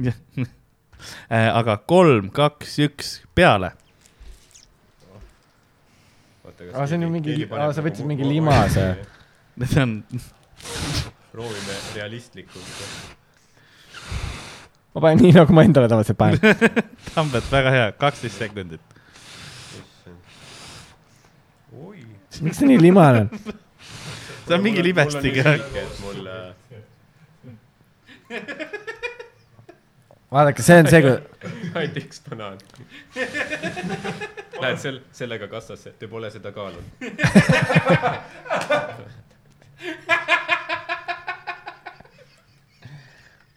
B: Äh, aga kolm , kaks , üks , peale .
D: aa , see on ju mingi , aa , sa võtsid
C: nagu
D: mingi limase .
B: see on ,
C: proovime realistlikult .
D: ma panen nii , nagu ma endale tavaliselt <laughs> panen .
B: Tambet , väga hea , kaksteist sekundit .
D: miks ta nii limane on ?
B: see on mingi libestiga .
C: äh, <laughs>
D: vaadake , see on see , kui
C: ainult üks banaan .
B: <laughs>
C: Lähed sel- , sellega kassasse , te pole seda kaalunud .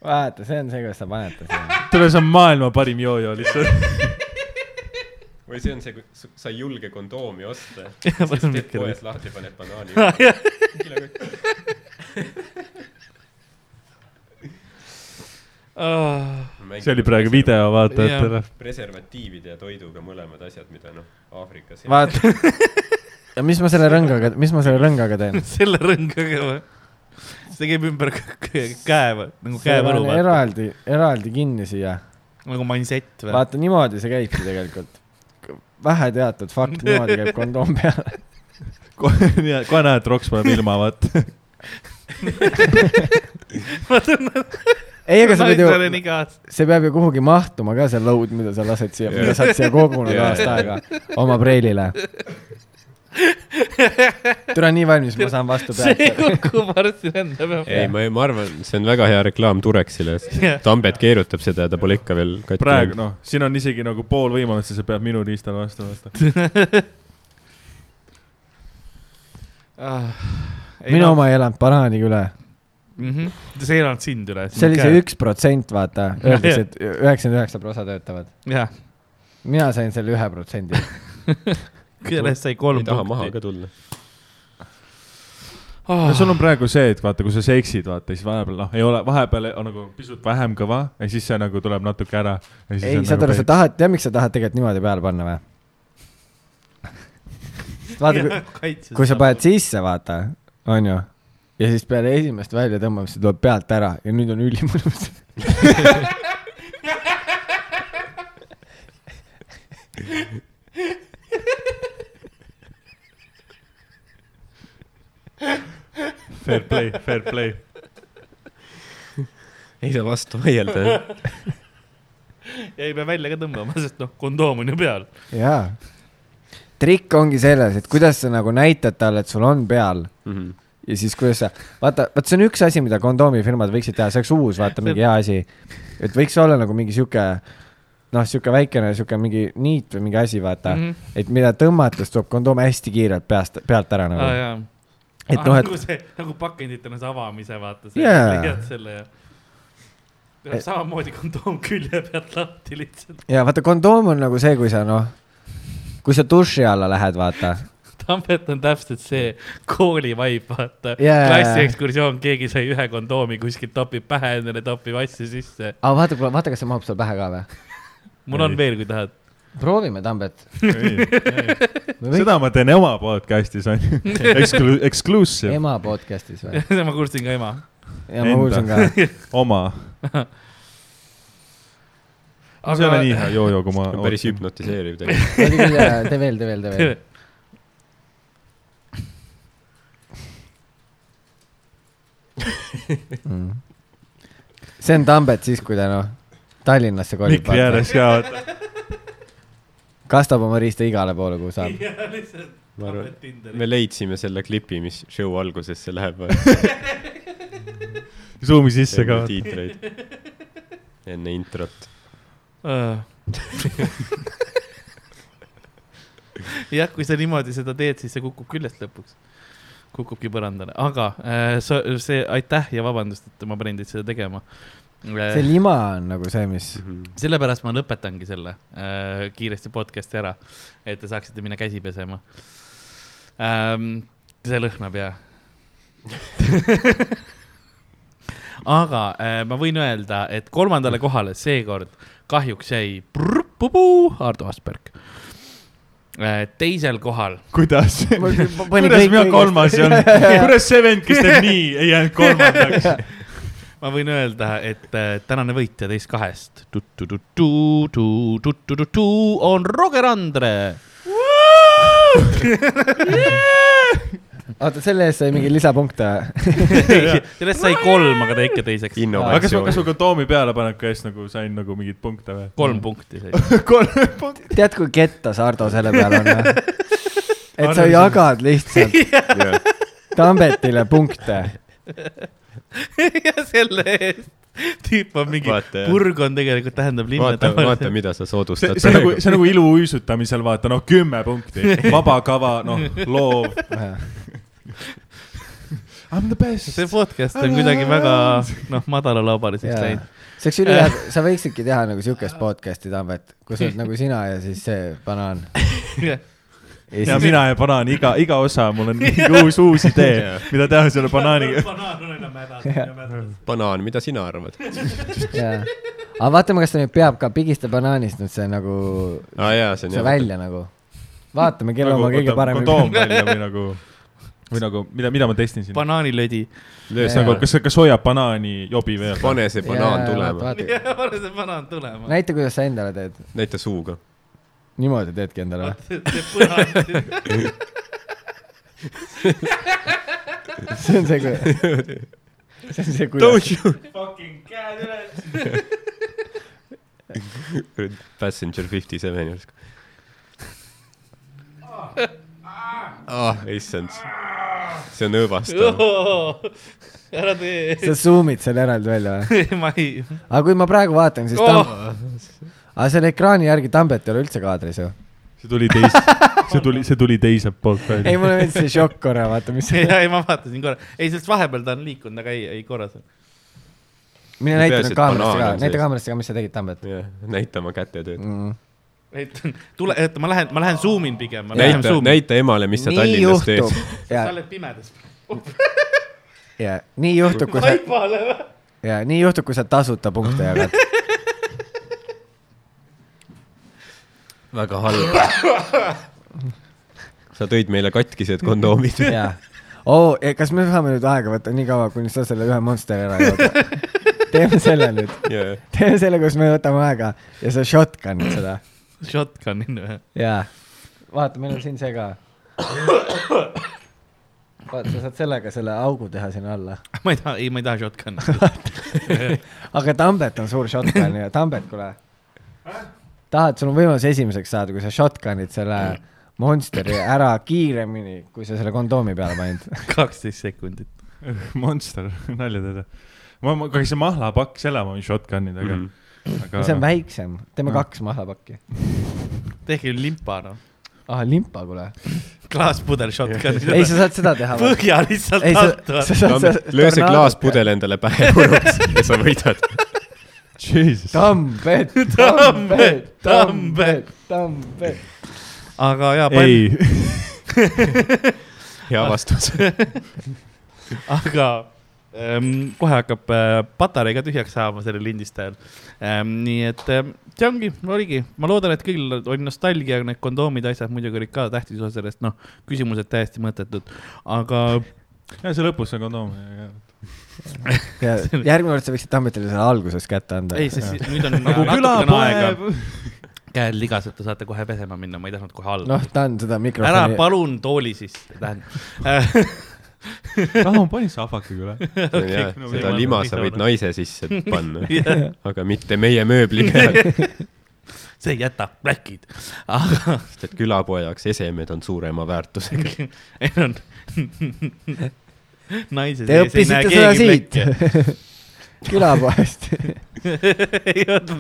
D: vaata , see on see , kuidas sa paned ta sinna .
E: tule , see on maailma parim jojo lihtsalt .
C: või see on see , kui sa- sa ei julge kondoomi <laughs> osta . teed
B: see
C: poes lahti , paned <laughs> banaani .
E: see oli praegu . video vaatajatele .
C: nagu preservatiivide ja toiduga mõlemad asjad , mida noh , Aafrikas .
D: vaata . ja mis ma selle rõngaga , mis ma selle rõngaga teen ? <laughs>
B: selle rõngaga või ? see käib ümber k- k- käe või , nagu käevõlu või ?
D: eraldi , eraldi kinni siia .
B: nagu mansett või ?
D: vaata , niimoodi see käibki tegelikult . vähe teatud fakt , niimoodi käib kondoom peal .
E: <laughs> kohe näed , et Roks paneb ilma , vaata .
D: ei , aga sa pead
B: naisel on
D: ju ,
B: iga aasta .
D: see peab ju kuhugi mahtuma ka see load , mida sa lased siia , mida sa oled siia kogunud
C: Jaa.
D: aasta aega oma preilile . tule nii valmis , ma saan vastu
B: see
D: pead .
B: kukub varsti enda
C: <laughs> ei ,
B: peale .
C: ma , ma arvan , see on väga hea reklaam Tureksile .
B: Jah.
C: Tambet keerutab seda ja ta pole ikka veel katki
E: praegu . noh , siin on isegi nagu pool võimalust ja sa pead minu riistal vastu vastu .
B: Ah,
D: minu . oma ei elanud banaaniga üle .
B: Mhm. see ei elanud sind üle .
D: see oli see . üks protsent , vaata , öeldakse , et üheksakümmend üheksa prosa töötavad .
B: jah ,
D: mina sain selle ühe protsendi .
B: kellest sai kolm
C: ei taha maha
B: punkti .
C: ka tulla .
E: no sul on praegu see , et vaata , kui sa seksid , vaata siis vahepeal noh , ei ole , vahepeal on nagu pisut vähem kõva ja siis see nagu tuleb natuke ära .
D: ei ,
E: nagu
D: saad aru , sa tahad , tead , miks sa tahad tegelikult niimoodi peale panna või ? vaata , kui ,
B: <laughs>
D: kui sa paned sisse , vaata , onju , ja siis peale esimest väljatõmbamist see tuleb pealt ära ja nüüd on ülimõnus .
E: Fair play , fair play .
C: ei saa vastu vaielda . <laughs>
B: ja <laughs> ei pea välja ka tõmbama , <laughs> sest noh , kondoom on ju peal .
D: jaa . trikk ongi selles , et kuidas sa nagu näitad talle , et sul on peal ja siis , kuidas sa , vaata , vot see on üks asi , mida kondoomifirmad võiksid teha , see oleks uus , vaata , mingi hea asi . et võiks olla nagu mingi sihuke , noh , sihuke väikene sihuke mingi niit või mingi asi , vaata mm , -hmm. et mida tõmmates tuleb kondoom hästi kiirelt peast , pealt ära nagu ah, .
B: jaa .
D: et noh , et
B: nagu see , nagu pakenditena see avamise vaata , sa
D: Jaa.
B: <laughs> leiad selle ja .
D: Et-
B: samamoodi kondoom külje pealt lahti lihtsalt .
D: ja vaata , kondoom on nagu see , kui sa noh , kui sa duši alla lähed , vaata .
B: Tambet on täpselt see koolivaip , vaata
D: Jaa.
B: klassiekskursioon , keegi sai ühe kondoomi kuskilt , topib pähe endale , topib asja sisse .
D: aga vaata , vaata , kas see mahub sulle pähe ka või ?
B: mul on veel , kui tahad . <laughs>
D: proovime , Tambet .
E: seda ma teen oma podcast'is on
D: <laughs>
E: ju , Exclu- , exclusive ,
D: ema podcast'is või ?
B: ma kuulsin ka ema .
D: ja ma
E: Enda.
D: kuulsin ka .
E: oma . see ei ole nii hea joojoo , kui ma .
C: päris . hüpnotiseeriv tegelikult .
D: oli küll jaa , tee veel , tee veel , tee
E: <laughs>
D: veel . see on Tambet siis , kui ta noh , Tallinnasse kolib .
E: mikri ääres ka , vaata .
D: kastab oma riista igale poole , kuhu saab .
B: ja lihtsalt
C: ma arvan ,
B: Tambet Tinderi .
C: me leidsime selle klipi , mis show algusesse läheb .
E: <laughs> Zoom'i sisse ka .
C: tiitreid .
E: <laughs>
C: enne introt .
B: jah , kui sa niimoodi seda teed , siis see kukub küljest lõpuks , kukubki põrandale , aga äh, sa- see aitäh ja vabandust , et ma panin teid seda tegema . Äh,
E: Äh.
D: see lima on nagu see , mis ,
B: sellepärast ma lõpetangi selle äh, kiiresti podcast'i ära , et te saaksite minna käsi pesema ähm, . see lõhnab ja . <laughs> aga äh, ma võin öelda , et kolmandale kohale seekord kahjuks jäi prr-pupu Ardo Asperg äh, . teisel kohal
E: kuidas ?
D: panin
E: kuidas
D: kõik
E: mina
D: õigesti.
E: kolmas
D: <laughs>
E: <laughs> ei olnud ? kuidas see vend , kes <laughs> teeb nii , ei jäänud <laughs> kolmandaks ?
B: ma võin öelda , et äh, tänane võitja teist kahest tu-tu-tu-tu, tu-tu-tu-tu on Roger Andre
D: oota , selle eest sai mingi lisapunkte või ?
B: sellest sai kolm , aga ta ikka teiseks .
E: aga kas ma , kas
C: innovatsioon .
E: ma kondoomi peale paneku eest nagu sain nagu mingeid punkte või ?
B: kolm punkti sai .
E: kolm punkti .
D: tead , kui kettas Ardo selle peal on või ?
E: <laughs>
D: et sa jagad lihtsalt Tambetile punkte .
B: <laughs> ja selle eest tüüp on mingi ,
C: Vaata, jah.
B: purg on tegelikult tähendab linna
C: vaata , vaata ,
B: tavaliselt .
C: mida sa
E: see
C: soodustad ,
E: see on nagu ,
C: praegu .
E: see on nagu iluuisutamisel , vaata noh , kümme punkti , <laughs> vaba kava , noh , loov . I m the best .
B: see podcast on kuidagi väga , noh , madalalaubariseks
D: see
B: läinud .
D: oleks ülihea ,
E: Äh.
D: sa võiksidki teha nagu siukest podcast'i , Tambet , kus
E: <laughs>
D: oled nagu sina ja siis see banaan .
E: ja mina ja banaan , iga , iga osa , mul <laughs> on mingi uus , uus <laughs> idee , mida teha selle <laughs> banaaniga .
B: <laughs> banaan on enam hädas , enam hädas .
C: banaan , mida sina arvad ?
D: jaa , aga vaatame , kas ta nüüd peab ka , pigista banaanist nüüd see nagu ,
C: aa Ah, jaa , see on
D: see välja nagu . vaatame ,
C: Nagu
D: kellel on kõige parem .
E: kondoom välja või nagu , või nagu , mida , mida ma testin siin ?
B: banaanilödi .
C: Löö
E: see
C: see
E: on nagu ,
C: kokku .
E: kas , kas hoiab banaani jobi veel ?
C: pane see banaan tulema ,
B: pane see banaan tulema .
D: näita , kuidas sa endale teed .
C: näita suuga .
D: niimoodi teedki endale või ? see on
C: <laughs>
D: see , kui , see on see , kuidas ,
B: <laughs> Fucking käed üles .
C: Passenger fifty seven järsku . ah , issand . see on õõvastav .
B: ära tee . <laughs>
D: sa zoom'id selle eraldi välja või ?
B: ma ei ,
D: aga kui ma praegu vaatan , siis
B: Oh! <laughs>
D: Tam- , aga selle ekraani järgi Tambet ei ole üldse kaadris ju .
E: see tuli <laughs> teis- , see tuli , see tuli teiselt poolt
D: ei ,
E: välja .
D: mulle meeldis see šokk korra , vaata , mis
B: ei , ei ma vaatasin korra , ei sest vahepeal ta on liikunud , aga ei , ei korras .
D: mine
C: Peaasi,
D: näita nüüd
C: et
D: kaamerasse
C: banaan
D: ka
C: on ,
D: näita
C: sees.
D: kaamerasse ka , mis sa tegid , Tambet .
C: näita oma kätetööd .
D: Mm.
B: et tule , et ma lähen , ma lähen suumin pigem .
C: näita , näita emale , mis sa
D: nii
C: Tallinnas teed
D: juhtub . ja
B: sa , oled pimedas . <laughs>
D: ja nii juhtub , kui sa ,
B: vaibale või ?
D: ja nii juhtub , kui sa tasuta punkte jagad .
C: väga halb sa tõid meile katkised
D: <laughs>
C: kondoomid .
D: ja , oo , Oh, eh, kas me saame nüüd aega võtta nii kaua , kuni sa selle ühe monsteri ära jood ? teeme selle nüüd , teeme selle , kus me võtame aega ja sa shotgun'id seda
B: Shotgun'in või ?
D: ja vaata , meil on siin see ka . vaata , sa saad sellega selle augu teha sinna alla ,
B: ma ei taha , ei , ma ei taha shotgun'i .
D: aga Tambet on suur shotgun ja Tambet , kuule . tahad , sul on võimalus esimeseks saada , kui sa shotgun'id selle monsteri ära kiiremini , kui sa selle kondoomi peale panid .
B: kaksteist sekundit .
E: <laughs> Monster , nalja teed . ma , ma , aga see mahlapakk , selle ma võin shotgun'ida ka
C: Mhm.
E: aga... . noh.
D: see on väiksem , teeme kaks mahlapakki .
B: tehke limpa noh ,
D: ah , limpa , kuule .
B: klaaspudel shotgun'i .
D: <laughs> ei , sa saad seda teha .
B: põhja lihtsalt
D: ei , sa ,
B: altva
D: sa . saad .
C: löö see . klaaspudel endale pähe puruks ja sa võidad .
E: Jesus ,
D: Tambet , Tambet , Tambet , Tambet .
B: aga jaa , palju ,
E: ei ,
C: hea vastus .
B: aga ähm, kohe hakkab äh, patarei ka tühjaks saama sellel lindistajal ähm, . nii et ähm, see ongi , oligi , ma loodan , et kõigil oli nostalgia , need kondoomid , asjad muidugi olid ka tähtis osa sellest , noh , küsimused täiesti mõttetud , aga
E: <laughs> ja see lõpus see kondoom .
D: ja järgmine kord sa võiksid Tambetile selle alguses kätte anda .
B: ei , sest si- nüüd on nagu natukene aega ,. käed ligased , te saate kohe pesema minna , ma ei tahtnud kohe alla .
D: noh , ta on seda
B: ära
D: mikrofoni .
B: palun tooli sisse ,
D: <laughs>
B: tähendab .
E: rahu , pani sahvakaga üle .
C: seda
B: võimalus
C: lima
B: on
C: sa võid
B: lisada.
C: naise sisse panna ,
B: jah ,
C: aga mitte meie mööbli peale ,
B: see jätab pläkid , Ah, aga
C: sest et külapoe jaoks esemed on suurema väärtusega .
B: ei no naise
D: Te õppisite seda siit
B: <laughs>
D: <laughs> külapoest .
B: siit .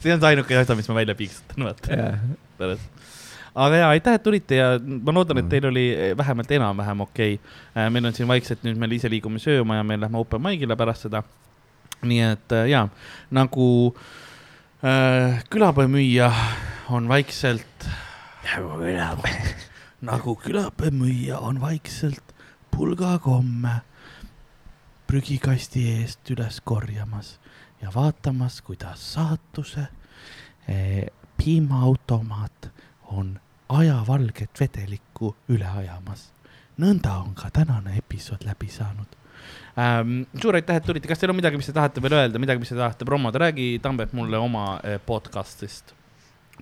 B: see on see ainuke asja , mis ma välja piiksutan , vaata . aga ja aitäh , et tulite ja ma loodan , et teil oli eh, vähemalt enam-vähem okei okay. . meil on siin vaikselt nüüd me ise liigume sööma ja me lähme open mic'ile pärast seda . nii et äh, ja nagu äh, külapäevamüüja on vaikselt
F: nagu mina .
B: <laughs> nagu külapäemüüja on vaikselt pulgakomme prügikasti eest üles korjamas ja vaatamas , kuidas saatuse eh, piimaautomaat on ajavalget vedelikku üle ajamas . nõnda on ka tänane episood läbi saanud ähm, . suur aitäh , et tulite , kas teil on midagi , mis te tahate veel öelda , midagi , mis te tahate promoda , räägi Tambet mulle oma eh, podcast'ist .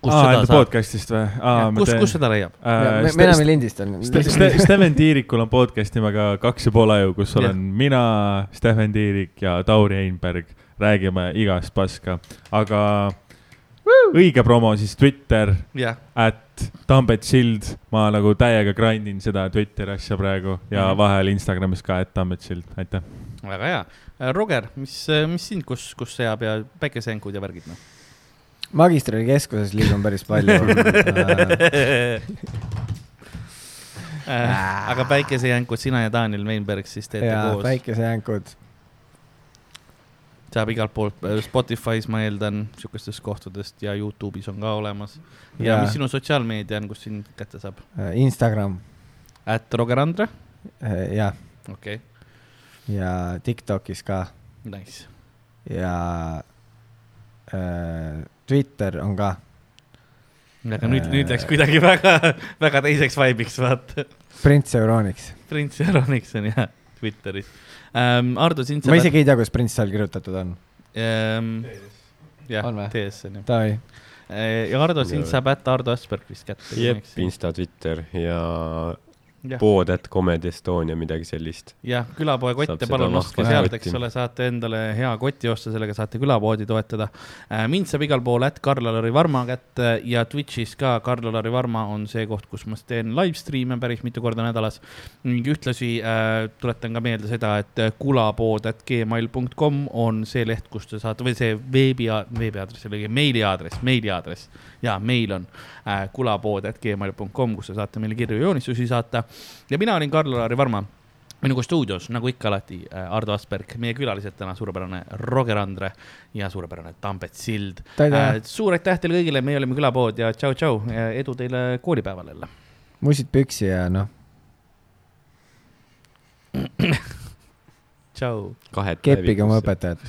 B: <laughs> kus
E: aa ,
B: seda
E: enda
B: saab ,
E: podcast'ist või ?
B: kus , kus seda leiab ?
D: me me enam ei lindista .
E: Äh, Ste- Steven Tiirikul on podcast nimega Kaks ja pool aju , kus
B: Jah.
E: olen mina , Steven Tiirik ja Tauri Einberg , räägime igast paska , aga õige promo siis Twitter ,
B: jah ,
E: at Tambet Sild , ma nagu täiega grind in seda Twitteri asja praegu ja vahel Instagramis ka , at Tambet Sild , aitäh .
B: väga hea . Roger , mis , mis sind , kus , kus seab ja päikeseengud ja värgid noh ?
D: magistrikeskuses liigun päris palju .
B: Äh, aga päikesejänkud , sina ja Daniel Weinberg siis <laughs> teete
D: ja
B: ja, koos päik... ,
D: päikesejänkud .
B: saab igalt poolt , Spotify's ma eeldan , sihukestest kohtadest ja Youtube'is on ka olemas . ja
D: Ja. äh,
B: mis sinu sotsiaalmeedia on , kus sind kätte saab ?
D: Instagram
B: At Roger Andre ,
D: äh, ja ,
B: okei okay. ,
D: ja Tiktokis ka
B: nice .
D: ja äh, Twitter on ka
B: aga nüüd , nüüd läks <laughs> kuidagi väga , väga teiseks vibe'iks , vaata .
D: Prince Euroniks .
B: Prints ja Ronikson ja Twitteris ähm, . Ardo , sind
D: ma isegi ei tea , kuidas Prince seal kirjutatud on .
B: ähm, . jah
D: On vä? ,
B: TS on ju .
D: Davai .
A: Äh,
B: ja Ardo , sind
C: Jaa.
B: saab ätta Ardo Asperg vist kätte .
C: jep , Insta , Twitter ja
A: Jah.
C: pood at Comedy Estonia , midagi sellist .
A: jah , külapoe
C: Saab
A: kotte
C: seda
A: palun
C: vahva
A: ostke sealt ,
C: kotti.
A: eks ole , saate endale hea koti osta , sellega saate külapoodi toetada . mind saab igal pool ätt Karl-Alari Varma kätte ja Twitch'is ka Karl-Alari Varma on see koht , kus ma teen live stream'e päris mitu korda nädalas . ning ühtlasi äh, tuletan ka meelde seda , et kulapood at gmail punkt com on see leht , kus te saate või see veebi , veebiaadress , jällegi meiliaadress , meiliaadress ja meil on äh, kulapood at gmail punkt com , kus te saate meile kirju ja joonistusi saata . ja mina olin Karl-Alari Varma minuga stuudios , nagu ikka alati , Ardo Asperg , meie külalised täna , suurepärane Roger Andre ja suurepärane Tambet Sild .
D: Tere!
A: Äh,
B: Äh,
A: suur aitäh teile kõigile , meie olime külapood ja tšau-tšau , edu teile koolipäeval jälle .
D: musid püksi ja noh ,
A: tšau .
C: kahet
D: keppige oma . õpetajat .